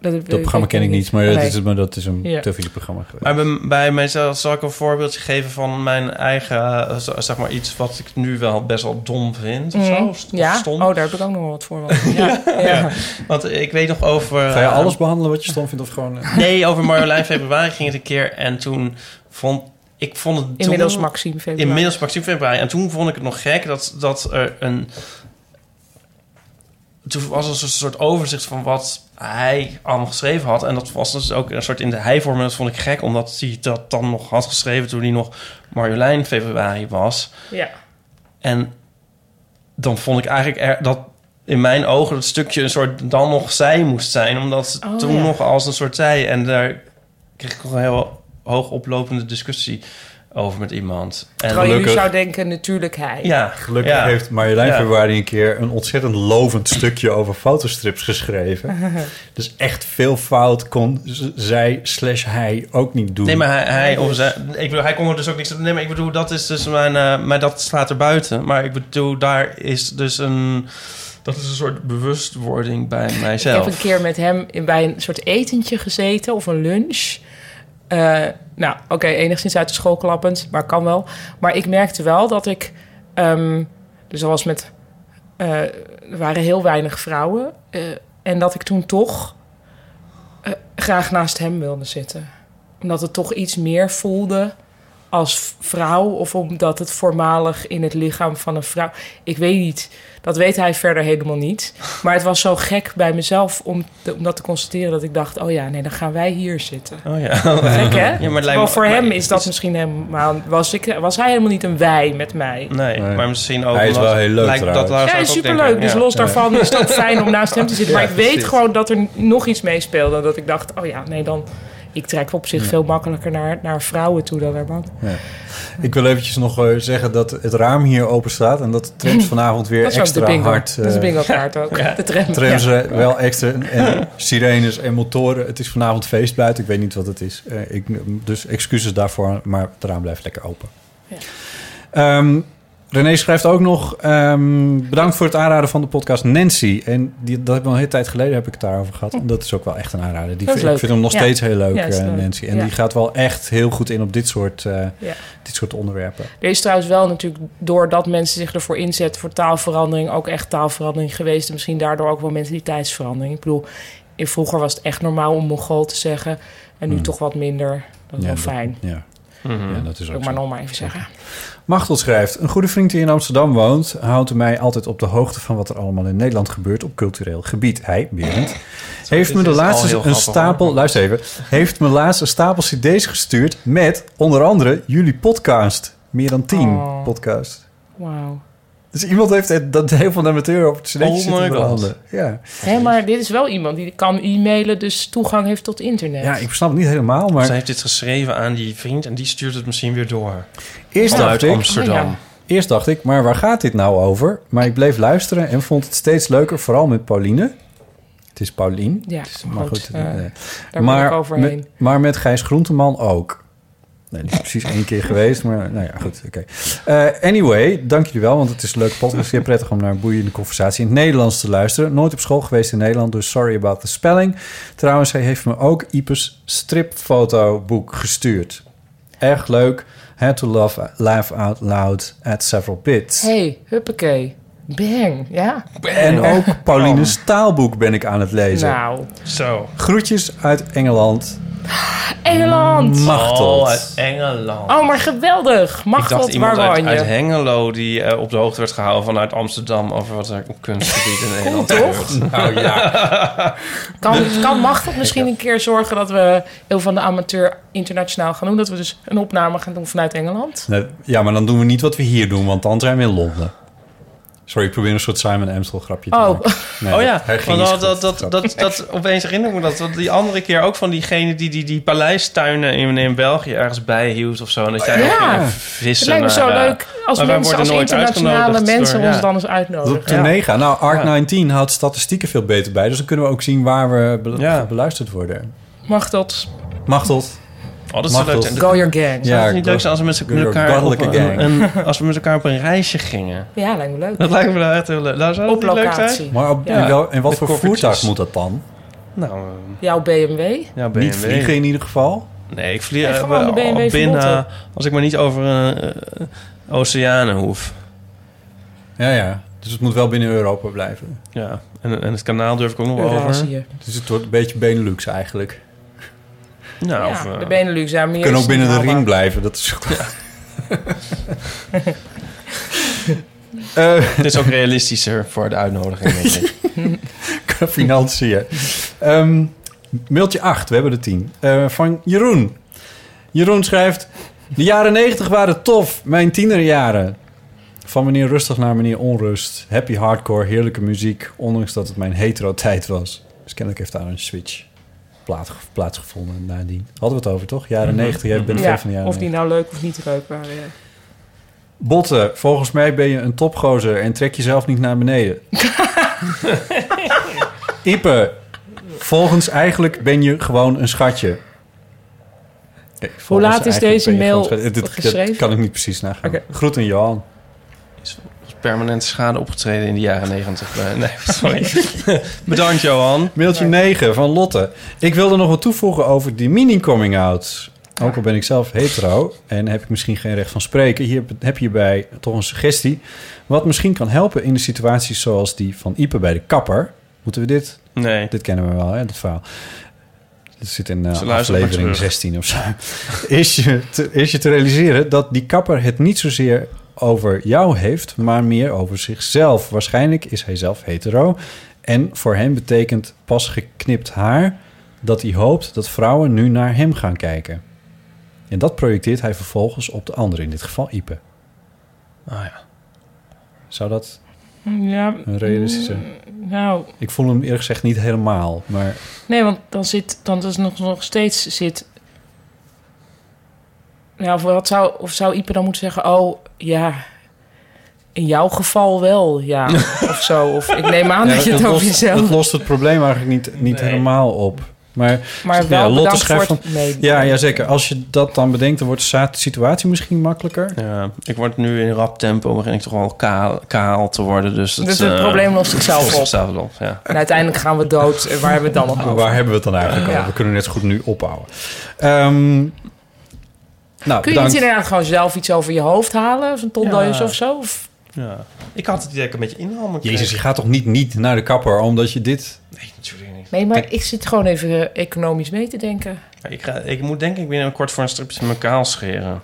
B: Dat,
C: Dat programma ken ik niet, maar, dat, is, maar dat is een
B: Ja.
C: televisieprogramma geweest.
D: Maar bij, bij mijzelf zal ik een voorbeeldje geven van mijn eigen... eh, z- zeg maar iets wat ik nu wel best wel dom vind of zo.
B: Mm,
D: Of st- of
B: ja,
D: stom.
B: oh, daar heb ik ook nog wel wat voor. want- Ja, ja.
D: Want ik weet nog over...
C: Ga je
D: eh,
C: alles behandelen wat je stom vindt of gewoon... eh,
D: Nee, over Marjolein Februari ging het een keer. En toen vond ik vond het... toen-
B: Inmiddels Maxime Februari.
D: Inmiddels Maxime Februari. En toen vond ik het nog gek dat, dat er een... Toen was er een soort overzicht van wat hij allemaal geschreven had. En dat was dus ook een soort in de hij-vorm. En dat vond ik gek, omdat hij dat dan nog had geschreven... toen hij nog Marjolein Februari was.
B: Ja.
D: En dan vond ik eigenlijk er- dat in mijn ogen dat stukje een soort dan nog zij moest zijn. Omdat ze
B: Oh,
D: toen
B: ja.
D: nog als een soort zij. En daar kreeg ik nog een heel hoog oplopende discussie over met iemand. En
B: Terwijl je nu
C: gelukkig-
B: zou denken, natuurlijk hij.
D: ja,
C: Gelukkig
D: ja.
C: heeft Marjolein
D: Ja.
C: Verwaarding een keer een ontzettend lovend stukje over fotostrips geschreven. Dus echt veel fout kon z- zij slash hij ook niet doen.
D: Nee, maar hij, hij,
B: dus-
D: of zij, ik bedoel, hij kon er dus ook niks aan. Nee, maar ik bedoel, dat is dus mijn. eh, maar dat slaat er buiten. Maar ik bedoel, daar is dus een. Dat is een soort bewustwording bij
B: Ik heb
D: mijzelf.
B: een keer met hem in, bij een soort etentje gezeten of een lunch. Eh, nou, oké, enigszins uit de school klappend, maar kan wel. Maar ik merkte wel dat ik... ehm, dus dat was met... eh, er waren heel weinig vrouwen. eh, en dat ik toen toch eh, graag naast hem wilde zitten. Omdat het toch iets meer voelde als vrouw of omdat het voormalig in het lichaam van een vrouw. Ik weet niet. Dat weet hij verder helemaal niet. Maar het was zo gek bij mezelf om, te- om dat te constateren dat ik dacht: oh ja, nee, dan gaan wij hier zitten.
D: Oh ja.
B: Gek hè?
D: Ja, maar het lijkt
B: Terwijl
D: me-
B: voor
D: maar
B: hem
D: het
B: is dat misschien helemaal. Was, ik, was hij helemaal niet een wij met mij?
D: Nee,
C: Nee.
D: maar misschien ook...
C: Hij is
D: omdat-
C: wel heel leuk
D: lijkt dat
C: trouwens.
D: Lars
B: Ja, hij is
D: Nou, ook
B: superleuk.
D: denkt,
B: Dus
D: ja.
B: los daarvan is het ook fijn om naast hem te zitten. Maar
D: Ja,
B: ik weet
D: precies.
B: gewoon dat er nog iets meespeelde. en Dat ik dacht, oh ja, nee, dan... Ik trek op zich veel makkelijker naar, naar vrouwen toe dan naar mannen.
C: Ik wil eventjes nog eh, zeggen dat het raam hier open staat en dat de trams vanavond weer
B: Dat is ook de
C: extra
B: bingo.
C: hard.
B: dat is de
C: eh,
B: bingo kaart ook. De tram.
C: Trams
B: Ja.
C: eh, wel extra en, en sirenes en motoren. Het is vanavond feest buiten. Ik weet niet wat het is. Eh, ik, dus excuses daarvoor, maar het raam blijft lekker open.
B: Ja.
C: Ehm, René schrijft ook nog... ehm, bedankt voor het aanraden van de podcast Nancy. En die, dat heb ik al een hele tijd geleden heb ik het daarover gehad. En dat is ook wel echt een aanrader.
B: Dat
C: Die,
B: is
C: vind- ik
B: leuk.
C: vind hem nog
B: Ja.
C: steeds heel leuk,
B: Ja, is
C: eh,
B: leuk.
C: Nancy. En
B: Ja.
C: die gaat wel echt heel goed in op dit soort, eh,
B: Ja.
C: dit soort onderwerpen.
B: Er is trouwens wel natuurlijk, doordat mensen zich ervoor inzetten voor taalverandering, ook echt taalverandering geweest. En misschien daardoor ook wel mentaliteitsverandering. Ik bedoel, in- vroeger was het echt normaal om Mongool te zeggen. En nu
C: Hmm.
B: toch wat minder. Dat is
C: Ja,
B: wel fijn.
C: Ja,
D: Mhm.
C: ja dat is
B: Wil
C: ook
B: ik
C: zo.
B: maar nog maar even zeggen.
C: Machtel schrijft: Een goede vriend die in Amsterdam woont, houdt mij altijd op de hoogte van wat er allemaal in Nederland gebeurt op cultureel gebied. Hij, Berend, heeft
D: dit
C: me de
D: is al
C: laatste
D: heel
C: een
D: grappig,
C: stapel,
D: hoor.
C: luister even, heeft me laatst een stapel CD's gestuurd met onder andere jullie podcast. Meer dan tien
B: Oh.
C: podcasts.
B: Wauw.
C: Dus iemand heeft het- dat heel van de amateur op het cd'tje
D: Oh
C: zitten
D: my God.
C: branden. Ja.
B: Hé, maar dit is wel iemand die kan e-mailen, dus toegang heeft tot internet.
C: ja, ik snap het niet helemaal, maar
D: Zij heeft dit geschreven aan die vriend en die stuurt het misschien weer door.
C: eerst
D: Vanuit
C: dacht ik...
D: Amsterdam.
B: Oh,
C: Eerst dacht ik, maar waar gaat dit nou over? Maar ik bleef luisteren en vond het steeds leuker, vooral met Pauline. Het is Paulien.
B: Ja,
C: Het is- maar
B: goed,
C: goed.
B: eh,
C: eh,
B: Daar ben ik overheen.
C: met, maar met Gijs Groenteman ook. Nee, die is precies één keer geweest, maar nou ja, goed, oké. Eh, anyway, dank jullie wel, want het is een leuke podcast. Zeer prettig om naar een boeiende conversatie in het Nederlands te luisteren. Nooit op school geweest in Nederland, dus sorry about the spelling. Trouwens, hij heeft me ook Ipes stripfotoboek gestuurd. Erg leuk. Had to love, laugh out loud at several bits.
B: hey, huppakee. Bang, ja?
C: En ook Pauline's taalboek ben ik aan het lezen.
B: Nou.
D: Zo.
C: Groetjes uit Engeland.
B: Engeland!
C: Machteld.
D: Oh, uit
C: Mm.
D: Engeland.
B: Oh, maar geweldig.
D: ik dacht
B: Machteld, waar
D: iemand uit,
B: woon
D: uit
B: je?
D: Hengelo die eh, op de hoogte werd gehouden vanuit Amsterdam over wat er op kunstgebied in Nederland gebeurt.
B: Kan, kan Machteld misschien een keer zorgen dat we heel van de amateur internationaal gaan doen? Dat we dus een opname gaan doen vanuit Engeland?
C: Nee, ja, maar dan doen we niet wat we hier doen, want dan zijn we in Londen. Sorry, ik probeer een soort Simon Amstel grapje te
B: Oh.
C: maken. Nee,
D: Oh ja,
C: hij ging
D: want
C: niet
D: dat, dat,
C: goed.
D: dat, dat, dat- opeens herinner ik me dat. Want die andere keer ook van diegene die die, die paleistuinen in, in België ergens bijhield of zo.
C: Ah,
D: En dat jij
B: Ja.
D: ook ging vissen.
B: Het lijkt me zo
D: naar, eh,
B: leuk als
D: maar wij
B: mensen, als
D: worden nooit
B: internationale
D: uitgenodigd
B: mensen
D: door-
B: ons
D: ja.
B: dan eens
C: Dat op
B: uitnodigen.
C: tournee gaan. Nou, Art 19 houdt statistieken veel beter bij, dus dan kunnen we ook zien waar we be-
D: Ja.
C: beluisterd worden.
B: Machteld,
C: Machteld.
D: Oh, dat is zo leuk.
C: Machteld.
D: En dat-
B: go your gang.
D: Zou
C: Ja,
D: het niet leuk zijn als we met, met
C: Your
D: elkaar op
C: goddelijke
D: een,
C: gang.
D: een- als we met elkaar op een reisje gingen?
B: Ja, lijkt me leuk.
D: Dat lijkt me nou echt heel leuk. Nou, zou dat
B: Op
D: niet leuk zijn?
B: locatie.
C: Maar op,
D: Ja.
C: in, wel- in wat
D: Met
C: voor
D: koffertjes.
C: voertuig moet dat dan?
D: Nou, eh,
B: Jouw BMW?
D: ja, BMW.
C: Niet vliegen in ieder geval.
D: Nee, ik vlieg
B: Nee,
D: eh,
B: gewoon de
D: wel
B: BMW van
D: binnen.
B: Botten.
D: Als ik maar niet over eh, eh, oceanen hoef.
C: Ja, ja. Dus het moet wel binnen Europa blijven.
D: Ja, en, en het kanaal durf ik ook nog wel over.
B: Eurasië.
C: Dus het wordt een beetje Benelux eigenlijk.
D: Nou,
B: Ja,
D: of, eh,
B: de Benelux. Ja, meer
C: We kunnen
B: is
C: ook
B: niet
C: binnen de
B: haalbaar.
C: ring blijven. Dat is ook... Eh,
D: het is ook realistischer voor de uitnodiging, denk ik.
C: Qua financiën. Ehm, mailtje 8, we hebben er 10. Eh, van Jeroen. Jeroen schrijft... De jaren 90 waren tof, mijn tienerjaren. Van meneer rustig naar meneer onrust. Happy hardcore, heerlijke muziek. Ondanks dat het mijn hetero tijd was. Dus kennelijk heeft daar een switch plaats- plaatsgevonden nadien. Hadden we het over, toch? Jaren 90, jij bent fan van de
B: Mhm. Ja,
C: jaren
B: of die
C: 90.
B: nou leuk of niet leuk eh, waren. ja.
C: Botten, volgens mij ben je een topgozer en trek jezelf niet naar beneden. Ipe, volgens eigenlijk ben je gewoon een schatje.
B: Hoe laat is deze mail geschreven?
C: Dat kan ik niet precies nagaan.
B: Oké.
C: Groet aan Johan.
D: Er is permanente schade opgetreden in de jaren negentig. eh, Nee, sorry. Bedankt, Johan.
C: Mailtje 9 van Lotte. Ik wilde nog wat toevoegen over die mini-coming-out. Ook al ben ik zelf hetero en heb ik misschien geen recht van spreken. Hier heb je bij toch een suggestie. Wat misschien kan helpen in de situaties zoals die van Ipe bij de kapper. Moeten we dit
D: Nee.
C: Dit kennen we wel, hè, dat verhaal. dat zit in eh,
D: Ze luisteren maar
C: aflevering
D: terug.
C: 16 of zo, is je, te, is je te realiseren dat die kapper het niet zozeer over jou heeft, maar meer over zichzelf. Waarschijnlijk is hij zelf hetero en voor hem betekent pas geknipt haar dat hij hoopt dat vrouwen nu naar hem gaan kijken. En dat projecteert hij vervolgens op de ander, in dit geval Ipe.
D: Ah ja.
C: Zou dat
B: Ja,
C: een realistische...
B: nou,
C: Ik voel hem eerlijk gezegd niet helemaal, maar...
B: nee, want dan zit, dan is nog, nog steeds zit. Nou, of wat zou, of zou Ipe dan moeten zeggen? Oh, ja, in jouw geval wel, ja, of zo. Of ik neem aan
C: Ja,
B: dat je het
C: dat
B: over
C: lost-
B: jezelf.
C: Dat lost het probleem eigenlijk niet, niet
B: Nee.
C: helemaal op. Maar
B: Maar wel
C: Ja, Lotte
B: bedankt
C: schrijft
B: voor het- nee,
C: ja, ja, zeker. Als je dat dan bedenkt, dan wordt de situatie misschien makkelijker.
D: Ja, ik word nu in rap tempo, begin ik toch al kaal, kaal te worden. Dus het,
B: Dus het
D: eh,
B: probleem lost zichzelf
D: lost
B: op.
D: zichzelf op, ja.
B: En uiteindelijk gaan we dood. En waar hebben we het dan nog
C: Maar
B: over?
C: waar hebben we het dan eigenlijk
B: Ja.
C: over? We kunnen net zo goed nu ophouden. Ehm, nou,
B: Kun je niet
C: bedankt.
B: inderdaad gewoon zelf iets over je hoofd halen? Of een tondeus of zo? Of,
D: ja. Ik had het idee dat ik een beetje inhammen kreeg.
C: Jezus, je gaat toch niet niet naar de kapper omdat je dit...
D: Nee, natuurlijk niet.
B: nee, maar ik zit gewoon even eh, economisch mee te denken.
D: Maar Ik, ga, ik moet denk ik binnenkort voor een stripje mijn kaal scheren.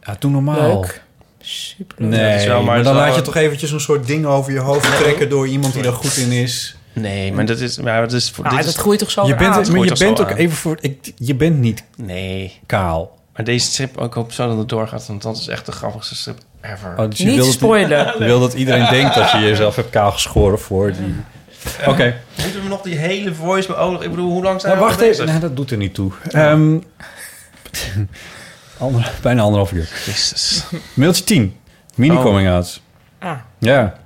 C: Ja, doe normaal.
B: Leuk. Super.
C: Nee,
D: is wel,
C: maar,
D: maar het
C: dan
D: is wel-
C: laat je toch eventjes een soort ding over je hoofd trekken... door iemand die daar goed in is.
D: Nee, maar dat is... Maar dat is, voor
B: Ah,
D: dit is
B: dat groeit toch zo
C: Je
B: weer aan?
C: bent, maar je
D: Gooit er
C: bent
D: zo
C: ook
D: aan.
C: even voor... Ik, je bent niet
D: nee.
C: kaal.
D: Maar deze strip, ik hoop zo dat het doorgaat, want dat is echt de grappigste strip ever.
C: Oh, dus je
B: Niet
C: wil dat-
B: spoilen.
C: Je wil dat iedereen denkt dat je jezelf hebt kaal geschoren voor die... Oké.
D: Moeten we nog die hele voice... Oh, nog- ik bedoel, hoe lang zijn
C: Nou,
D: we
C: wacht
D: nog
C: even.
D: bezig?
C: Nee, dat doet er niet toe. Ehm, ander- bijna anderhalf uur.
D: Jezus.
C: Mailtje 10. Mini
D: Oh.
C: coming out.
B: Ah,
C: Ja.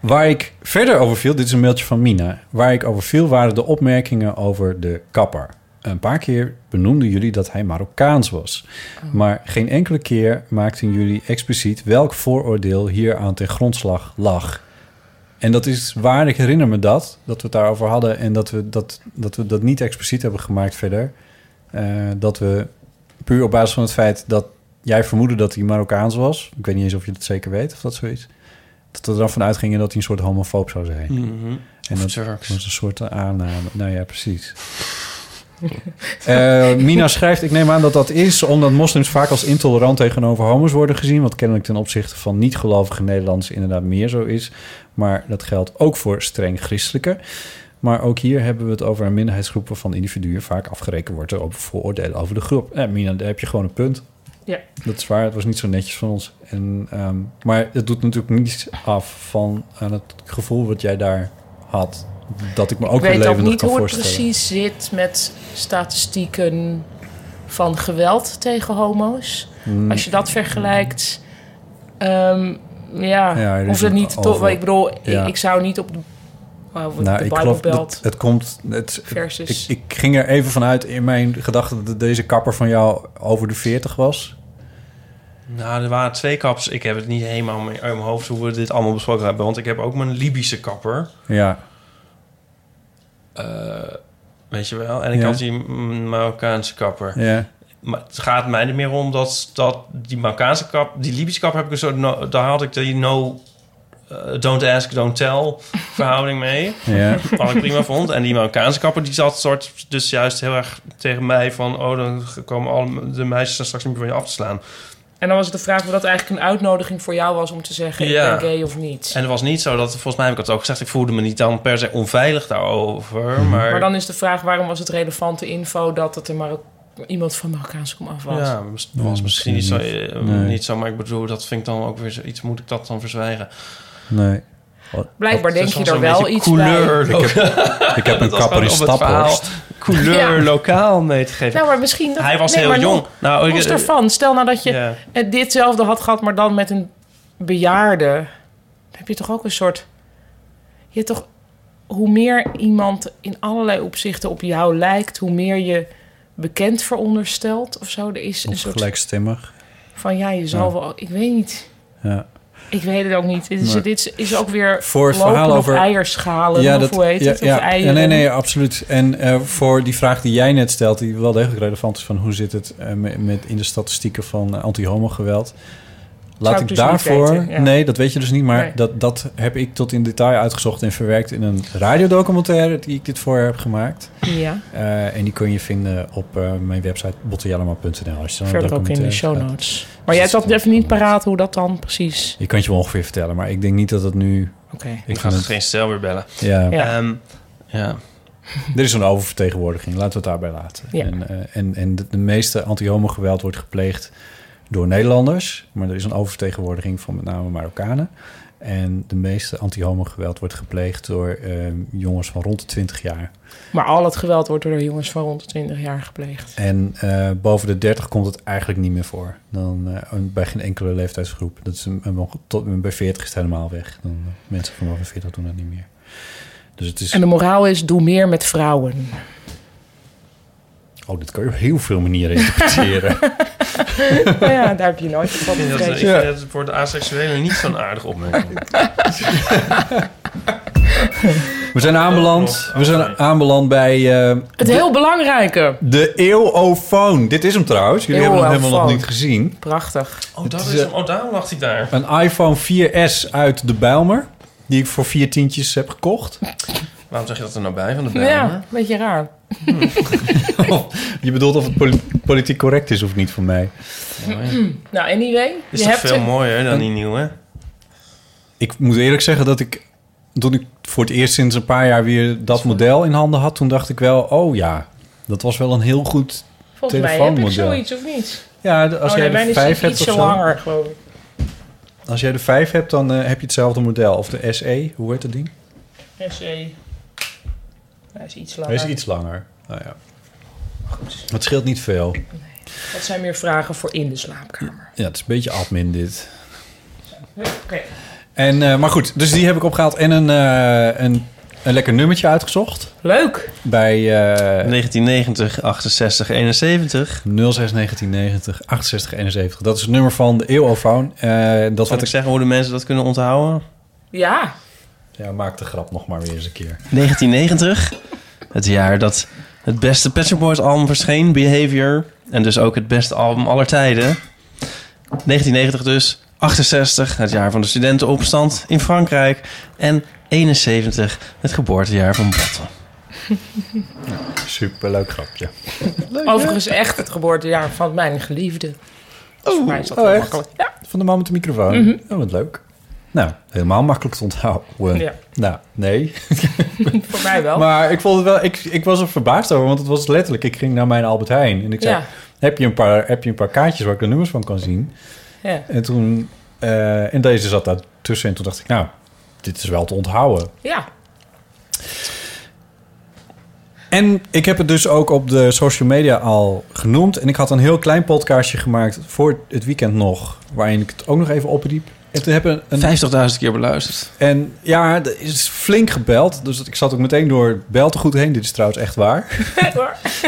C: Waar ik verder over viel, dit is een mailtje van Mina. Waar ik over viel waren de opmerkingen over de kapper. Een paar keer benoemden jullie dat hij Marokkaans was.
D: Oh.
C: Maar geen enkele keer maakten jullie expliciet welk vooroordeel hier aan ten grondslag lag. En dat is waar, ik herinner me dat, dat we het daarover hadden en dat we dat, dat, we dat niet expliciet hebben gemaakt verder. Eh, dat we puur op basis van het feit dat jij vermoedde dat hij Marokkaans was. Ik weet niet eens of je dat zeker weet of dat zoiets. Dat we er dan van uitgingen dat hij een soort homofoob zou
D: Hm.
C: zijn. En
D: Of
C: dat
D: Turks.
C: was een soort aanname. Nou ja, precies. Eh, Mina schrijft, ik neem aan dat dat is omdat moslims vaak als intolerant tegenover homo's worden gezien. Wat kennelijk ten opzichte van niet-gelovige Nederlanders inderdaad meer zo is. Maar dat geldt ook voor streng christelijke. Maar ook hier hebben we het over een minderheidsgroep waarvan individuen vaak afgerekend wordt er op vooroordelen over de groep. Eh, Mina, daar heb je gewoon een punt.
B: Ja.
C: Dat is waar, het was niet zo netjes van ons. En, ehm, maar het doet natuurlijk niets af van aan het gevoel wat jij daar had. Dat ik me ook
B: ik
C: weer
B: weet ook
C: levendig
B: niet
C: kan
B: hoe het
C: voorstellen.
B: precies zit met statistieken van geweld tegen homo's.
C: Mm.
B: Als je dat vergelijkt, ehm, ja,
C: Ja, er
B: of
C: is
B: dat
C: een
B: niet toch.
C: over-
B: Ik bedoel, ik-
C: Ja.
B: ik, zou niet op de, oh,
C: Nou,
B: de
C: ik geloof
B: Bible Belt
C: dat het komt. Het,
B: versus.
C: ik, ik ging er even vanuit in mijn gedachten dat deze kapper van jou over de 40 was.
D: Nou, er waren twee kaps. Ik heb het niet helemaal mee- uit mijn hoofd hoe we dit allemaal besproken hebben. Want ik heb ook mijn Libische kapper.
C: Ja,
D: Weet je wel? En ik
C: Ja.
D: had die mm, Marokkaanse kapper.
C: ja.
D: Maar het gaat mij er meer om dat, dat die Marokkaanse kap... Die Libische kap heb ik een soort... no- daar had ik die no... eh, don't ask, don't tell verhouding mee.
C: ja.
D: Wat ik prima vond. En die Marokkaanse kapper die zat soort dus juist heel erg tegen mij van... Oh, dan komen alle de meisjes dan straks niet meer van je af te slaan.
B: En dan was de vraag of dat eigenlijk een uitnodiging voor jou was om te zeggen:
D: Ja.
B: ik ben gay of niet.
D: En het was niet zo dat... Volgens mij heb ik dat ook gezegd. Ik voelde me niet dan per se onveilig daarover. Maar,
B: Mhm. Maar dan is de vraag: waarom was het relevante info dat het een Marok- iemand van Marokkaanse kom af was?
D: Ja, mis- was misschien niet zo,
C: misschien
D: eh,
C: Nee.
D: niet zo, maar ik bedoel, dat vind ik dan ook weer zoiets, moet ik dat dan verzwijgen?
C: Nee.
B: Blijkbaar denk je
D: soms
B: er
D: een
B: wel
D: beetje
B: iets bij.
D: couleur, bij.
C: Ik heb een kapper in Staphorst.
D: Couleur
B: Ja.
D: lokaal mee te geven.
B: Nou, maar misschien dat,
D: Hij was
B: nee,
D: heel
B: maar
D: jong.
B: nog-
D: Nou,
B: Los
D: ik,
B: daarvan, stel nou dat je
D: ja.
B: eh, ditzelfde had gehad, maar dan met een bejaarde. Dan heb je toch ook een soort. Je hebt toch. Hoe meer iemand in allerlei opzichten op jou lijkt, hoe meer je bekend veronderstelt of zo. Er is een
C: Of
B: soort
C: gelijkstemmig.
B: van ja, je zal
C: Ja.
B: wel. Ik weet niet.
C: Ja.
B: Ik weet het ook niet. Dit is,
C: Maar-
B: dit is- is ook weer
C: Voor het
B: lopen
C: verhaal
B: op
C: over-
B: eierschalen. of hoe heet
C: ja,
B: het? Of
C: ja.
B: eieren.
C: nee, nee, absoluut. En eh, voor die vraag die jij net stelt, die wel degelijk relevant is van hoe zit het eh, me- met, in de statistieken van eh, anti-homo geweld. Laat
B: Zou
C: ik
B: ik dus niet
C: daarvoor.
B: weten, ja.
C: Nee, dat weet je dus niet. Maar
B: Nee.
C: dat, dat heb ik tot in detail uitgezocht en verwerkt in een radiodocumentaire die ik dit voor heb gemaakt.
B: Ja.
C: Eh, en die kun je vinden op eh, mijn website bottejellema.nl. als je dan
B: Verder ook in de
C: documentaire
B: show
C: gaat.
B: notes. Maar
C: Dus
B: jij hebt dat even niet paraat hoe dat dan precies...
C: Je kunt je wel ongeveer vertellen, maar ik denk niet dat het nu.
B: Oké.
C: Ik
D: Ik ga het
C: vind
D: geen stel weer bellen.
C: het- ja.
B: Ja.
D: Ehm, ja.
C: Er is een oververtegenwoordiging, laten we het daarbij laten.
B: Ja.
C: En, eh, en, en de, de meeste anti-homo-geweld wordt gepleegd door Nederlanders, maar er is een oververtegenwoordiging van met name Marokkanen. En de meeste anti-homo-geweld wordt gepleegd door eh, jongens van rond de 20 jaar.
B: Maar al het geweld wordt door jongens van rond de 20 jaar gepleegd.
C: En eh, boven de 30 komt het eigenlijk niet meer voor. Dan, eh, bij geen enkele leeftijdsgroep. Dat is een, een- tot, bij 40 is het helemaal weg. Dan, eh, mensen van boven 40 doen dat niet meer. Dus het is.
B: En de moraal is, doe meer met vrouwen.
C: Oh, dit kan je op heel veel manieren interpreteren.
B: Nou ja, daar heb je nooit van
D: Ik vind dat, ik
B: gekregen.
D: vind dat voor de asexuelen niet zo'n aardige opmerking.
C: We zijn aanbeland, we zijn aanbeland bij eh,
B: Het heel belangrijke.
C: de eeuwofoon. Dit is hem trouwens. Jullie hebben hem helemaal nog
B: Eeuwofoon.
C: niet gezien.
B: Prachtig.
D: Oh, dat is hem. Oh, daarom lag hij daar.
C: Een iPhone 4S uit de Bijlmer. Die ik voor vier tientjes heb gekocht.
D: Waarom zeg je dat er nou bij van de
B: Ja,
D: Bijlmer?
B: een beetje raar.
C: Je bedoelt of het poli- politiek correct is of niet voor mij.
B: Nou, anyway. je
D: Is toch
B: hebt
D: veel
B: het.
D: mooier dan die nieuwe?
C: Ik moet eerlijk zeggen dat ik... Toen ik voor het eerst sinds een paar jaar weer dat model in handen had... toen dacht ik wel, oh ja, dat was wel een heel goed...
B: Volgens mij heb ik
C: telefoonmodel.
B: zoiets, of niet?
C: Ja, als
B: oh,
C: jij
B: nee, mijn
C: de
B: is
C: vijf
B: iets
C: hebt of
B: zo
C: zo.
B: langer, geloof ik.
C: Als jij de vijf hebt, dan eh, heb je hetzelfde model. Of de SE, hoe heet dat ding?
B: SE. E. Hij is iets
C: Hij
B: langer.
C: is iets langer. Nou ja. Het scheelt niet veel.
B: Dat zijn meer vragen voor in de slaapkamer.
C: Ja, het is een beetje admin dit.
B: Oké.
C: En, eh, maar goed, dus die heb ik opgehaald en een, eh, een, een lekker nummertje uitgezocht.
B: Leuk.
C: Bij eh
D: 1990, 68, 71.
C: 061990 6871. Dat is het nummer van de eeuwofoon. Eh
D: Zal
C: dat wat
D: ik
C: ik...
D: zeggen hoe de mensen dat kunnen onthouden?
B: Ja.
C: Ja, maak de grap nog maar weer eens een keer.
D: 1990, het jaar dat het beste Pet Shop Boys album verscheen, Behavior. En dus ook het beste album aller tijden. 1990 dus, 68, het jaar van de studentenopstand in Frankrijk. En 71, het geboortejaar van Botten.
C: Superleuk grapje. Mhm.
B: Overigens echt het geboortejaar van mijn geliefde. Oh, voor mij is dat
C: oh,
B: wel
C: echt?
B: makkelijk. Mhm. Ja.
C: Van de man met de microfoon. Oh, wat leuk. Nou, helemaal makkelijk te onthouden.
B: Ja.
C: Nou, nee.
B: Voor mij wel.
C: Maar ik vond het wel, ik, ik was er verbaasd over, want het was letterlijk. Ik ging naar mijn Albert Heijn en ik zei:
B: Ja.
C: heb, je een paar, heb je een paar kaartjes waar ik de nummers van kan zien?
B: ja.
C: En toen, eh, en deze zat daar tussen en toen dacht ik: Nou, dit is wel te onthouden.
B: ja.
C: En ik heb het dus ook op de social media al genoemd. En ik had een heel klein podcastje gemaakt voor het weekend nog, waarin ik het ook nog even opriep. En toen hebben een
D: 50.000 keer beluisterd.
C: En ja, er is flink gebeld. Dus ik zat ook meteen door het beltegoed heen. Dit is trouwens echt waar.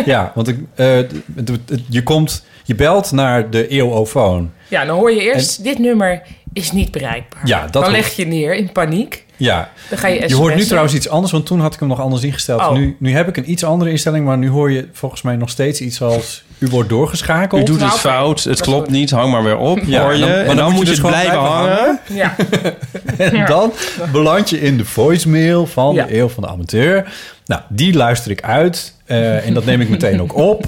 C: ja, want ik, eh, d- d- d- je komt... Je belt naar de E eeuwofoon.
B: Ja, dan hoor je eerst, dit nummer is niet bereikbaar.
C: Ja, dat
B: dan
C: hoor-
B: leg je neer in paniek.
C: Ja.
B: Dan ga je
C: Je hoort nu
B: sms'en.
C: trouwens iets anders, want toen had ik hem nog anders ingesteld.
B: Oh.
C: Nu, nu heb ik een iets andere instelling, maar nu hoor je volgens mij nog steeds iets als... U wordt
D: U
C: doorgeschakeld.
D: doet het
B: Nou,
D: fout, het
B: is
D: klopt
B: goed.
D: niet, hang maar weer op,
C: Ja,
D: hoor je.
C: dan- maar
D: en dan, moet je,
C: dus
D: het
C: gewoon
D: blijven
C: blijven
D: hangen.
C: hangen.
B: Ja,
C: En dan beland je in de voicemail van
B: Ja.
C: de Eeuw van de Amateur. Nou, die luister ik uit. eh, en dat neem ik meteen ook op.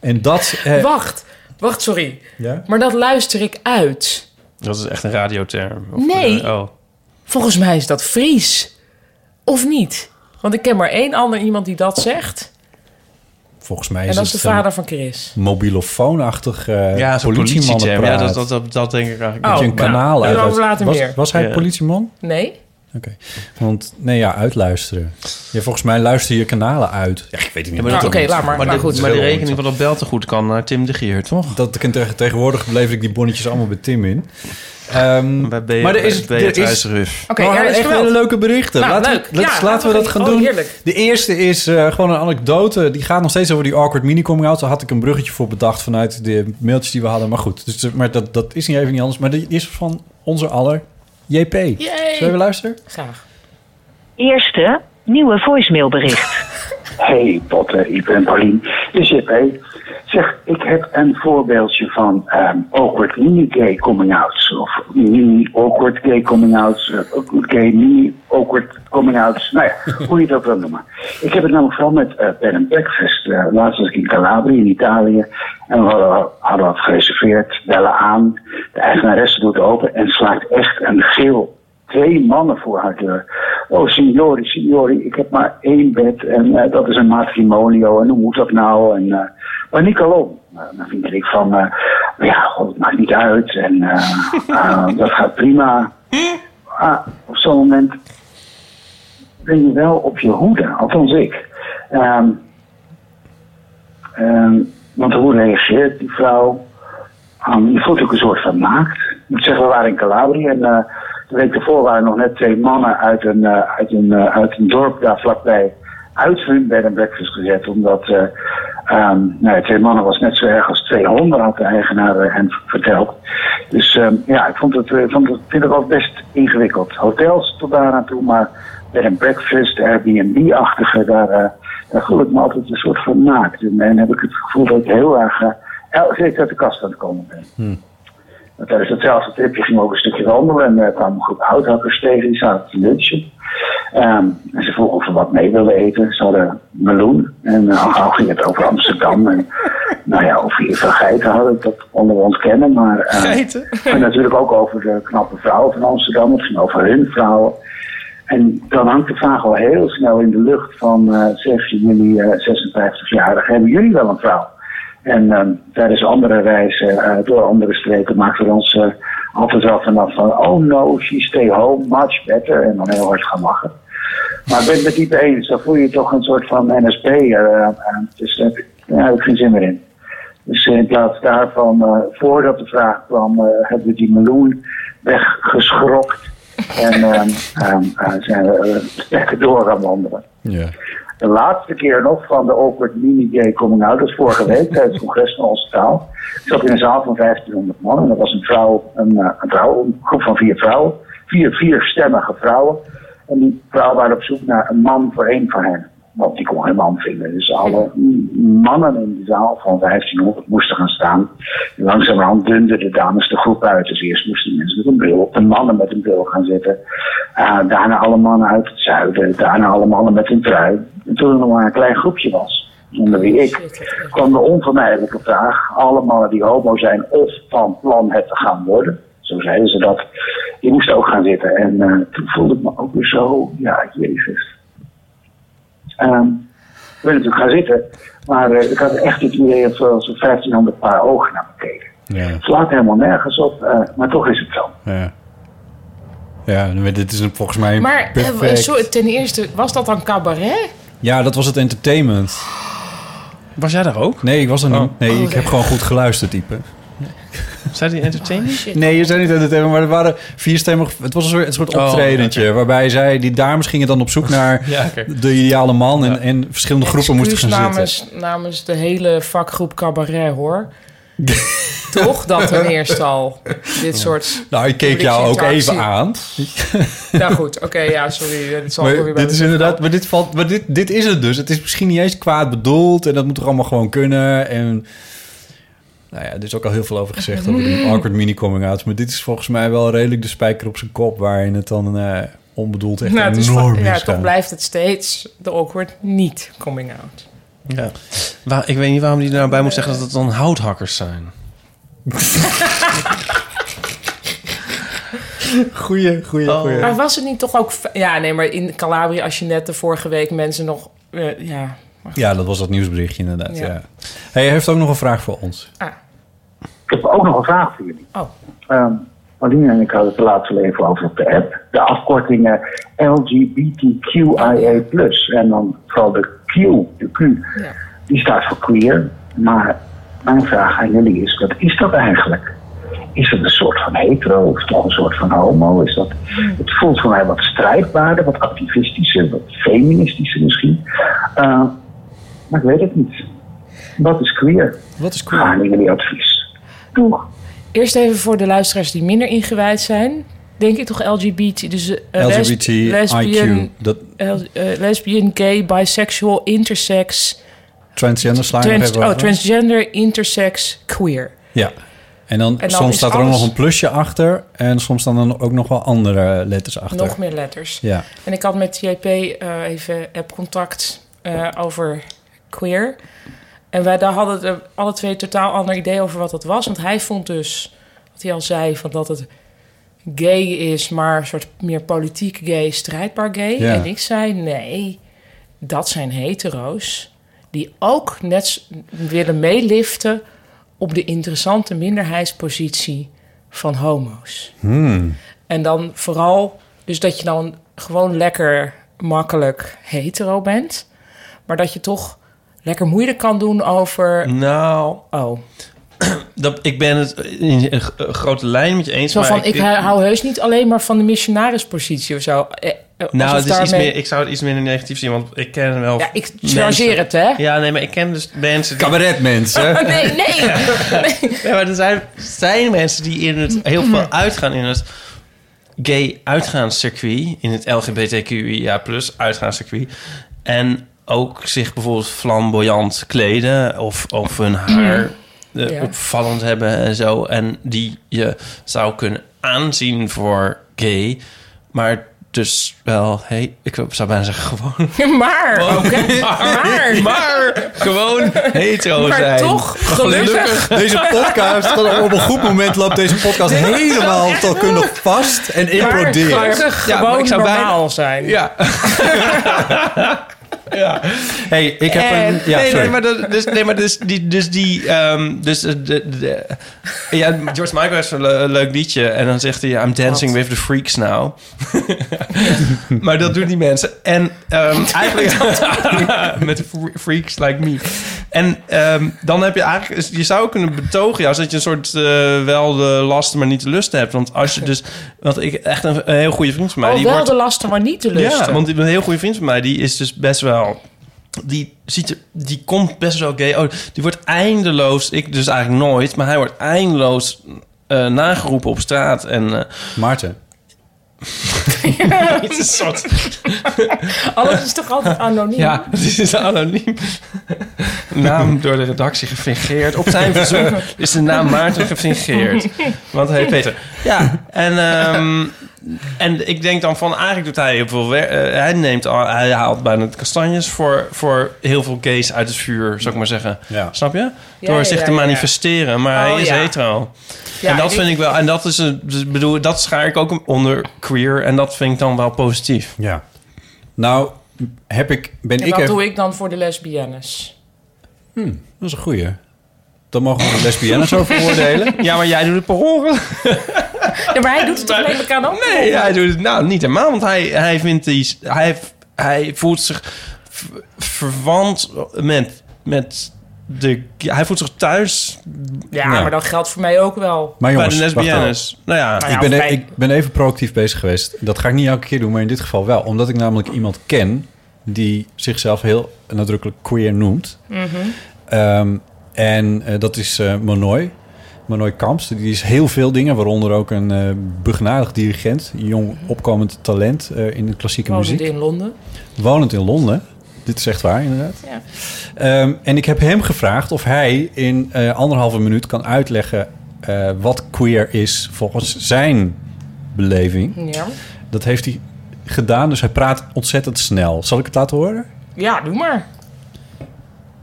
C: En dat... eh,
B: wacht. Wacht, sorry.
C: ja?
B: Maar dat luister ik uit.
D: Dat is echt een radioterm. Of,
B: Nee.
D: eh, oh.
B: Volgens mij is dat Fries. Of niet? Want ik ken maar één ander iemand die dat zegt.
C: Volgens mij is
B: En dat is de
C: het eh, een
B: vader van Chris.
C: mobielofoonachtig eh
D: Ja,
C: ja,
D: zo'n
C: politieman
D: politieterm. Ja,
C: praat.
D: dat, dat, dat, dat denk ik eigenlijk.
C: Dat je
B: Oh,
C: een kanaal
B: nou,
C: uitluistert.
B: daarover later
C: was,
B: meer.
C: was hij
D: Ja.
C: politieman?
B: Nee?
C: Oké. Want, nee ja, uitluisteren. Ja, volgens mij luister je kanalen uit. Ja, ik weet het niet.
D: maar
B: Nou,
D: dat-
B: Oké, laat maar. Maar,
D: Maar, de,
B: goed.
D: maar de
C: heel
D: rekening van dat bel te goed kan naar Tim de Geer, toch?
C: dat, ik tegen- tegenwoordig lever ik die bonnetjes allemaal bij Tim in. Ehm,
D: Bij B-
C: maar er is,
D: bij
C: er
D: Beatrice
C: is
D: Ruf.
B: Oké,
C: maar we
B: er
C: hadden
B: is
C: echt
B: geweld.
C: hele leuke berichten.
B: Nou,
C: laten
B: leuk.
C: we, laten,
B: Ja,
C: laten we dat gaan
B: oh,
C: doen.
B: heerlijk.
C: De eerste is eh, gewoon een anekdote. Die gaat nog steeds over die awkward mini coming out. Daar had ik een bruggetje voor bedacht vanuit de mailtjes die we hadden. Maar goed, dus, eh, maar dat, dat is niet even niet anders. Maar die is van onze aller JP. Zullen we even luisteren?
B: Graag.
F: Eerste nieuwe voicemailbericht.
G: Hey Potter, ik ben Paulien. Dus JP, Zeg, ik heb een voorbeeldje van ehm awkward mini-gay coming-outs. Of mini-awkward gay coming-outs. eh, gay mini-awkward coming-outs. Nou ja, hoe je dat wil noemen. Ik heb het namelijk vooral met eh Ben and Breakfast. Eh, laatst was ik in Calabria, in Italië. En we hadden, hadden wat gereserveerd. Bellen aan. De eigenaresse doet open en slaakt echt een geel twee mannen voor haar deur. Oh, signori, signori, ik heb maar één bed en eh, dat is een matrimonio en hoe moet dat nou? En, eh maar Nicolon, dan vind ik van, eh, ja, god, het maakt niet uit en eh, eh, dat gaat prima. Ah, op zo'n moment ben je wel op je hoede, althans ik. Ehm, ehm, want hoe reageert die vrouw? Um, je voelt ook een soort van maakt. Ik moet zeggen, we waren in Calabria en eh, de week daarvoor waren nog net twee mannen uit een, eh, uit een, eh, uit een dorp daar vlakbij uit hun bed en breakfast gezet. Omdat eh, ehm, nou, ja, twee mannen was net zo erg als twee honden, had de eigenaar eh, hen verteld. Dus ehm, ja, ik vond het, eh, vond het, vind het wel best ingewikkeld. Hotels tot daar aan toe, maar bed en breakfast, Airbnb-achtige, daar, eh daar voel ik me altijd een soort van naakt. En, en heb ik het gevoel dat ik heel erg eh, elke keer uit de kast aan het komen ben. Want tijdens datzelfde tripje ging ook een stukje wandelen en daar kwam een groep houthakkers tegen, die zaten te lunchen. Ehm, en ze vroegen of we wat mee wilden eten. Ze hadden meloen en uh, al gauw ging het over Amsterdam. En, nou ja, of we hier veel geiten hadden, dat konden we ontkennen. Maar, eh, En natuurlijk ook over de knappe vrouwen van Amsterdam. Het ging over hun vrouwen. En dan hangt de vraag al heel snel in de lucht van, eh zeg jullie eh 56-jarig, hebben jullie wel een vrouw? En ehm, tijdens andere reizen eh, door andere streken maken we ons eh, altijd wel vanaf van... Oh no, she stay home, much better. En dan heel hard gaan lachen. Maar ik ben het met die eens. Dan voel je toch een soort van NSP. eh, eh, dus eh, daar heb ik geen zin meer in. Dus eh, in plaats daarvan, eh, voordat de vraag kwam, eh, hebben we die meloen weggeschrokt. En ehm, ehm, eh, zijn we eh, lekker door gaan wandelen.
C: Ja.
G: De laatste keer nog van de awkward mini-gay coming out, dat is vorige week tijdens het congres van onze taal. Ik zat in een zaal van 1500 man en dat was een vrouw, een, eh, een vrouw, een groep van vier vrouwen. Vier, vier stemmige vrouwen. En die vrouwen waren op zoek naar een man voor één van hen. Want die kon geen man vinden. Dus alle m- mannen in de zaal van 1500 moesten gaan staan. En langzamerhand dunden de dames de groep uit. Dus eerst moesten mensen met een bril op, de mannen met een bril gaan zitten. Eh, daarna alle mannen uit het zuiden, daarna alle mannen met een trui. En toen er nog maar een klein groepje was, zonder wie ik, kwam de onvermijdelijke vraag: alle mannen die homo zijn of van plan het te gaan worden, zo zeiden ze dat, die moesten ook gaan zitten. En eh, toen voelde ik me ook weer zo, ja, Jezus. Ehm, ik ben natuurlijk gaan zitten, maar eh, ik had echt het idee dat er zo'n 1500 paar ogen naar me keken.
C: Ja.
G: Het slaat helemaal nergens op, eh, maar toch is het zo.
C: Nou Ja. Ja, maar dit is een- volgens mij
B: Maar eh,
C: perfect.
B: sorry, ten eerste, was dat dan cabaret?
C: Ja, dat was het entertainment.
D: Was jij daar ook?
C: Nee, ik was er niet. Nee,
B: Oh,
C: ik heb
B: ja.
C: gewoon goed geluisterd, type.
D: Zijn die entertainment?
C: Nee, je zei niet entertainment, maar er waren vierstemmig... Het was een soort, een soort
D: Oh,
C: optredentje waarbij zij... Die dames gingen dan op zoek naar
D: Ja, oké.
C: de ideale man... En, en verschillende groepen moesten
B: Excuus
C: gaan zitten.
B: namens, namens de hele vakgroep cabaret, hoor. Toch dat ten eerste al. Dit soort...
C: Nou, ik keek jou ook
B: publieksinteractie.
C: even aan.
B: Nou goed, oké, ja, sorry. eh, Dit zal ook
C: Maar
B: weer bij
C: dit is
B: mezelf
C: inderdaad, maar, dit, valt, maar dit, dit is het dus. Het is misschien niet eens kwaad bedoeld en dat moet toch allemaal gewoon kunnen. En nou ja, er is ook al heel veel over gezegd over die awkward mini-coming-outs. Maar dit is volgens mij wel redelijk de spijker op zijn kop waarin het dan eh, onbedoeld echt
B: Nou, het is
C: enorm
B: va-
C: is.
B: ja,
C: gaan.
B: toch blijft het steeds de awkward niet coming out.
D: Ja. Waar, ik weet niet waarom die er nou bij moet zeggen dat het dan houthakkers zijn.
C: Goeie, goeie,
D: Oh.
C: goeie.
B: Maar was het niet toch ook... fe- Ja, nee, maar in Calabria, als je net de vorige week mensen nog... eh, ja,
C: Ja, dat was dat nieuwsberichtje inderdaad, ja.
B: Ja.
C: Hey, hij heeft ook nog een vraag voor ons.
G: Ik heb ook nog een vraag voor jullie.
B: Oh.
G: Ehm, Marlene en ik hadden het de laatste leven over op de app. De afkortingen LGBTQIA+. En dan vooral de Q, de Q.
B: Ja.
G: Die staat voor queer. Maar mijn vraag aan jullie is, wat is dat eigenlijk? Is het een soort van hetero of toch een soort van homo? Is dat,
C: Hmm.
G: het voelt voor mij wat strijdbaarder, wat activistischer, wat feministischer misschien. Eh, maar ik weet het niet. Wat is queer?
C: Wat is cool?
G: Graag
B: Ah,
G: aan jullie advies. Doeg!
B: Eerst even voor de luisteraars die minder ingewijd zijn. Denk ik toch LGBT, dus eh, lesb- eh,
C: LGBT, IQ.
B: lesbian,
C: Dat,
B: eh, lesbian, gay, bisexual, intersex,
C: Transgender slaan
B: Trans-
C: hebben we-
B: oh, transgender, intersex, queer.
C: Ja. En dan,
B: En dan
C: soms
B: is
C: staat er ook
B: alles-
C: nog een plusje achter. En soms staan er ook nog wel andere letters achter.
B: Nog meer letters.
C: Ja.
B: En ik had met JP eh, even app-contact eh, over queer. En wij daar hadden er alle twee een totaal ander idee over wat dat was. Want hij vond dus, wat hij al zei, van dat het gay is, maar een soort meer politiek gay, strijdbaar gay.
H: Ja.
B: En ik zei, nee, dat zijn hetero's die ook net s- willen meeliften op de interessante minderheidspositie van homo's. En dan vooral, dus dat je dan gewoon lekker makkelijk hetero bent. Maar dat je toch lekker moeilijk kan doen over.
D: Nou.
B: Oh.
D: Dat, ik ben het in een g- een grote lijn met je eens.
B: Zo
D: maar
B: van, ik, hou heus niet alleen maar van de missionarispositie of zo. Eh, eh, alsof
D: Nou, het is iets
B: daarmee-
D: meer, ik zou het iets minder negatief zien, want ik ken wel.
B: Ja, ik
D: mensen-
B: chargeer het, hè?
D: Ja, nee, maar ik ken dus mensen. Die...
B: Cabaretmensen. Oh, Nee, nee.
D: nee, maar er zijn, zijn mensen die in het heel
B: Mhm.
D: veel uitgaan in het gay uitgaanscircuit, in het LGBTQIA plus uitgaanscircuit. En ook zich bijvoorbeeld flamboyant kleden of, of hun
B: Mhm.
D: haar eh,
I: Ja.
D: opvallend hebben en zo. En die je zou kunnen aanzien voor gay, maar dus wel, hey, ik zou bijna zeggen gewoon
B: Maar, oké, maar,
D: maar, Oh, gewoon hetero
B: Maar
D: zijn.
B: toch, gelukkig.
C: Deze podcast, dan op een goed moment loopt deze podcast
B: Dit is wel
C: helemaal
B: echt-
C: taalkundig vast en
B: Maar
C: implodeert.
B: gelukkig gewoon normaal
D: bijna-
B: zijn.
D: Ja. ja. Hey, ik
C: heb En- een-
D: Eh,
C: ja,
D: nee,
C: sorry.
D: nee, maar dat, dus, nee, maar dus die, dus die, ehm, dus eh, de, de- ja, George Michael heeft een le- leuk liedje en dan zegt hij, I'm dancing with the freaks now. maar dat doen die mensen. En ehm, eigenlijk met de fre- freaks like me. En ehm, dan heb je eigenlijk, dus je zou kunnen betogen juist dat je een soort eh, wel de lasten, maar niet de lust hebt. Want als je dus, want ik echt een, een heel goede vriend van mij.
B: Oh,
D: die
B: wel
D: wordt,
B: de lasten, maar niet de lusten.
D: ja, want een heel goede vriend van mij, die is dus best wel... Die, ziet er, die komt best wel gay. Oh, die wordt eindeloos, ik dus eigenlijk nooit... maar hij wordt eindeloos eh, nageroepen op straat. En, eh,
C: Maarten.
D: het is een soort...
B: Alles is toch altijd anoniem?
D: Ja, het is anoniem. naam door de redactie gefingeerd. Op zijn verzoek is de naam Maarten gefingeerd. Want hij heet Peter. Ja, en, ehm, en ik denk dan van... Eigenlijk doet hij heel veel werk. Eh, hij, neemt al, hij haalt bijna de kastanjes voor, voor heel veel gays uit het vuur, zou ik maar zeggen. Snap je?
I: Ja,
D: Door
I: ja,
D: zich
I: ja,
D: te
I: ja.
D: manifesteren. Maar
I: Oh,
D: hij is
I: ja.
D: hetero.
I: Ja,
D: en dat
I: ik-
D: vind ik wel... En dat is een... dus bedoel, dat schaar ik ook onder queer. En dat vind ik dan wel positief.
C: Ja. Nou, heb ik, ben
B: en
C: ik
B: wat
C: even...
B: doe ik dan voor de lesbiennes?
C: Dat is een goeie. Dan mogen we de lesbiennes over oordelen.
D: Ja, maar jij doet het per ongeluk.
B: Ja, maar hij doet het toch alleen maar aan op?
D: Nee, hij doet het nou niet helemaal, want hij, hij vindt die, hij, hij voelt zich v- verwant met, met de, hij voelt zich thuis.
B: Ja, maar dat geldt voor mij ook wel.
C: Maar Ah, jongens,
D: Bij de
C: wacht
D: lesbiennes.
C: even.
D: Nou ja. Nou ja,
C: ik, ben,
D: of bij-
C: ik ben even proactief bezig geweest. Dat ga ik niet elke keer doen, maar in dit geval wel. Omdat ik namelijk iemand ken die zichzelf heel nadrukkelijk queer noemt.
I: Mhm.
C: Ehm, en eh, dat is eh Manoy. Manoy Kamps. Die is heel veel dingen, waaronder ook een eh begnadigd dirigent. Jong opkomend talent eh, in de klassieke
B: Wonend
C: muziek.
B: in Londen.
C: Wonend in Londen. Dit is echt waar, inderdaad.
B: Ja.
C: Ehm, en ik heb hem gevraagd of hij in eh, anderhalve minuut kan uitleggen eh, wat queer is volgens zijn beleving.
B: Ja.
C: Dat heeft hij gedaan, dus hij praat ontzettend snel. Zal ik het laten horen?
B: Ja, doe maar.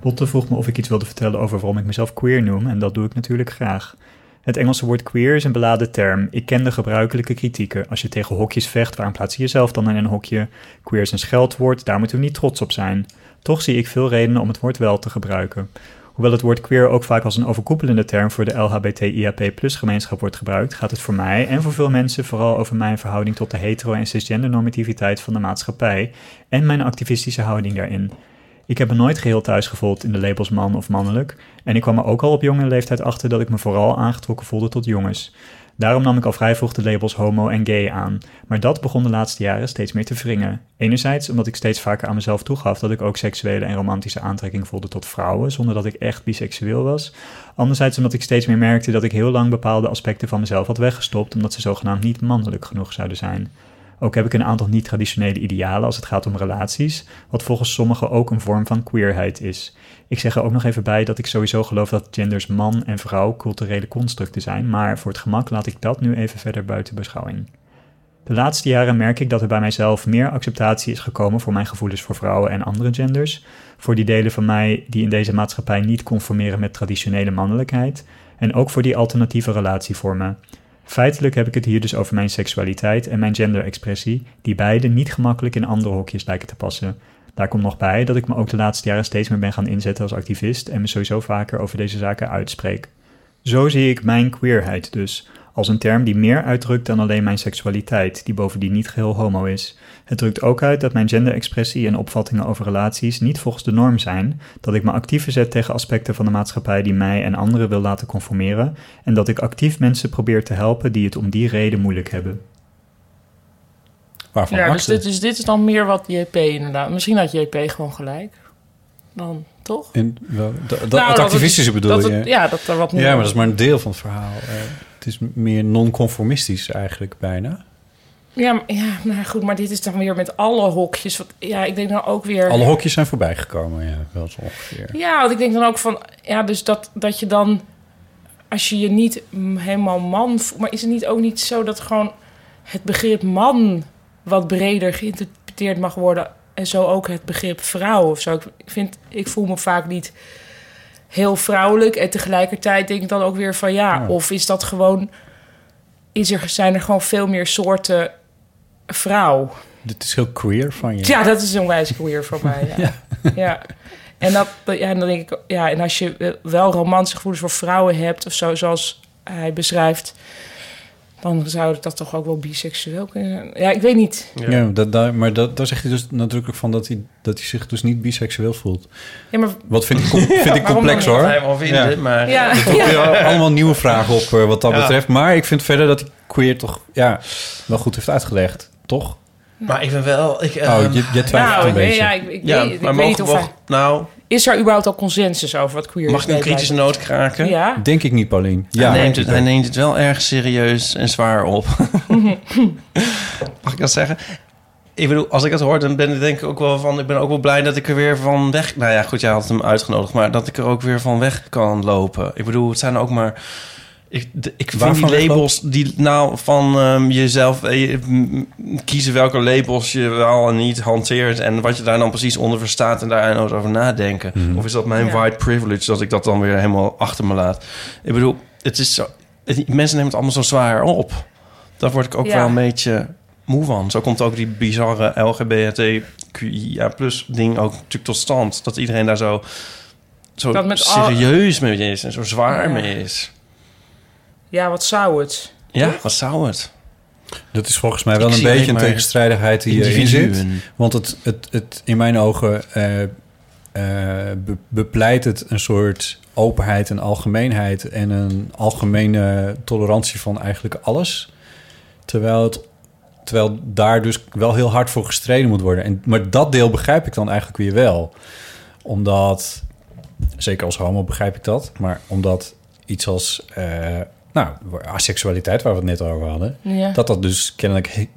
J: Botte vroeg me of ik iets wilde vertellen over waarom ik mezelf queer noem en dat doe ik natuurlijk graag. Het Engelse woord queer is een beladen term. Ik ken de gebruikelijke kritieken. Als je tegen hokjes vecht, waarom plaats je jezelf dan in een hokje? Queer is een scheldwoord, daar moeten we niet trots op zijn. Toch zie ik veel redenen om het woord wel te gebruiken. Hoewel het woord queer ook vaak als een overkoepelende term voor de LHBTIAP-gemeenschap wordt gebruikt, gaat het voor mij en voor veel mensen vooral over mijn verhouding tot de hetero- en cisgendernormativiteit van de maatschappij en mijn activistische houding daarin. Ik heb me nooit geheel thuis gevoeld in de labels man of mannelijk. En ik kwam er ook al op jonge leeftijd achter dat ik me vooral aangetrokken voelde tot jongens. Daarom nam ik al vrij vroeg de labels homo en gay aan. Maar dat begon de laatste jaren steeds meer te wringen. Enerzijds omdat ik steeds vaker aan mezelf toegaf dat ik ook seksuele en romantische aantrekking voelde tot vrouwen, zonder dat ik echt biseksueel was. Anderzijds omdat ik steeds meer merkte dat ik heel lang bepaalde aspecten van mezelf had weggestopt, omdat ze zogenaamd niet mannelijk genoeg zouden zijn. Ook heb ik een aantal niet-traditionele idealen als het gaat om relaties, wat volgens sommigen ook een vorm van queerheid is. Ik zeg er ook nog even bij dat ik sowieso geloof dat genders man en vrouw culturele constructen zijn, maar voor het gemak laat ik dat nu even verder buiten beschouwing. De laatste jaren merk ik dat er bij mijzelf meer acceptatie is gekomen voor mijn gevoelens voor vrouwen en andere genders, voor die delen van mij die in deze maatschappij niet conformeren met traditionele mannelijkheid en ook voor die alternatieve relatievormen. Feitelijk heb ik het hier dus over mijn seksualiteit en mijn genderexpressie, die beide niet gemakkelijk in andere hokjes lijken te passen. Daar komt nog bij dat ik me ook de laatste jaren steeds meer ben gaan inzetten als activist en me sowieso vaker over deze zaken uitspreek. Zo zie ik mijn queerheid dus, als een term die meer uitdrukt dan alleen mijn seksualiteit, die bovendien niet geheel homo is. Het drukt ook uit dat mijn genderexpressie en opvattingen over relaties niet volgens de norm zijn, dat ik me actief verzet tegen aspecten van de maatschappij die mij en anderen wil laten conformeren, en dat ik actief mensen probeer te helpen die het om die reden moeilijk hebben.
C: Waarvan
B: ja, dus
C: acten?
B: dit, dus dit is dan meer wat JP inderdaad. Misschien had JP gewoon gelijk. Dan toch?
C: En, wel, da- dat,
B: Nou,
C: het
B: dat
C: activistische
B: het-
C: bedoel
B: dat
C: je?
B: het- ja, dat er wat meer-
C: Ja, maar dat is maar een deel van het verhaal. Eh, het is meer non-conformistisch eigenlijk bijna.
B: Ja, maar- ja, maar goed, maar dit is dan weer met alle hokjes. Want, ja, ik denk dan ook weer...
C: Alle hokjes zijn voorbijgekomen, ja, wel zo ongeveer.
B: Ja, want ik denk dan ook van... Ja, dus dat, dat je dan... Als je je niet mm, helemaal man voelt... Maar is het niet ook niet zo dat gewoon het begrip man... wat breder geïnterpreteerd mag worden... en zo ook het begrip vrouw of zo? Ik, vind, ik voel me vaak niet heel vrouwelijk... en tegelijkertijd denk ik dan ook weer van... ja, of is dat gewoon... Is er, zijn er gewoon veel meer soorten vrouw?
C: Dit is heel queer van je.
B: Ja, dat is een wijze queer voor mij. Ja. ja. En, dat, ja, en dan denk ik, ja, en als je eh, wel romantische gevoelens voor vrouwen hebt of zo, zoals hij beschrijft, dan zou dat toch ook wel biseksueel kunnen zijn. Ja, ik weet niet.
C: Ja, dat, daar, maar dat, daar zegt hij dus nadrukkelijk van dat hij, dat hij zich dus niet biseksueel voelt.
B: Ja, maar-
C: Wat vind ik, com- vind
B: waarom
C: ik complex
B: dan
C: hoor.
B: niet? Wat hij wel vindt,
C: ja.
D: maar-
B: Ja.
C: Er komen weer allemaal nieuwe vragen op eh, wat dat
D: Ja.
C: betreft. Maar ik vind verder dat hij queer toch ja, wel goed heeft uitgelegd, toch?
D: Maar ik ben wel... Ik,
C: Oh,
D: ehm,
C: je- je twijfelt Nou, een
B: ik weet- beetje. ja, ik- ik weet- ik
D: maar
B: weet
D: mogen
B: of
D: we-
B: hij-
D: Nou,
B: Is er überhaupt al consensus over wat queer is?
D: mag ik een
B: Nee,
D: kritische
B: blijkbaar.
D: noot kraken?
B: Ja.
C: Denk ik niet, Paulien. Ja,
D: hij, neemt
C: denk
D: het,
C: ik
D: hij
C: ook.
D: neemt het wel erg serieus en zwaar op. Mag ik dat zeggen? Ik bedoel, als ik dat hoor, dan ben ik denk ik ook wel van... Ik ben ook wel blij dat ik er weer van weg... Nou ja, goed, jij had hem uitgenodigd. Maar dat ik er ook weer van weg kan lopen. Ik bedoel, het zijn ook maar... Ik, de- ik vind
C: Waarvan
D: die labels, die, nou, van ehm, jezelf eh, je, mm, kiezen welke labels je wel en niet hanteert. En wat je daar dan precies onder verstaat en daar nooit over nadenken. Of is dat mijn
C: Ja.
D: white privilege dat ik dat dan weer helemaal achter me laat? Ik bedoel, het is zo, het- mensen nemen het allemaal zo zwaar op. Daar word ik ook
C: Ja.
D: wel een beetje moe van. Zo komt ook die bizarre LGBTQIA plus ding ook natuurlijk tot stand. Dat iedereen daar zo, zo
B: Dat met al-
D: serieus mee is en zo zwaar
B: Ja.
D: mee is.
B: Ja, wat zou het?
D: Ja, wat zou het?
C: Dat is volgens mij wel
D: Ik
C: een
D: zie alleen
C: beetje een
D: maar
C: tegenstrijdigheid die hierin zit.
D: individuen.
C: Want het, het, het, in mijn ogen eh, eh, be- bepleit het een soort openheid en algemeenheid... en een algemene tolerantie van eigenlijk alles. Terwijl, het, terwijl daar dus wel heel hard voor gestreden moet worden. En, maar dat deel begrijp ik dan eigenlijk weer wel. Omdat, zeker als homo begrijp ik dat... maar omdat iets als... eh, nou, asexualiteit, waar we het net over hadden...
B: Ja.
C: dat dat dus kennelijk... he-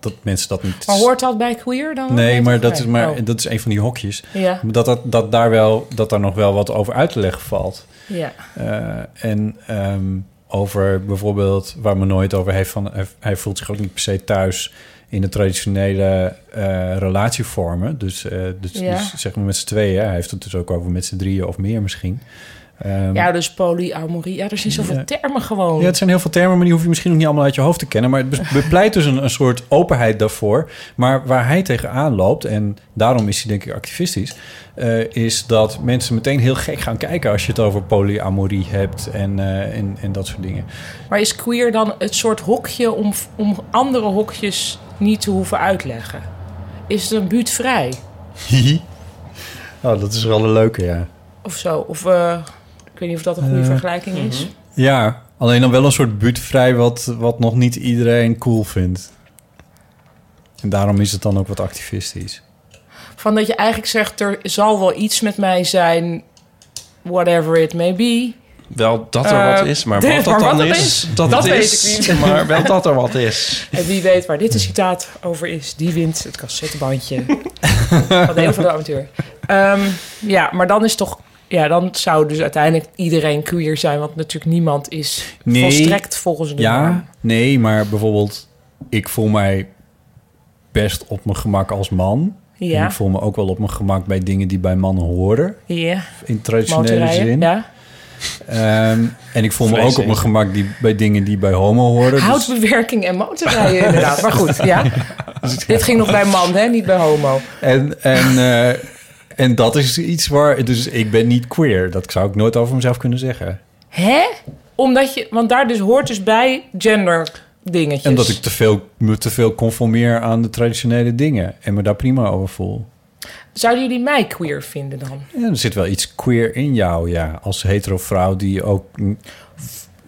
C: dat mensen dat niet...
B: Maar hoort dat bij queer dan?
C: Nee, maar dat, is
B: Nee.
C: maar
B: Oh.
C: dat is een van die hokjes.
B: Ja.
C: Dat, dat, dat, daar wel, dat daar nog wel wat over uit te leggen valt.
B: Ja.
C: Eh, en ehm, over bijvoorbeeld waar men nooit over heeft van... hij- hij voelt zich ook niet per se thuis in de traditionele eh, relatievormen. Dus, eh, dus,
B: Ja.
C: dus zeg maar met z'n tweeën. Hij heeft het dus ook over met z'n drieën of meer misschien. Ehm,
B: Ja, dus polyamorie. Ja, er zijn zoveel
C: Ja.
B: termen gewoon.
C: ja, het zijn heel veel termen, maar die hoef je misschien nog niet allemaal uit je hoofd te kennen. Maar het be- bepleit dus een, een soort openheid daarvoor. Maar waar hij tegenaan loopt, en daarom is hij denk ik activistisch... eh, is dat mensen meteen heel gek gaan kijken als je het over polyamorie hebt en, eh, en, en dat soort dingen.
B: Maar is queer dan het soort hokje om, om andere hokjes niet te hoeven uitleggen? Is het een buurtvrij
C: oh, dat is wel een leuke, ja.
B: of zo? Of eh, ik weet niet of dat een goede
C: Eh,
B: vergelijking is.
C: Ja, alleen dan wel een soort buurtvrij wat, wat nog niet iedereen cool vindt. En daarom is het dan ook wat activistisch.
B: Van dat je eigenlijk zegt, er zal wel iets met mij zijn, whatever it may be.
D: Wel dat er
B: Eh,
D: wat is, maar
B: Dave,
D: wat dat
B: maar
D: dan
B: wat dat
D: is,
B: is,
D: dat,
B: dat
D: het
B: weet
D: is.
B: ik niet.
D: Maar wel dat er wat is.
B: En wie weet waar dit een citaat over is, die wint het cassettebandje van de een van de amateur. Ehm, ja, maar dan is toch. Ja, dan zou dus uiteindelijk iedereen queer zijn, want natuurlijk niemand is
C: Nee.
B: volstrekt volgens de norm.
C: Ja, nee, maar bijvoorbeeld, ik voel mij best op mijn gemak als man.
B: Ja.
C: En ik voel me ook wel op mijn gemak bij dingen die bij mannen horen.
B: Ja.
C: In traditionele
B: Motorrijden,
C: zin.
B: ja.
C: Ehm, en ik voel me
B: Vlees
C: ook op mijn
B: eten.
C: gemak die, bij dingen die bij homo horen. dus-
B: Houtbewerking en motorrijden, inderdaad. Maar goed, ja. Dit ging nog bij man, hè? niet bij homo.
C: En, en, eh, en dat is iets waar... Dus ik ben niet queer. Dat zou ik nooit over mezelf kunnen zeggen.
B: Hè? Omdat je, want daar dus hoort dus bij gender dingetjes.
C: En dat ik te veel, me te veel conformeer aan de traditionele dingen. En me daar prima over voel.
B: Zouden jullie mij queer vinden dan?
C: Ja, er zit wel iets queer in jou, ja. Als hetero vrouw die ook mm,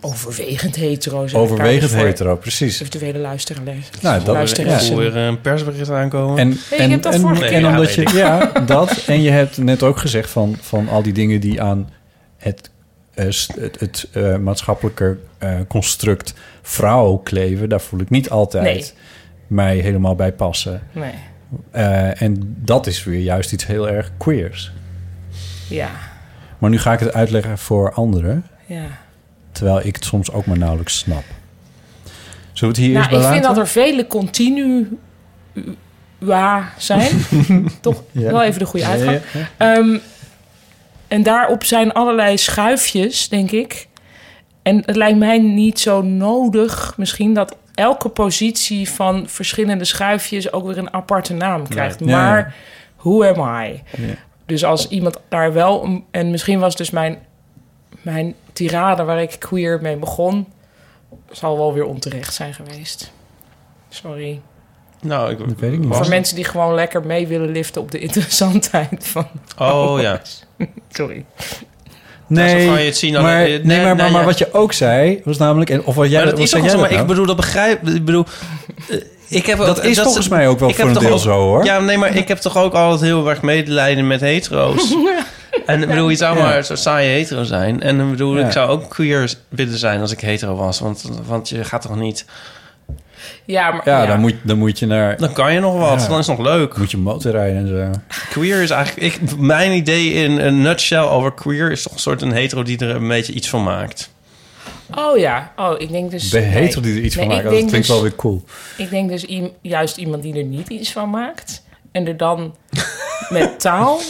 B: Overwegend hetero. zeg ik
C: overwegend
B: daarvoor.
C: hetero, precies.
B: Eventuele luisteraars.
C: Nou, dat-
B: luisteraars.
C: ja.
D: Voel weer een persbericht aankomen.
C: En,
B: Hey,
C: en,
B: je hebt dat
C: en,
B: vorige keer
C: en omdat
D: gedaan,
C: je,
D: weet
C: ja, dat. En je hebt net ook gezegd van, van al die dingen die aan het, eh, s- het, het eh, maatschappelijke eh, construct vrouw kleven, daar voel ik niet altijd
B: Nee.
C: mij helemaal bij passen.
B: Nee.
C: Eh, en dat is weer juist iets heel erg queers.
B: Ja,
C: Maar nu ga ik het uitleggen voor anderen.
B: ja.
C: Terwijl ik het soms ook maar nauwelijks snap. Zullen we het hier
B: Nou,
C: eens bij
B: ik vind
C: laten?
B: dat er vele continu ja zijn. Toch
C: Ja.
B: wel even de goede
C: Ja,
B: uitgang.
C: ja,
B: Ehm, en daarop zijn allerlei schuifjes, denk ik. En het lijkt mij niet zo nodig misschien dat elke positie van verschillende schuifjes ook weer een aparte naam krijgt.
H: Ja, ja.
B: maar who am I?
H: Ja.
B: Dus als iemand daar wel... een- En misschien was dus mijn, mijn tirade waar ik queer mee begon... zal wel weer onterecht zijn geweest. Sorry.
D: Nou, ik, weet ik
B: Voor mensen die gewoon lekker mee willen liften op de interessantheid van...
D: Oh ja.
B: Sorry.
D: Nou, zo kan je het zien aan-
C: maar,
D: eh,
C: nee,
D: nee,
C: maar, maar,
D: nee,
C: maar
D: ja.
C: wat je ook zei, was namelijk... en- Of wat jij,
D: maar dat
C: wat
D: is
C: zei
D: ook wel
C: jij
D: zo, maar ik
C: dat
D: bedoel,
C: nou?
D: dat begrijp ik. bedoel, eh, ik heb,
C: Dat is volgens mij ook wel
D: ik
C: voor
D: heb
C: een
D: toch
C: deel
D: ook-
C: zo, hoor.
D: Ja, nee, maar ik heb toch ook altijd heel erg medelijden met hetero's. en ik bedoel, je zou
C: Ja.
D: maar zo saai hetero zijn. En ik bedoel,
C: Ja.
D: ik zou ook queer willen zijn als ik hetero was. Want, want je gaat toch niet...
B: Ja, maar...
C: Ja, Dan, moet, dan moet je naar...
D: Dan kan je nog wat, dan is het nog leuk.
C: Moet je motorrijden en zo.
D: Queer is eigenlijk... Ik, mijn idee in een nutshell over queer is toch een soort een hetero die er een beetje iets van maakt.
B: Oh ja, oh, ik denk dus...
D: De
B: nee.
D: heter die er iets van
B: Nee,
D: maakt,
B: ik
D: dat
B: denk
D: klinkt
B: dus-
D: wel weer
C: cool.
B: Ik denk dus i- juist iemand die er niet iets van maakt... en er dan met taal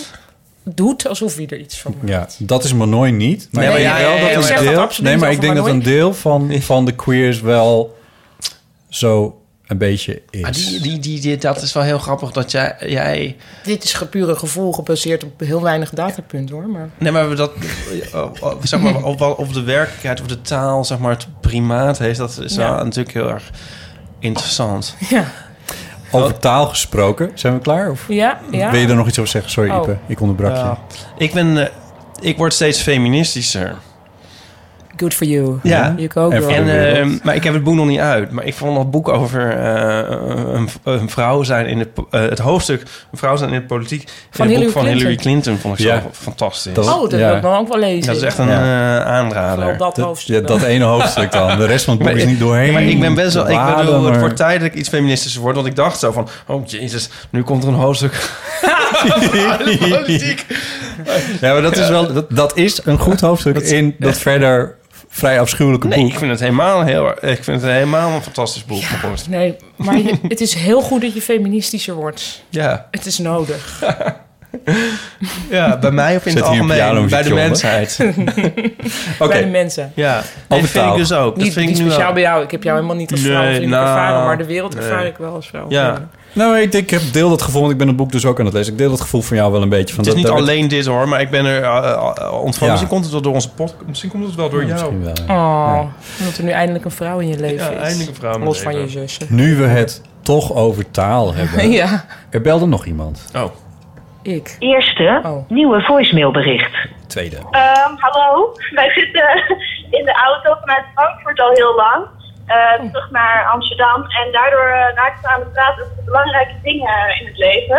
B: doet alsof hij er iets van maakt.
C: Ja, dat is Manoy niet. Maar
B: Nee,
C: ik
B: maar
C: denk
B: ja, ja,
C: wel dat
B: ja,
C: een
B: ik zeg dat
C: deel-
B: absoluut
C: Nee, maar
B: over
C: ik denk dat
B: Manoy.
C: een deel van, van de queers wel zo een beetje is.
D: Maar Ah, die, die, die, die- dat is wel heel grappig dat jij... jij
B: Dit is pure gevoel gebaseerd op heel weinig datapunten, hoor. Maar...
D: Nee, maar we dat, oh, oh, zeg maar, op, op de werkelijkheid, op de taal, zeg maar, het primaat heeft, dat is
B: Ja.
D: wel natuurlijk heel erg interessant.
B: Ja.
C: Over taal gesproken. Zijn we klaar? Of
B: Ja, ja.
C: wil je er nog iets over zeggen? Sorry,
B: Oh.
C: Ipe. Ik onderbrak je.
D: Ja. Ik ben, eh, ik word steeds feministischer.
B: Good for you.
D: Ja,
B: You go, girl.
D: en, eh, maar ik heb het boek nog niet uit. Maar ik vond dat boek over eh, een, een vrouw zijn in de, po- eh, het hoofdstuk een vrouw zijn in de politiek.
B: Van
D: in het
B: Hillary
D: boek van
B: Clinton.
D: Hillary Clinton vond ik
C: Ja.
D: zo fantastisch.
C: Dat-
B: Oh, dat
C: ja.
B: wil ik dan ook wel lezen.
D: Dat is echt een eh, aanrader.
B: Vooral dat hoofdstuk
C: ja, dat
D: dan.
C: ene hoofdstuk dan. De rest van het boek
D: Maar
C: is
D: ik-
C: niet doorheen.
D: Maar ik ben best wel... Ik
C: Laden,
D: bedoel, het
C: maar-
D: wordt tijdelijk iets feministischer worden. Want ik dacht zo van... Oh, jezus, nu komt er een hoofdstuk. Politiek.
C: Ja, maar dat is wel... Dat, dat is een goed hoofdstuk in dat verder vrij afschuwelijke
D: Nee,
C: boek.
D: ik vind het helemaal heel... erg- Ik vind het helemaal een fantastisch boek. maar goed.
B: Nee, maar je- het is heel goed dat je feministischer wordt.
D: Ja.
B: Het is nodig.
D: ja, bij mij of in
C: Zet
D: het
C: hier een
D: algemeen. Bij
C: pianomuziekje
D: de
C: onder.
D: mensheid.
B: Bij de mensen.
D: Ja, nee, dat vind ik dus ook.
B: Niet,
D: dat vind
B: niet
D: ik nu
B: speciaal
D: ook.
B: bij jou. Ik heb jou helemaal niet als vrouw of
D: Nee,
B: niet ervaren,
D: nou,
B: maar de wereld ervaar
D: nee.
B: ik wel als vrouw.
D: Ja.
C: Nou, ik, ik heb deel dat gevoel, want ik ben het boek dus ook aan het lezen. Ik deel dat gevoel van jou wel een beetje. Van
D: Het is
C: dat,
D: niet
C: daar werd-
D: alleen dit hoor, maar ik ben er eh, eh, ontvangen.
C: Ja.
D: Misschien komt het wel door onze podcast. Misschien komt het wel door
C: Ja,
D: jou.
C: misschien wel,
B: Oh, omdat er nu eindelijk een vrouw in je leven
D: Ja,
B: is.
D: eindelijk een vrouw in mijn
B: Los van je
D: leven.
B: zussen.
C: Nu we het toch over taal hebben.
B: Ja.
C: Er belde nog iemand.
D: Oh.
B: Ik. Oh.
F: Eerste nieuwe voicemailbericht.
C: Tweede.
I: Ehm, hallo, wij zitten in de auto vanuit Frankfurt al heel lang. eh, Terug naar Amsterdam. En daardoor eh, raakten we aan het praten over de belangrijke dingen in het leven.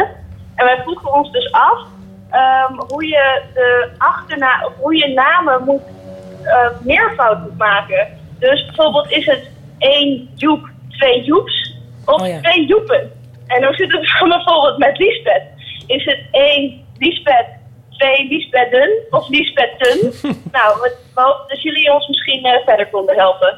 I: En wij vroegen ons dus af ehm, hoe je de achterna of hoe je namen moet eh, meervoud moet maken. Dus bijvoorbeeld is het één joep, twee joeps of twee joepen. En hoe zit het dan bijvoorbeeld met Liesbeth? Is het één Liesbeth, twee Liesbethen of Liesbetten? nou, we we hopen dat jullie ons misschien eh, verder konden helpen.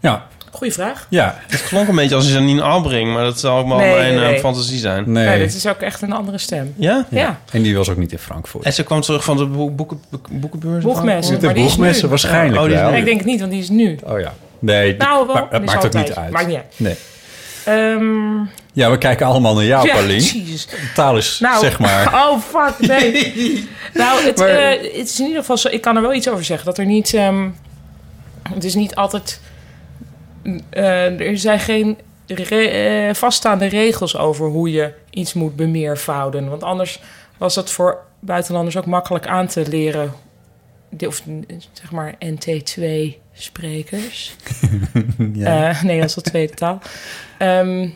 C: Ja.
B: Goeie vraag.
C: Ja.
D: Het klonk een beetje als Janine Albring, maar dat zal ook wel
B: Nee,
D: mijn
B: nee,
D: eh,
B: nee.
D: fantasie zijn.
B: Nee. dit is ook echt een andere stem.
D: Ja?
B: Ja.
C: En die was ook niet in Frankfurt.
D: En ze kwam terug van de boek, boeken, boek- boekenbeurs.
B: Boegmessen,
D: Frankfurt?
C: maar die is Boegmessen nu. waarschijnlijk
D: Oh, die is
C: wel.
D: nu.
B: Ik denk het niet, want die is nu.
C: Oh ja. Nee,
B: Nou, wel,
C: maar,
B: dat
C: dat
B: is
C: maakt ook
B: altijd.
C: niet uit.
B: Maakt niet uit.
C: Nee.
B: Ehm,
D: Nou,
C: Ja, we kijken allemaal naar jou,
B: Ja,
C: Paulien.
B: jezus.
C: Taal is,
B: nou,
C: zeg maar.
B: Oh, fuck, nee. nou, het,
C: Maar-
B: eh, het is in ieder geval zo... Ik kan er wel iets over zeggen. Dat er niet... ehm, het is niet altijd... eh, er zijn geen re- eh, vaststaande regels over hoe je iets moet bemeervouden. Want anders was dat voor buitenlanders ook makkelijk aan te leren. De- Of eh, zeg maar NT2-sprekers.
C: Ja.
B: Eh, Nederlands als tweede taal. Ehm,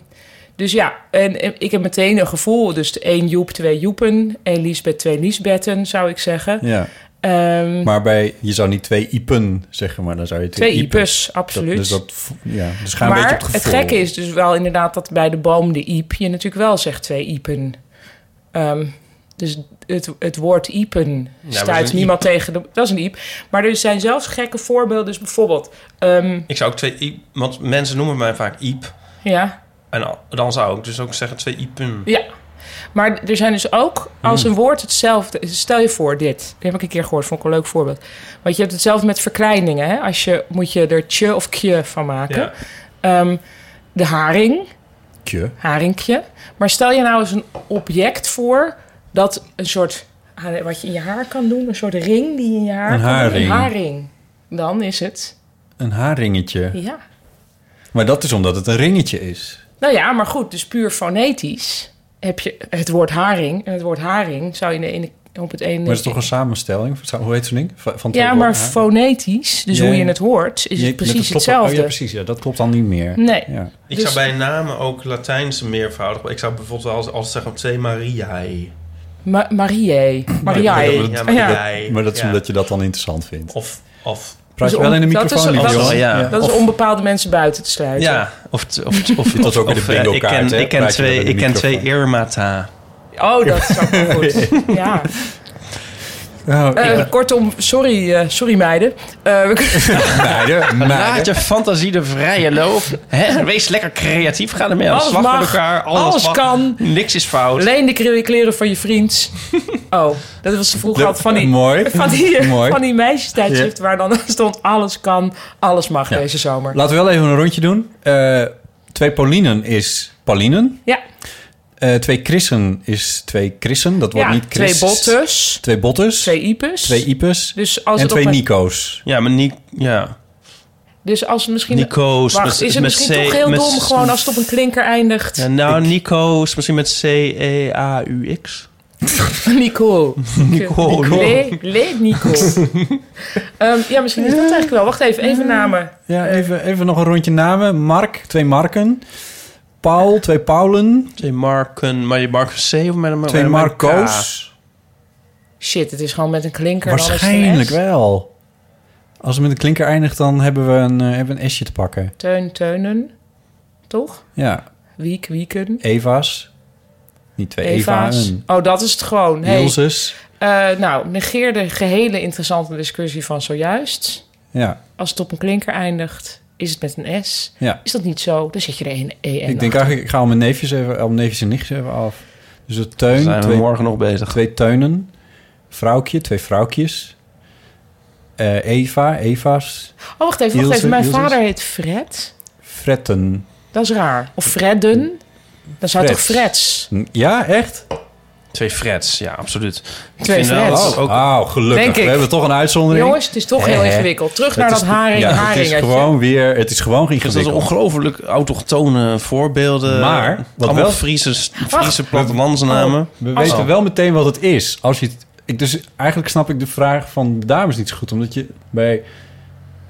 B: dus ja, en, en ik heb meteen een gevoel. Dus één joep, twee joepen. één Liesbeth, twee Liesbetten, zou ik zeggen.
C: Ja.
B: Ehm,
C: Maar bij, je zou niet twee iepen zeggen, maar dan zou je twee,
B: Twee
C: iepen.
B: iepes, absoluut.
C: Dat, dus dat, vo- ja, dus ga een
B: maar
C: beetje op het gevoel.
B: gekke is dus wel inderdaad dat bij de boom de iep je natuurlijk wel zegt twee iepen. Ehm, dus het, het woord
C: Nou,
B: iepen
D: maar dat is
B: stuit
D: een
B: niemand tegen de... Dat is een iep. Maar er zijn zelfs gekke voorbeelden. Dus bijvoorbeeld... ehm,
D: Ik zou ook twee iep, want mensen noemen mij vaak iep.
B: ja,
D: En al- dan zou ik dus ook zeggen twee iepen.
B: Ja. Maar er zijn dus ook, als
D: Hmm.
B: een woord hetzelfde... Stel je voor dit. Dit heb ik een keer gehoord, vond ik een leuk voorbeeld. Want je hebt hetzelfde met verkleiningen. Hè? Als je, moet je er tje of kje van maken.
C: Ja.
B: Ehm, de haring,
C: Kje.
B: haringje. Maar stel je nou eens een object voor... dat een soort, ah, wat je in je haar kan doen... een soort ring die je in je haar
C: Een
B: kan doen.
C: haring.
B: Een haring. Dan is het...
C: Een haarringetje.
B: Ja.
C: Maar dat is omdat het een ringetje is.
B: Nou ja, maar goed, dus puur fonetisch heb je het woord haring. En het woord haring zou je in de ene, op het ene...
C: Maar het is toch een samenstelling? Hoe heet zo'n ding? Van van twee
B: Ja, maar
C: woorden, haar?
B: fonetisch, dus
C: Ja.
B: hoe je het hoort, is
C: Ja,
B: het
C: dat
B: precies
C: klopt.
B: hetzelfde.
C: Oh, ja, precies. Ja, dat klopt dan niet meer.
B: Nee.
C: Ja.
D: Ik
B: Dus-
D: zou bij namen ook Latijnse meervoudig. Ik zou bijvoorbeeld wel als, als zeggen twee Mariae.
B: Ma Mariae. Mariae.
D: Ja, maar-
B: Ja.
D: Jij.
C: Maar dat is
D: Ja.
C: omdat je dat dan interessant vindt.
D: Of... of
C: Praat je
B: Dus
C: wel in de
B: om- dat
C: microfoon,
B: is-
C: lieve
B: Dat is,
C: jongen?
D: ja.
B: dat is
C: Of-
B: om bepaalde mensen buiten te sluiten.
D: Ja, of... t- of, of,
C: Dit was
D: of,
C: ook in de
D: eh,
C: bingo
D: ik
C: kaart,
D: ken,
C: hè?
D: ik ken
C: Praat je
D: twee,
C: wel in de
D: ik ken
C: microfoon.
D: twee Irmata.
B: Oh, dat is ook wel goed. Ja. Eh, Kortom, sorry, eh, sorry meiden. Eh, we kunnen-
C: Meiden,
D: Laat je fantasie de vrije loop. Hè? Wees lekker creatief. Ga ermee aan de
B: Alles
D: slag
B: mag,
D: met elkaar. Alles,
B: alles
D: mag.
B: kan.
D: Niks is fout.
B: Leen de kle- kleren van je vriend. Oh, dat was vroeger
D: De-
B: altijd van die,
D: mooi.
B: Van die,
C: Mooi.
B: Van die meisjestijdschrift waar dan stond alles kan, alles mag deze zomer.
C: Laten we wel even een rondje doen. Eh, twee Paulinen is Paulinen.
B: Ja.
C: Eh, twee Chrisen is twee Chrisen. Dat wordt
B: Ja,
C: niet Chris.
B: twee Bottes.
C: Twee Bottes. Twee
B: Ipes.
C: Twee Ipes.
B: Dus als
C: en
B: het op
C: twee
B: een-
C: Nico's.
D: Ja, maar Nico... Ja.
B: Dus als het misschien...
D: Nico's,
B: Wacht,
D: met-
B: is het
D: met
B: misschien
D: C-
B: toch heel
D: met-
B: dom gewoon als het op een klinker eindigt?
D: Ja, nou, Nico's misschien met E, C-E-A-U-X.
B: Nico.
D: Nico.
B: Le, le Nico. Ehm, ja, misschien is dat eigenlijk wel. Wacht even, even namen.
C: Ja, even, even nog een rondje namen. Mark, twee Marken. Paul, twee Paulen.
D: Twee Marken. Maar je Marcus C of met een
C: Twee
D: met een K?
C: Marco's.
B: Shit, het is gewoon met een klinker. dan is het een
C: Waarschijnlijk
B: S.
C: wel. Als het met een klinker eindigt, dan hebben we een, eh, hebben we een S'je te pakken.
B: Teun, teunen. Toch?
C: Ja.
B: Wiek, wieken.
C: Eva's. Niet twee Eva's.
B: Eva's. Oh, dat is het gewoon. Hey.
C: Ilses.
B: Eh, nou, negeer de gehele interessante discussie van zojuist.
C: Ja.
B: Als het op een klinker eindigt, is het met een S.
C: Ja.
B: Is dat niet zo? Dan zet je er een E en
C: ik denk
B: achter.
C: eigenlijk, ik ga al mijn neefjes even, al mijn neefjes en nichtjes even af. Dus de tuin.
D: Zijn we morgen nog bezig.
C: Twee tuinen. Vrouwtje, twee vrouwtjes. Eh, Eva, Eva's.
B: Oh, wacht even, wacht
C: Ilse,
B: even. Mijn
C: Ilses.
B: vader heet Fred.
C: Fretten.
B: Dat is raar. Of Fredden. Dan zou het toch Freds?
C: Ja, echt?
D: Twee Freds, ja, absoluut.
B: Twee
D: Ik vind wel
B: Freds.
D: dat ook-
C: Oh, gelukkig.
B: Denk ik.
C: We hebben toch een uitzondering.
B: Jongens, het is toch heel
C: Hè, hè.
B: ingewikkeld. Terug
C: Het
B: naar
C: is
B: dat
C: toch-
B: haring-
C: ja, Het is
B: haringetje.
C: gewoon weer, het is gewoon
D: Dus Dat is
C: ingewikkeld.
D: ongelooflijk autochtone voorbeelden.
C: Maar, wat
D: Allemaal
C: wel-
D: Friese, Friese plattelandsnamen.
B: Oh.
C: We weten wel meteen wat het is. Als je het, ik dus eigenlijk snap ik de vraag van de dames niet zo goed. Omdat je bij...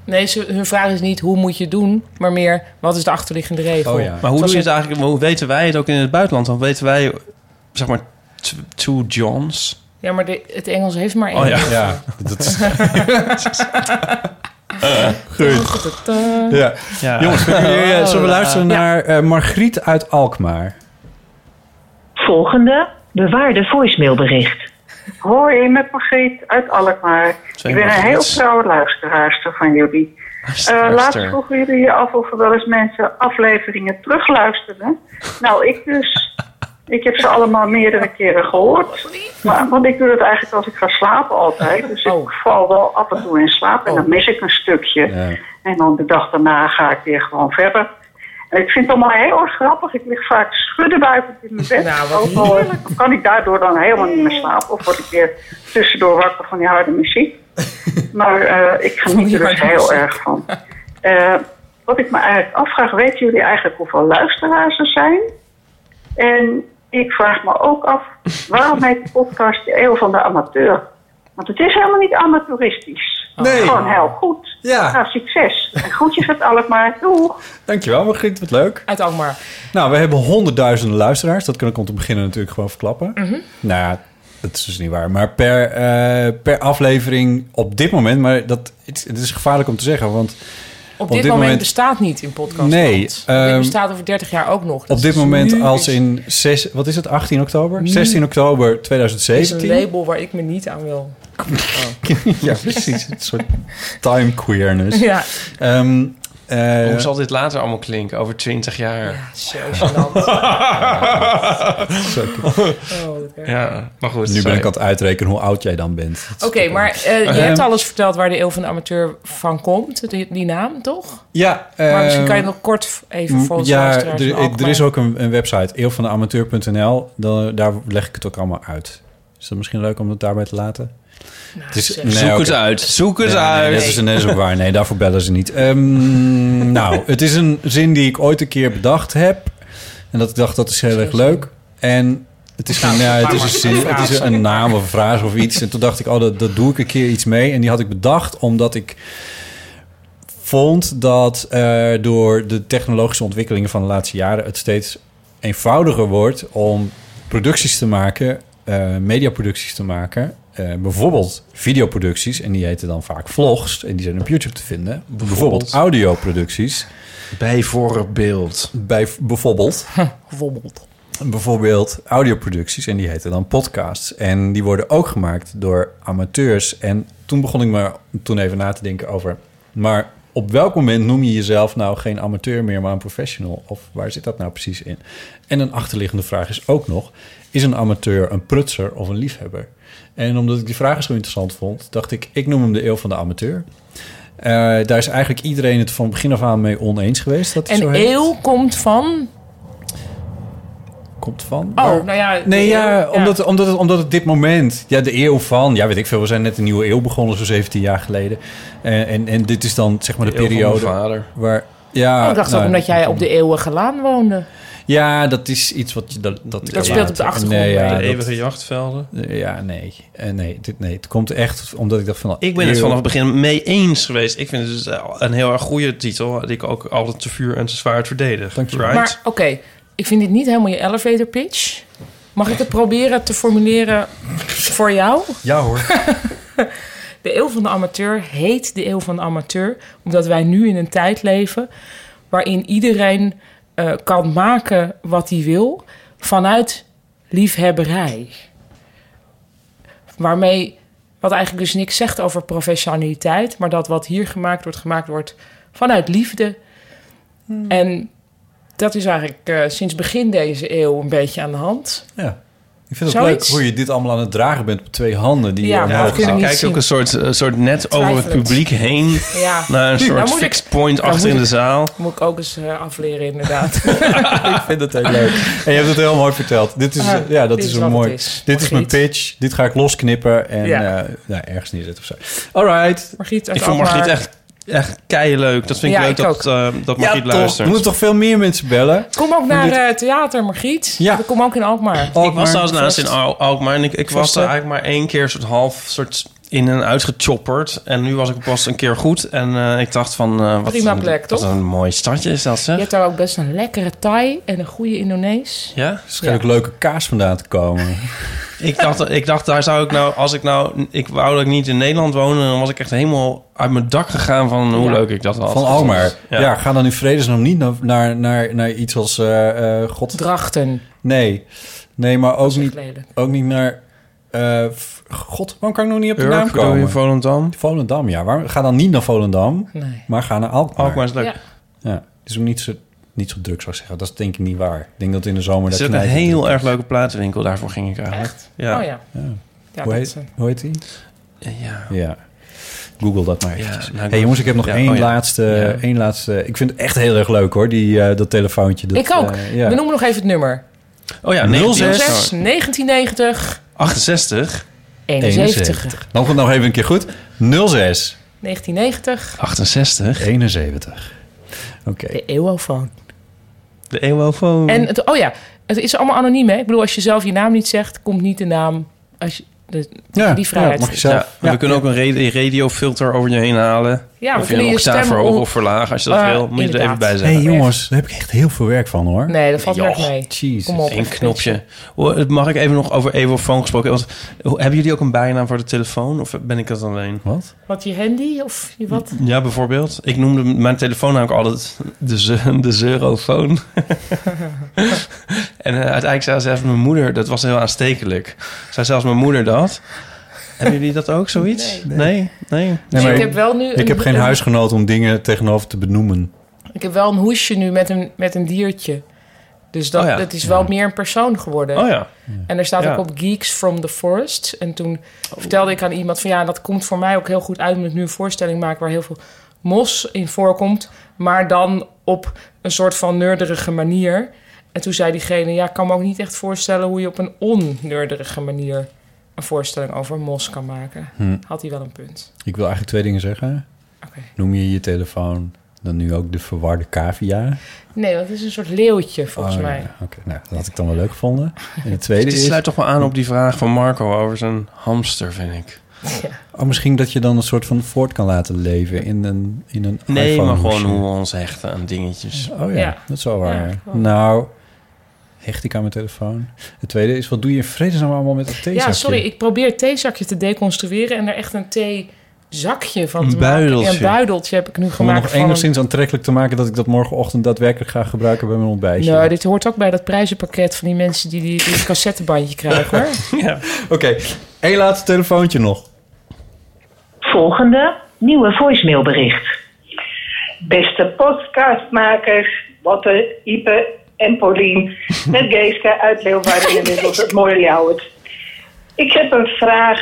B: Nee, ze- hun vraag is niet hoe moet je het doen, maar meer wat is de achterliggende regel.
C: Oh,
D: Maar hoe
B: Zoals
D: doe je
B: in-
D: het eigenlijk? Hoe weten wij het ook in het buitenland? Dan weten wij, zeg maar, t- Two Johns.
B: Ja, maar de- het Engels heeft maar één.
C: Oh ja. Ja, dat is- Goed. Ja.
D: Ja.
C: Jongens, vinden jullie, eh, zullen we
D: Ja.
C: luisteren naar eh, Margriet uit Alkmaar?
F: Volgende bewaarde voicemailbericht.
H: Hoi, met Margriet uit Alkmaar.
F: Zijn
H: ik ben een heel
F: Margriets.
H: trouwe luisteraarster van jullie.
F: Luisteraarster.
H: Eh, laatst vroegen jullie je af of er wel eens mensen afleveringen terugluisterden. Nou, ik dus. Ik heb ze allemaal meerdere keren gehoord. Maar, want ik doe dat eigenlijk als ik ga slapen altijd. Dus
K: Oh.
H: ik val wel af en toe in slaap en dan mis ik een stukje. En dan de dag daarna ga ik weer gewoon verder. En ik vind het allemaal heel erg grappig. Ik lig vaak schuddebuikend in mijn bed. Ook al eh, kan ik daardoor dan helemaal niet meer slapen. Of word ik weer tussendoor wakker van die harde muziek. Maar eh, ik
B: Oh,
H: geniet er dus heel erg van. Eh, wat ik me eigenlijk afvraag, weten jullie eigenlijk hoeveel luisteraars er zijn? En ik vraag me ook af, waarom heet de podcast de eeuw van de amateur? Want het is helemaal niet amateuristisch.
C: Nee.
H: Oh, Gewoon heel goed.
C: Ja.
H: Nou, succes. En groetjes uit Alkmaar. Doeg.
C: Dankjewel Margriet, wat leuk.
B: Uit Alkmaar.
C: Nou, we hebben honderdduizenden luisteraars. Dat kan ik om te beginnen natuurlijk gewoon verklappen.
B: Mhm.
C: Nou ja, dat is dus niet waar. Maar per, eh, per aflevering op dit moment... Maar dat, het, het is gevaarlijk om te zeggen, want...
B: Op dit, moment, bestaat niet in podcast.
C: Nee,
B: Dit
C: ehm,
B: bestaat over 30 jaar ook nog. Dat
C: op dit
B: is
C: moment
B: nu
C: als in... Zes, wat is het? 18 oktober?
B: Nu.
C: 16 oktober
B: is
C: 2017.
B: een label waar ik me niet aan wil.
C: ja, precies. Een soort time queerness.
B: Ja.
C: Ehm, eh,
D: Hoe zal dit later allemaal klinken? Over 20 jaar. Ja,
B: zo Oh,
D: Ja, maar goed.
C: nu
D: sorry.
C: ben ik aan het uitrekenen hoe oud jij dan bent.
B: Oké, maar eh, je hebt
C: Ehm.
B: alles verteld waar de eeuw van de amateur van komt. Die, die naam, toch?
C: Ja,
B: maar misschien
C: ehm,
B: kan je nog kort even
C: Mm,
B: voor ons
C: Ja,
B: luisteraars
C: er,
B: van
C: er
B: Alkmaar-
C: is ook een, een website, eeuwvandeamateur.nl. Dan- Daar leg ik het ook allemaal uit. Is dat misschien leuk om het daarbij te laten? Het
B: Nou,
C: is-
D: zeg. Zoek het
C: oké.
D: uit, zoek het
C: Nee, nee,
D: uit.
C: Nee, dat is een is ook waar. Nee, daarvoor bellen ze niet. Ehm, nou, het is een zin die ik ooit een keer bedacht heb. En dat ik dacht, dat is heel erg leuk. En het is, geen, ja, het is een zin, het is een naam of een vraag of iets. En toen dacht ik, oh, dat, dat doe ik een keer iets mee. En die had ik bedacht omdat ik vond dat eh, door de technologische ontwikkelingen van de laatste jaren het steeds eenvoudiger wordt om producties te maken, eh, mediaproducties te maken. Eh, bijvoorbeeld videoproducties, en die heten dan vaak vlogs, en die zijn op YouTube te vinden. Bijvoorbeeld,
D: Bijvoorbeeld.
C: audioproducties. Bijvoorbeeld. Bij, bijvoorbeeld.
B: Bijvoorbeeld.
C: Bijvoorbeeld audioproducties, en die heten dan podcasts. En die worden ook gemaakt door amateurs. En toen begon ik me toen even na te denken over... maar op welk moment noem je jezelf nou geen amateur meer, maar een professional? Of waar zit dat nou precies in? En een achterliggende vraag is ook nog... is een amateur een prutser of een liefhebber? En omdat ik die vraag zo interessant vond... dacht ik, ik noem hem de eeuw van de amateur... Eh, daar is eigenlijk iedereen het van begin af aan mee oneens geweest. Dat hij zo
B: En
C: heet.
B: eeuw komt van...
C: komt van.
B: Oh,
C: Maar-
B: nou ja,
C: Nee,
B: de
C: ja,
B: eeuw, ja.
C: Omdat, Omdat, het, omdat het dit moment, ja, de eeuw van, ja, weet ik veel, we zijn net een nieuwe eeuw begonnen, zo 17 jaar geleden. En, en, en dit is dan, zeg maar, de,
D: De eeuw van
C: periode.
D: mijn vader.
C: Waar, ja,
B: Oh, ik dacht
C: nou,
B: ook omdat jij op de eeuwige laan woonde.
C: Ja, dat is iets wat je. Dat, dat,
B: speelt op de achtergrond
C: Nee, ja,
D: mee. De
C: dat-
D: eeuwige jachtvelden.
C: Ja, nee. Eh, nee, dit, nee. Het komt echt omdat ik dacht van.
D: Ik ben het
C: eeuw-
D: vanaf het begin mee eens geweest. Ik vind het dus een heel erg goede titel... die ik ook altijd te vuur en te zwaard verdedig. Right?
B: Maar oké, ik vind dit niet helemaal je elevator pitch. Mag ik het proberen te formuleren voor jou?
C: Ja hoor.
B: De eeuw van de amateur heet de eeuw van de amateur, omdat wij nu in een tijd leven waarin iedereen eh, kan maken wat hij wil vanuit liefhebberij. Waarmee, wat eigenlijk dus niks zegt over professionaliteit, maar dat wat hier gemaakt wordt, gemaakt wordt vanuit liefde. En dat is eigenlijk eh, sinds begin deze eeuw een beetje aan de hand.
C: Ja. Ik vind het leuk
B: Zoiets.
C: hoe je dit allemaal aan het dragen bent op twee handen. Die
B: Ja,
C: je
B: maar
C: omhoog
B: dat kunnen
C: houden.
B: we
D: Kijk ook een soort, een soort net over het
B: Twijfelend.
D: publiek heen...
B: Ja.
D: naar een
B: Nou
D: soort
B: moet ik-
D: fixed point
B: nou
D: achter
B: moet
D: in de
B: ik-
D: zaal.
B: Moet ik ook eens eh, afleren, inderdaad.
C: ik vind het heel leuk. En je hebt het heel mooi verteld. Dit is,
B: Ah,
C: eh, ja, dat
B: dit
C: is
B: is
C: een
B: wat
C: mooi.
B: het is.
C: Dit is mijn pitch. Dit ga ik losknippen en
B: Ja.
C: eh, nou, ergens neerzetten of zo. Alright.
B: Margriet uit
D: Ik vond Margriet
B: Alkmaar.
D: echt, echt leuk. Dat vind ik
B: Ja,
D: leuk
B: ik
D: dat, eh dat Margriet
C: toch.
D: luistert.
C: Er moeten toch veel meer mensen bellen?
B: Kom ook naar
D: Dit-
B: eh, theater, Margriet.
C: Ja.
B: We komen ook in Alkmaar.
D: Ik was trouwens laatst in Al- Alkmaar en ik, ik was
B: Vaste.
D: er eigenlijk maar één keer soort half soort in en uitgechopperd. En nu was ik pas een keer goed. En eh, ik dacht van... eh, wat
B: Prima
D: een,
B: plek,
D: wat
B: toch?
D: een mooi stadje is dat,
B: Je
D: zeg.
B: hebt daar ook best een lekkere Thai en een goede Indonees.
D: Ja?
B: Waarschijnlijk
D: leuke kaas vandaan te komen. ik, dacht, ik dacht, daar zou ik nou, als ik nou, ik wou dat ik niet in Nederland woonde, dan was ik echt helemaal uit mijn dak gegaan van hoe
C: Ja.
D: leuk ik dat had.
C: Van Almar. Ja.
D: ja.
C: ga dan in vredesnaam niet naar, naar, naar, naar iets als eh, eh, God...
B: Drachten.
C: Nee, nee maar ook, niet,
B: lelijk.
C: ook niet naar... eh, f- God, waarom kan ik nog niet op de
D: Urk,
C: naam
D: bedoel je,
C: komen?
D: Volendam?
C: Volendam, ja. Waarom, ga dan niet naar Volendam,
B: Nee.
C: maar ga naar Alkmaar.
D: Alkmaar is leuk.
C: Ja.
D: Ja.
C: dus ook niet zo, niet zo druk zou ik zeggen. Dat is denk ik niet waar. Ik denk dat in de zomer...
D: Er
C: daar
D: zit een
C: knijpen
D: heel
C: druk
D: erg
C: is.
D: leuke platenwinkel, daarvoor ging ik eigenlijk. Ja.
B: Oh ja. Ja,
C: hoe,
B: dat,
C: heet,
B: eh,
C: hoe heet die?
D: Ja.
C: ja. Google dat maar eventjes.
D: nou, ik
C: hey, jongens, ik heb nog
D: ja,
C: één,
D: oh ja.
C: laatste,
D: Ja.
C: één laatste... Ik vind het echt heel erg leuk, hoor, die, eh, dat telefoontje. Dat,
B: ik ook.
C: eh, ja.
B: We noemen nog even het nummer.
D: Oh ja,
B: 06
C: 06
B: 1990
D: 68
B: 71.
C: Dan komt het nog even een keer goed. 06
B: 1990
D: 68
C: 71. Oké.
B: de eeuwofoon.
D: De eeuwofoon.
B: En het, oh ja, het is allemaal anoniem hè. Ik bedoel, als je zelf je naam niet zegt, komt niet de naam. Als je, de, die vrijheid.
D: Ja, we kunnen ook een radio- radiofilter over je heen halen.
B: Ja, we
D: of je
B: kunnen
D: een
B: je
D: octaaf
B: stem
D: verhogen
B: om-
D: of verlagen. Als je dat
B: Ah,
D: wil, moet je er
B: inderdaad.
D: even bij
C: Hé hey,
D: zijn.
C: jongens, daar heb ik echt heel veel werk van hoor.
B: Nee, dat valt erg mee. Kom op.
D: Eén knopje. Hoor, eh, Mag ik even nog over Evofoon gesproken? Want, hoe- hebben jullie ook een bijnaam voor de telefoon? Of ben ik dat alleen?
C: Wat?
B: Wat je handy of je wat?
D: Ja, bijvoorbeeld. Ik noemde mijn telefoon namelijk altijd de, ze- de Zeurofoon. en eh, uiteindelijk zei zelfs mijn moeder... Dat was heel aanstekelijk. Zei zelfs mijn moeder dat. Hebben jullie dat ook, zoiets? Nee? Nee?
B: Dus ik heb wel nu
C: ik
B: een-
C: heb geen
B: een-
C: huisgenoot om dingen tegenover te benoemen.
B: Ik heb wel een hoesje nu met een, met een diertje. Dus dat,
C: Oh ja.
B: dat is wel meer een persoon geworden.
C: Oh ja.
B: En er staat
C: Ja.
B: ook op Geeks from the Forest. En toen vertelde ik aan iemand van ja, dat komt voor mij ook heel goed uit omdat ik nu een voorstelling maak waar heel veel mos in voorkomt, maar dan op een soort van nerderige manier. En toen zei diegene, ja, ik kan me ook niet echt voorstellen hoe je op een onnerderige manier een voorstelling over mos kan maken.
C: Hm.
B: Had hij wel een punt.
C: Ik wil eigenlijk twee dingen zeggen. Noem je je telefoon dan nu ook de verwarde cavia?
B: Nee, want het is een soort leeuwtje volgens
C: Oh, ja,
B: mij.
C: Oké, nou, dat had ik dan wel leuk gevonden. En het tweede
D: Dit
C: is...
D: sluit toch wel aan op Dus die vraag van Marco over zijn hamster, vind ik.
C: Oh, misschien dat je dan een soort van voort kan laten leven in een, in een
D: Nee,
C: iPhone
D: maar
C: of
D: gewoon
C: zo.
D: hoe we ons hechten aan dingetjes.
C: Oh ja, dat is wel waar.
D: Ja,
B: gewoon.
C: nou, hecht ik aan mijn telefoon. Het tweede is, wat doe je in vredesnaam allemaal met dat theezakje?
B: Ja, sorry, ik probeer het theezakje te deconstrueren en er echt een theezakje van
C: Een
B: te maken.
C: buideltje.
B: Ja, Een buideltje heb ik nu
C: Om het
B: gemaakt
C: nog
B: van...
C: enigszins aantrekkelijk te maken dat ik dat morgenochtend daadwerkelijk ga gebruiken bij mijn ontbijtje.
B: Nou, dit hoort ook bij dat prijzenpakket van die mensen die die, die cassettebandje krijgen, hoor.
C: Oké, één laatste telefoontje nog.
F: Volgende nieuwe voicemailbericht.
K: Beste podcastmakers, Botte, Ipe en Paulien. Met Geeske uit Leeuwarden en inmiddels het mooie Jouwert. Ik heb een vraag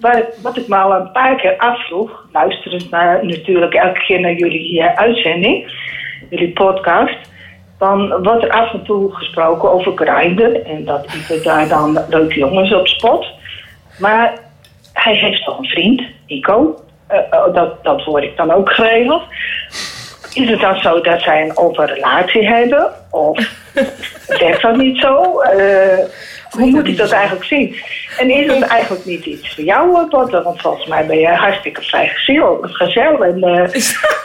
K: waar, wat ik me al een paar keer afvroeg. Luisterend naar, natuurlijk elke keer naar jullie eh, uitzending, jullie podcast. Dan wordt er af en toe gesproken over grinden en dat Ipe daar dan leuke jongens op spot. Maar hij heeft toch een vriend, Nico. Eh, oh, dat, dat hoor ik dan ook geregeld. Is het dan zo dat zij een open relatie hebben? Of werkt dat niet zo? Eh, hoe moet ik dat eigenlijk zien? En is het eigenlijk niet iets voor jou, eh, Botte? Want volgens mij ben je hartstikke vrijgezel. Gezel en, eh,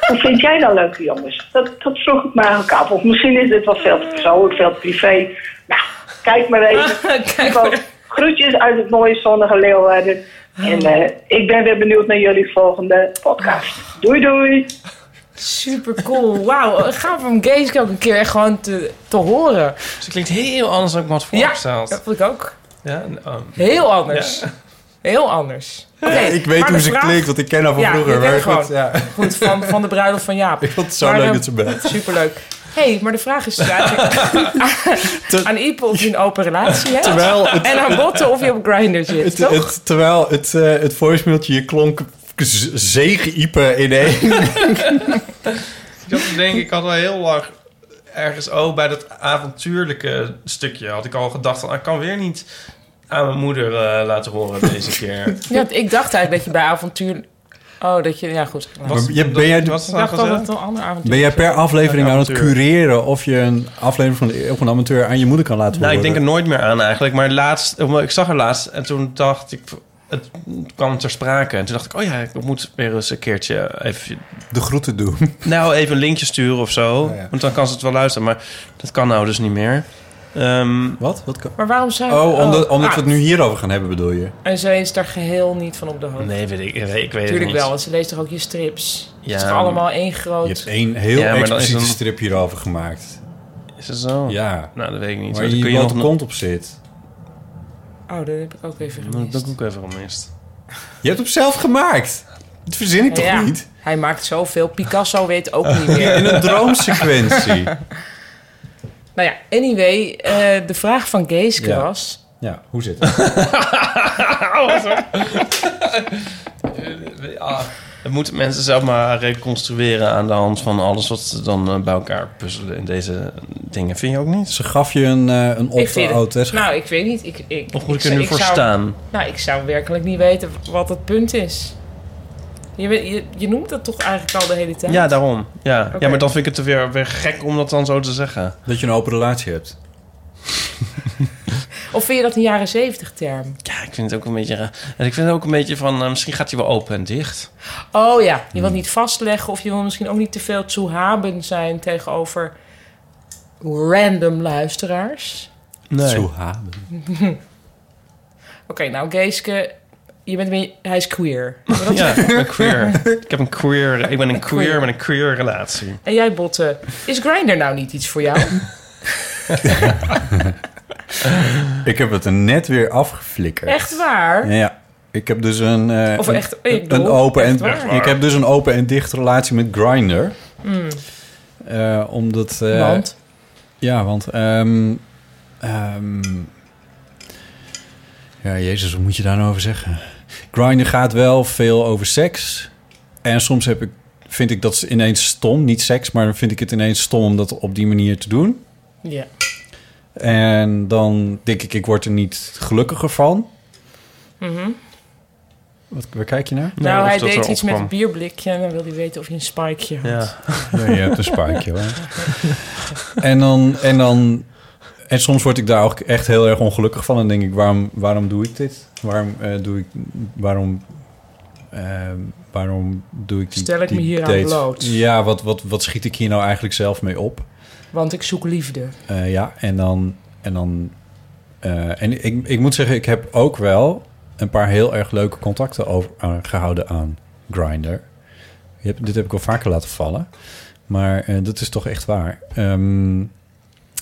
K: hoe vind jij dan leuke jongens? Dat, dat vroeg ik me eigenlijk af. Of misschien is dit wel veel te persoonlijk, veel te privé. Nou, kijk maar even. Want Groetjes uit het mooie zonnige Leeuwarden. En eh, ik ben weer benieuwd naar jullie volgende podcast. Doei doei!
B: Super cool. Wauw, gaaf om Geeske ook een keer echt gewoon te, te horen. Dus
D: het klinkt heel anders dan ik me had
B: voorgesteld. Ja, dat vond ik ook.
D: Ja, nou,
B: Heel anders.
D: Ja.
B: Heel anders. Oké,
C: ik weet
B: maar
C: hoe
B: de
C: ze
B: vraag-
C: klinkt, want ik ken haar van
B: Ja,
C: vroeger,
B: je
C: maar
B: kent
C: goed,
B: gewoon.
C: ja.
B: Goed, van, van de bruiloft van Jaap. Ik
C: vond het zo leuk dat ze belt.
B: Superleuk. Hé, hey, maar de vraag is dus eigenlijk aan Ipe of je een open relatie hebt.
C: Terwijl het-
B: en aan Botte of je op Grindr zit,
C: Het,
B: toch?
C: het- terwijl het, eh het voicemailtje hier klonk z- zegeiepen in één.
D: Ik zat te denken, ik had al heel lang ergens... Oh, bij dat avontuurlijke stukje had ik al gedacht... Van, ah, ik kan weer niet aan mijn moeder eh, laten horen deze keer.
B: Ja, ik dacht eigenlijk dat je bij avontuur... Oh, dat je... Ja, goed.
C: Maar je- ben jij-
B: ik dacht
D: nou
B: dat het een ander avontuur
C: Ben jij
B: was.
C: per aflevering
D: Een
C: aan het
D: amateur.
C: cureren of je een aflevering van de Eeuw van de Amateur aan je moeder kan laten
D: Nou, ik
C: horen?
D: denk er nooit meer aan eigenlijk. Maar laatst, ik zag haar laatst en toen dacht ik... het kwam ter sprake. En toen dacht ik, oh ja, ik moet weer eens een keertje even...
C: De groeten doen.
D: Nou, even een linkje sturen of zo. Want dan kan ze het wel luisteren. Maar dat kan nou dus niet meer. Ehm,
C: Wat? Wat kan...
B: Maar waarom zou...
C: Oh, omdat, omdat
B: Ah,
C: we het nu hierover gaan hebben, bedoel je?
B: En ze is daar geheel niet van op de hoogte.
D: Nee, weet ik, ik weet ik weet het
B: Tuurlijk
D: niet.
B: wel, want ze leest toch ook je strips? het
D: Ja,
B: is toch allemaal één groot...
C: Je hebt één heel
D: Ja, maar dan is
C: expliciete
D: het-
C: strip hierover gemaakt.
D: Is dat zo?
C: Ja.
D: Nou, dat weet ik niet.
C: Waar
D: Maar
C: je
D: kun
C: je
D: je
C: blote
D: nog-
C: kont op zit.
B: Oh, dat heb ik ook even
D: Nou, Dat
B: gemist.
D: heb ik ook even gemist.
C: Je hebt hem zelf gemaakt. Dat verzin ik toch
B: Ja,
C: niet?
B: Hij maakt zoveel. Picasso weet ook niet meer.
C: In een droomsequentie.
B: Nou ja, anyway, eh, de vraag van Geeske
C: Ja.
B: was...
C: Ja, hoe zit het?
D: Ah, dat moeten mensen zelf maar reconstrueren aan de hand van alles wat ze dan eh, bij elkaar puzzelen in deze dingen. Vind je ook niet?
C: Ze gaf je een, eh een
B: Ik vind
C: opt-out. hè?
B: het, nou, ik weet niet. Ik, ik,
D: Of moet ik er
B: zou-
D: nu voor
B: zou-
D: staan?
B: Nou, ik zou werkelijk niet weten wat het punt is. Je, weet- je, je noemt dat toch eigenlijk al de hele tijd?
D: Ja, daarom. Ja.
B: Oké.
D: ja, maar dan vind ik het weer, weer gek om dat dan zo te zeggen.
C: Dat je een open relatie hebt.
B: Of vind je dat een jaren zeventig term?
D: Ja, ik vind het ook een beetje raar. En ik vind het ook een beetje van, eh, misschien gaat hij wel open en dicht.
B: Oh ja,
D: Hmm.
B: je wilt niet vastleggen of je wil misschien ook niet te veel toehaben zijn tegenover random luisteraars.
C: Zo haden.
B: Oké, nou Geeske, je bent weer, hij is queer. Hebben we dat
D: Ja, ik
B: gezegd?
D: ben queer. Ik, heb een queer, ik ben een queer met een queer relatie.
B: En jij Botte, is Grindr nou niet iets voor jou?
C: Ik heb het er net weer afgeflikkerd.
B: Echt waar?
C: Ja. Ik heb dus een, eh,
B: Of
C: een-
B: echt- ik
C: een,
B: bedoel,
C: open
B: echt
C: en,
B: waar?
C: ik heb dus een open en dicht relatie met Grindr.
B: Hmm.
C: Eh, omdat... eh,
B: Want?
C: Ja, want... ehm, ehm, ja, jezus, wat moet je daar nou over zeggen? Grindr gaat wel veel over seks. En soms heb ik, vind ik dat ineens stom. Niet seks, maar dan vind ik het ineens stom om dat op die manier te doen.
B: Ja.
C: En dan denk ik, ik word er niet gelukkiger van.
B: Mhm.
C: Wat, waar kijk je naar?
B: Nou, hij deed iets met een bierblikje en dan wilde hij weten of je een spikeje had.
C: Nee, je hebt een spaakje hoor. En dan, en dan... En soms word ik daar ook echt heel erg ongelukkig van. En denk ik, waarom, waarom doe ik dit? Waarom eh, doe ik... Waarom... eh, waarom doe ik die
B: Stel ik me
C: die
B: hier aan
C: date?
B: bloot?
C: Ja, wat, wat, wat schiet ik hier nou eigenlijk zelf mee op?
B: Want ik zoek liefde.
C: Eh, ja, en dan. En, dan eh, en ik, ik moet zeggen, ik heb ook wel een paar heel erg leuke contacten over, aan- gehouden aan Grindr. Je hebt- dit heb ik al vaker laten vallen. Maar eh, dat is toch echt waar. Ehm,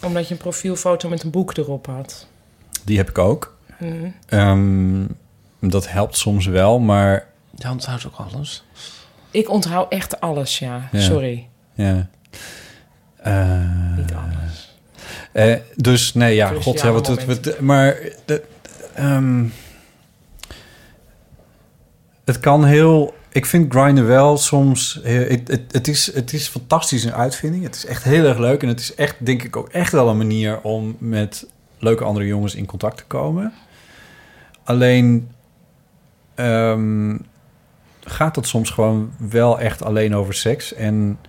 B: Omdat je een profielfoto met een boek erop had.
C: die heb ik ook.
B: Mhm.
C: Ehm, dat helpt soms wel, maar.
D: Ja, onthoudt ook alles.
B: Ik onthoud echt alles, ja.
C: Ja.
B: Sorry.
C: Ja. eh, Niet anders. dus nee, ja,
B: Cruciale
C: god, ja, wat, wat,
B: momenten.
C: wat- maar de, ehm, het kan heel. Ik vind grinden wel soms. heel- Het, het, het, is, het is fantastisch een uitvinding. Het is echt heel erg leuk. En het is echt, denk ik, ook echt wel een manier om met leuke andere jongens in contact te komen. Alleen ehm, gaat het soms gewoon wel echt alleen over seks. En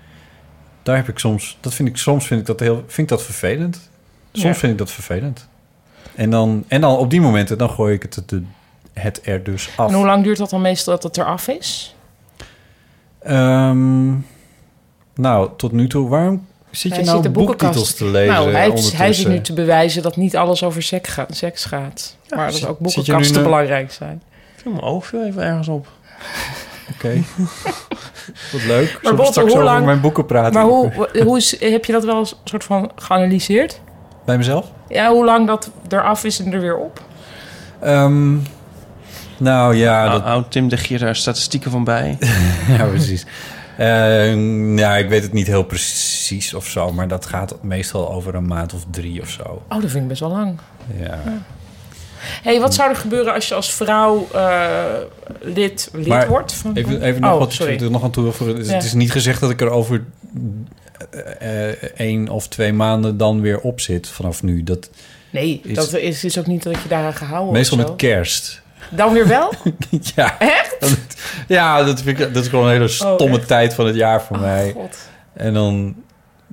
C: daar heb ik soms, dat vind ik soms vind ik dat heel, vind ik dat vervelend. Soms
B: Ja.
C: vind ik dat vervelend. En dan, en dan op die momenten, dan gooi ik het, het, het er dus af.
B: En hoe lang duurt dat dan meestal dat het eraf is?
C: Ehm, nou, tot nu toe, waarom zit je
B: Hij
C: nou
B: de boekenkast-
C: boektitels te lezen
B: Nou, hij, hij zit
C: ondertussen?
B: nu te bewijzen dat niet alles over seks gaat. Seks gaat. maar dat
D: zit-
B: ook
D: zit je nu
B: boekenkasten
D: nou-
B: belangrijk zijn.
D: Ik viel mijn oog veel even ergens op.
C: Oké. Wat
B: Maar
C: leuk. Zullen we
B: Botte,
C: straks
B: hoe
C: over
B: lang-
C: mijn boeken praten?
B: Maar hoe, hoe is, heb je dat wel een soort van geanalyseerd?
C: Bij mezelf?
B: Ja, hoe lang dat eraf is en er weer op?
C: Ehm, nou ja,
D: dat... Oud Tim leg je daar statistieken van bij.
C: ja, precies. Eh, nou, ik weet het niet heel precies of zo, maar dat gaat meestal over een maand of drie of zo.
B: Oh, dat vind ik best wel lang.
C: Ja.
B: Mhm. hey, wat zou er gebeuren als je als vrouw eh, lid, lid
C: maar
B: wordt? Van,
C: even, even
B: Oh,
C: nog wat
B: sorry.
C: ik er nog aan toe. wil voegen. Het is-
B: Ja.
C: Het is niet gezegd dat ik er over eh, eh, één of twee maanden dan weer op zit vanaf nu. Dat
B: Nee,
C: is
B: dat is, is ook niet dat je daaraan gehouden wordt.
C: meestal
B: of
C: met
B: Oh, zo.
C: kerst.
B: Dan weer wel?
C: ja.
B: Echt? Oh,
C: Dat, ja, dat, vind ik, dat is gewoon een hele stomme tijd van het jaar voor mij.
B: God. Oh,
C: En dan...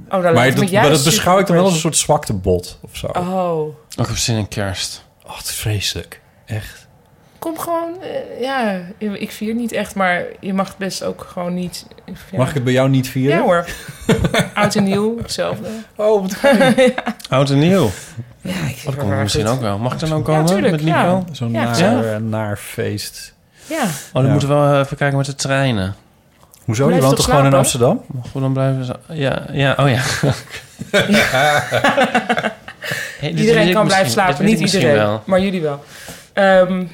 B: dan lijkt Oh.
C: maar,
B: het me
C: dat,
B: juist
C: maar dat beschouw ik dan wel als een
B: super
C: soort zwaktebod of zo.
B: Oh.
D: Ook op zin in kerst.
C: Oh, het is vreselijk. Echt.
B: kom gewoon. eh, ja, ik vier niet echt, maar je mag het best ook gewoon niet. ja.
C: Mag ik het bij jou niet vieren?
B: Ja hoor. Oud en nieuw, hetzelfde.
C: Oh, wat
B: ja.
D: Oud en nieuw.
B: Ja, ik
D: Oh, dat komt misschien ook wel. Mag ik dan ook
B: Ja,
D: komen?
B: tuurlijk,
D: Met Nico?
B: ja.
C: Zo'n
B: Ja,
C: naar,
D: tuurlijk.
C: eh, naar feest.
B: Ja.
D: Oh, dan moeten we wel even kijken met de treinen.
C: Hoezo? Je Blijf woont toch toch gewoon in slapen? Amsterdam?
D: Goed, dan blijven ze... Ja, ja oh ja. Hey, dit weet ik
B: iedereen kan
D: misschien-
B: blijven
D: dit
B: slapen,
D: weet ik
B: niet
D: misschien
B: iedereen,
D: wel.
B: maar jullie wel. Ehm,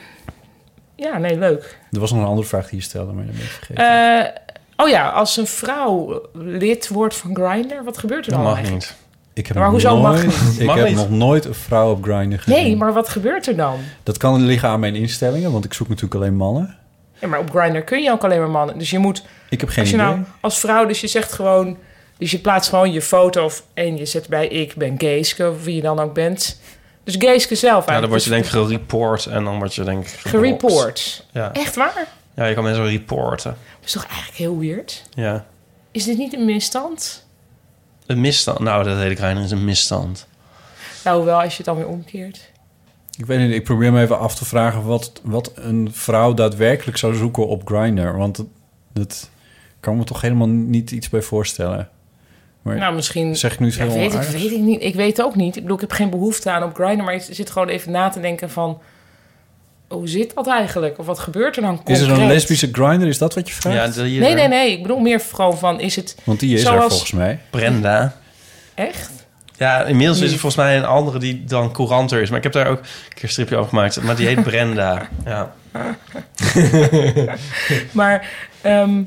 B: ja, nee, leuk.
C: Er was nog een andere vraag die je stelde, maar dat ben ik vergeten.
B: Eh, oh ja, als een vrouw lid wordt van Grindr, wat gebeurt er dan eigenlijk?
C: Ik heb
B: Maar
C: nog
B: hoezo mag
C: nooit,
B: niet?
C: Ik
B: Mag
C: heb
B: niet.
C: nog nooit een vrouw op Grindr gezien.
B: Nee, maar wat gebeurt er dan?
C: Dat kan liggen aan mijn instellingen, want ik zoek natuurlijk alleen mannen.
B: Ja, maar op Grindr kun je ook alleen maar mannen. Dus je moet...
C: Ik heb geen
B: als je
C: idee.
B: nou als vrouw, dus je zegt gewoon... Dus je plaatst gewoon je foto of, en je zet bij ik ben Geeske... of wie je dan ook bent. Dus Geeske zelf
D: Ja, Nou, dan
B: eigenlijk.
D: word je denk ik gereport en dan word je denk ik...
B: Dus
D: geblokt.
B: gereport.
D: Ja.
B: Echt waar?
D: Ja, je kan mensen reporten.
B: Dat is toch eigenlijk heel weird?
D: Ja.
B: Is dit niet een misstand?
D: Een misstand. Nou, dat hele Grindr is een misstand.
B: Nou, hoewel als je het dan weer omkeert.
C: Ik weet niet, ik probeer me even af te vragen wat, wat een vrouw daadwerkelijk zou zoeken op Grindr. Want dat, dat kan me toch helemaal niet iets bij voorstellen. Maar
B: nou, misschien...
C: Zeg ik nu iets
B: ja,
C: heel
B: weet ik,
C: onaardigs?
B: weet ik niet. Ik weet het ook niet. Ik bedoel, ik heb geen behoefte aan op Grindr... maar ik zit gewoon even na te denken van... Hoe zit dat eigenlijk? Of wat gebeurt er dan
C: Is er een
B: concreet?
C: lesbische Grindr? Is dat wat je vraagt?
D: Ja,
B: Nee, nee, nee. Ik bedoel meer gewoon van, is het...
C: Want die is
B: zoals...
C: er volgens mij.
D: Brenda.
B: Echt?
D: Ja, inmiddels is er
B: Niet.
D: volgens mij een andere die dan couranter is. Maar ik heb daar ook een keer een stripje over gemaakt. Maar die heet Brenda. Ja.
B: Maar, ehm,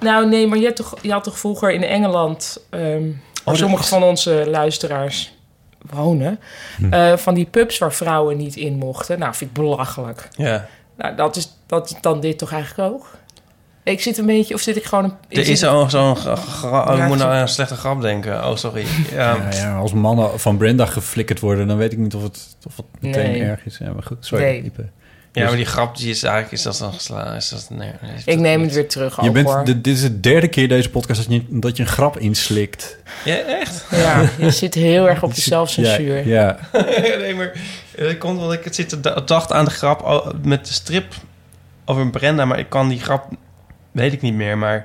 B: nou nee, maar je had toch, je had toch vroeger in Engeland...
C: Oh,
B: ehm waar
D: dat
B: sommige
D: is-
B: van onze luisteraars wonen...
C: Hm.
B: eh, van die pubs waar vrouwen niet in mochten. Nou, vind ik belachelijk.
D: Ja.
B: Nou, dat is, dat is dan dit toch eigenlijk ook? Ik zit een beetje... Of zit ik gewoon... Een,
D: Er is
B: zit-
D: al zo'n... gra- gra- oh, ik
B: Ja,
D: moet nou
B: zo-
D: aan een slechte grap denken. Oh, sorry. Ja.
C: Ja, ja, als mannen van Brenda geflikkerd worden, dan weet ik niet of het, of het meteen
D: Nee.
C: erg is. Ja, maar goed, sorry.
B: Nee.
C: Ipe.
D: Ja,
C: Dus-
D: maar die grap die is eigenlijk... Is dat dan geslaagd? Is dat... Nee, is
B: Ik
D: dat
B: neem
D: niet.
B: het weer terug,
C: je
B: ook,
C: bent,
B: hoor.
C: dit, dit is de derde keer deze podcast dat je, dat je een grap inslikt.
D: Ja, echt?
B: Ja, je zit heel erg op de zelfcensuur.
C: Ja, ja.
D: nee, maar dat komt omdat ik het zit te da- dacht aan de grap al- met de strip over Brenda, maar ik kan die grap weet ik niet meer, maar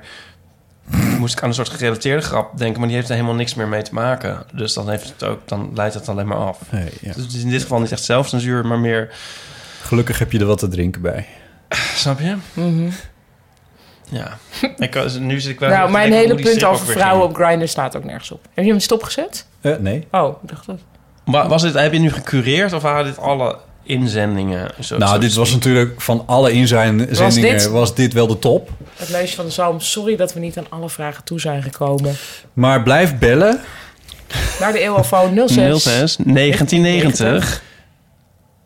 D: moest ik aan een soort gerelateerde grap denken, maar die heeft er helemaal niks meer mee te maken. Dus dan heeft het ook, dan leidt het alleen maar af.
C: Nee, ja.
D: Dus het is in dit geval niet echt zelfcensuur, maar meer,
C: Gelukkig heb je er wat te drinken bij.
D: snap je?
B: Mhm.
D: Ja. ik, was- nu zit ik wel.
B: Nou, mijn hele punt over vrouwen
D: vrouwen.
B: op Grindr slaat ook nergens op. Heb je hem stopgezet?
C: Eh, nee.
B: Oh, ik dacht dat.
D: Was dit, heb je nu gecureerd of waren dit alle inzendingen? Zo, zo
C: nou, dit
D: te
C: was
D: spreken?
C: natuurlijk van alle inzendingen
B: Was dit-
C: was dit wel de top.
B: Het lijstje van de zalm. Sorry dat we niet aan alle vragen toe zijn gekomen.
C: Maar blijf bellen.
B: Naar de EOFO 06.
D: 06 1990.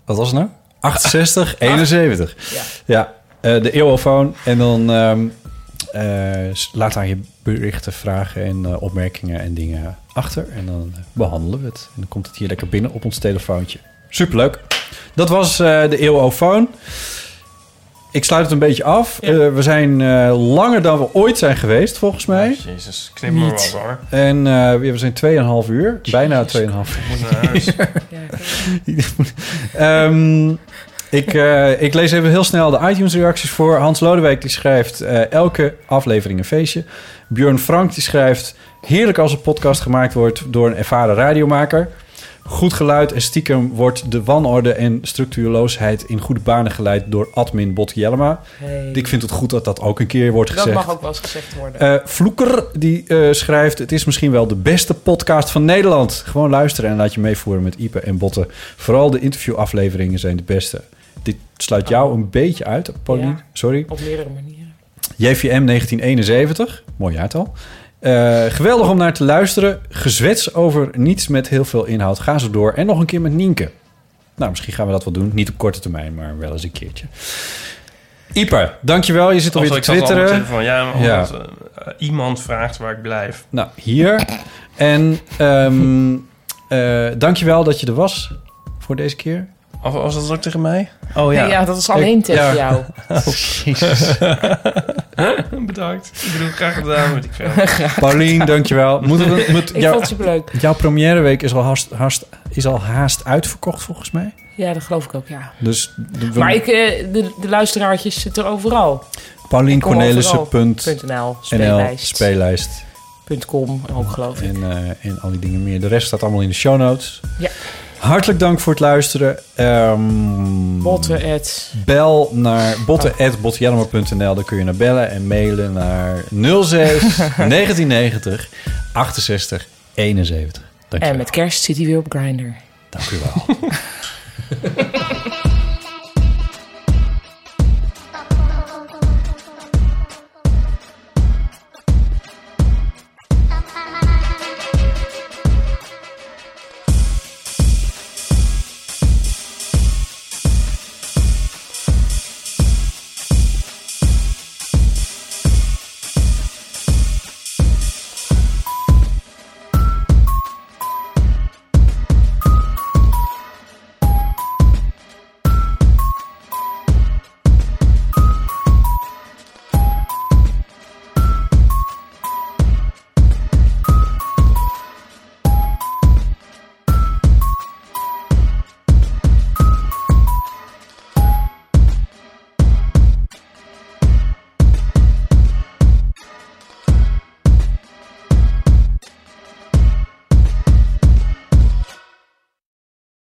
C: Wat was het nou? 68, 71. Ja, eh, de eeuwofoon. En dan ehm, eh, s- laat daar je berichten, vragen en eh, opmerkingen en dingen achter. En dan eh, behandelen we het. En dan komt het hier lekker binnen op ons telefoontje. Superleuk. Dat was eh, de eeuwofoon. Ik sluit het een beetje af. Eh, we zijn eh, langer dan we ooit zijn geweest, volgens mij.
D: Oh, Jezus, knip me
C: Niet.
D: wel hoor.
C: En eh, we zijn 2,5 uur. Bijna 2,5
D: moet naar
C: uur.
D: huis.
C: Ehm, ik, eh, ik lees even heel snel de iTunes-reacties voor. Hans Lodewijk die schrijft... eh, elke aflevering een feestje. Björn Frank die schrijft... Heerlijk als een podcast gemaakt wordt door een ervaren radiomaker. Goed geluid en stiekem wordt de wanorde en structuurloosheid... in goede banen geleid door admin Bot Jellema.
B: Hey.
C: Ik vind het goed dat dat ook een keer wordt
B: Dat
C: gezegd.
B: mag ook wel eens gezegd worden.
C: Eh, Vloeker die eh, schrijft: Het is misschien wel de beste podcast van Nederland. Gewoon luisteren en laat je meevoeren met Ipe en Botten. Vooral de interviewafleveringen zijn de beste. Dit sluit jou een beetje uit, Pauline.
B: Ja.
C: Sorry.
B: Op meerdere manieren.
C: JVM 1971, mooi jaartal. Eh, geweldig om naar te luisteren. Gezwets over niets met heel veel inhoud. Ga zo door. En nog een keer met Nienke. Nou, misschien gaan we dat wel doen. Niet op korte termijn, maar wel eens een keertje. Ipe, dankjewel. Je zit
D: Of
C: alweer te
D: Oh, ik zat al op mijn
C: twitteren.
D: telefoon. Ja, maar
C: Ja.
D: omdat, eh, iemand vraagt waar ik blijf.
C: Nou, hier. En ehm eh dankjewel dat je er was voor deze keer.
D: Of was dat ook tegen mij? Oh ja.
B: Nee, ja, dat is alleen tegen jou.
D: Oh, jezus. Bedankt. Ik bedoel, graag gedaan met ik veel.
C: Paulien, dankjewel. Moet het, moet
B: Ik vond het superleuk.
C: Jouw premièreweek is al haast, haast, is al haast uitverkocht volgens mij.
B: Ja, dat geloof ik ook, ja.
C: Dus de-
B: Maar ik, eh, de, de luisteraartjes zitten er overal.
C: Paulien
B: Ik kom
C: Cornelissen.
B: overal.
C: punt
B: .nl,
C: NL,
B: speellijst.
C: speellijst.
B: .com ook, geloof ik.
C: En, eh, en al die dingen meer. De rest staat allemaal in de show notes.
B: Ja.
C: Hartelijk dank voor het luisteren. Ehm,
B: Botten at-
C: Bel naar botten.botjelmer.nl. Daar kun je naar bellen en mailen naar 06 1990 68 71. Dank je
B: En met kerst zit hij weer op Grindr.
C: Dank u wel.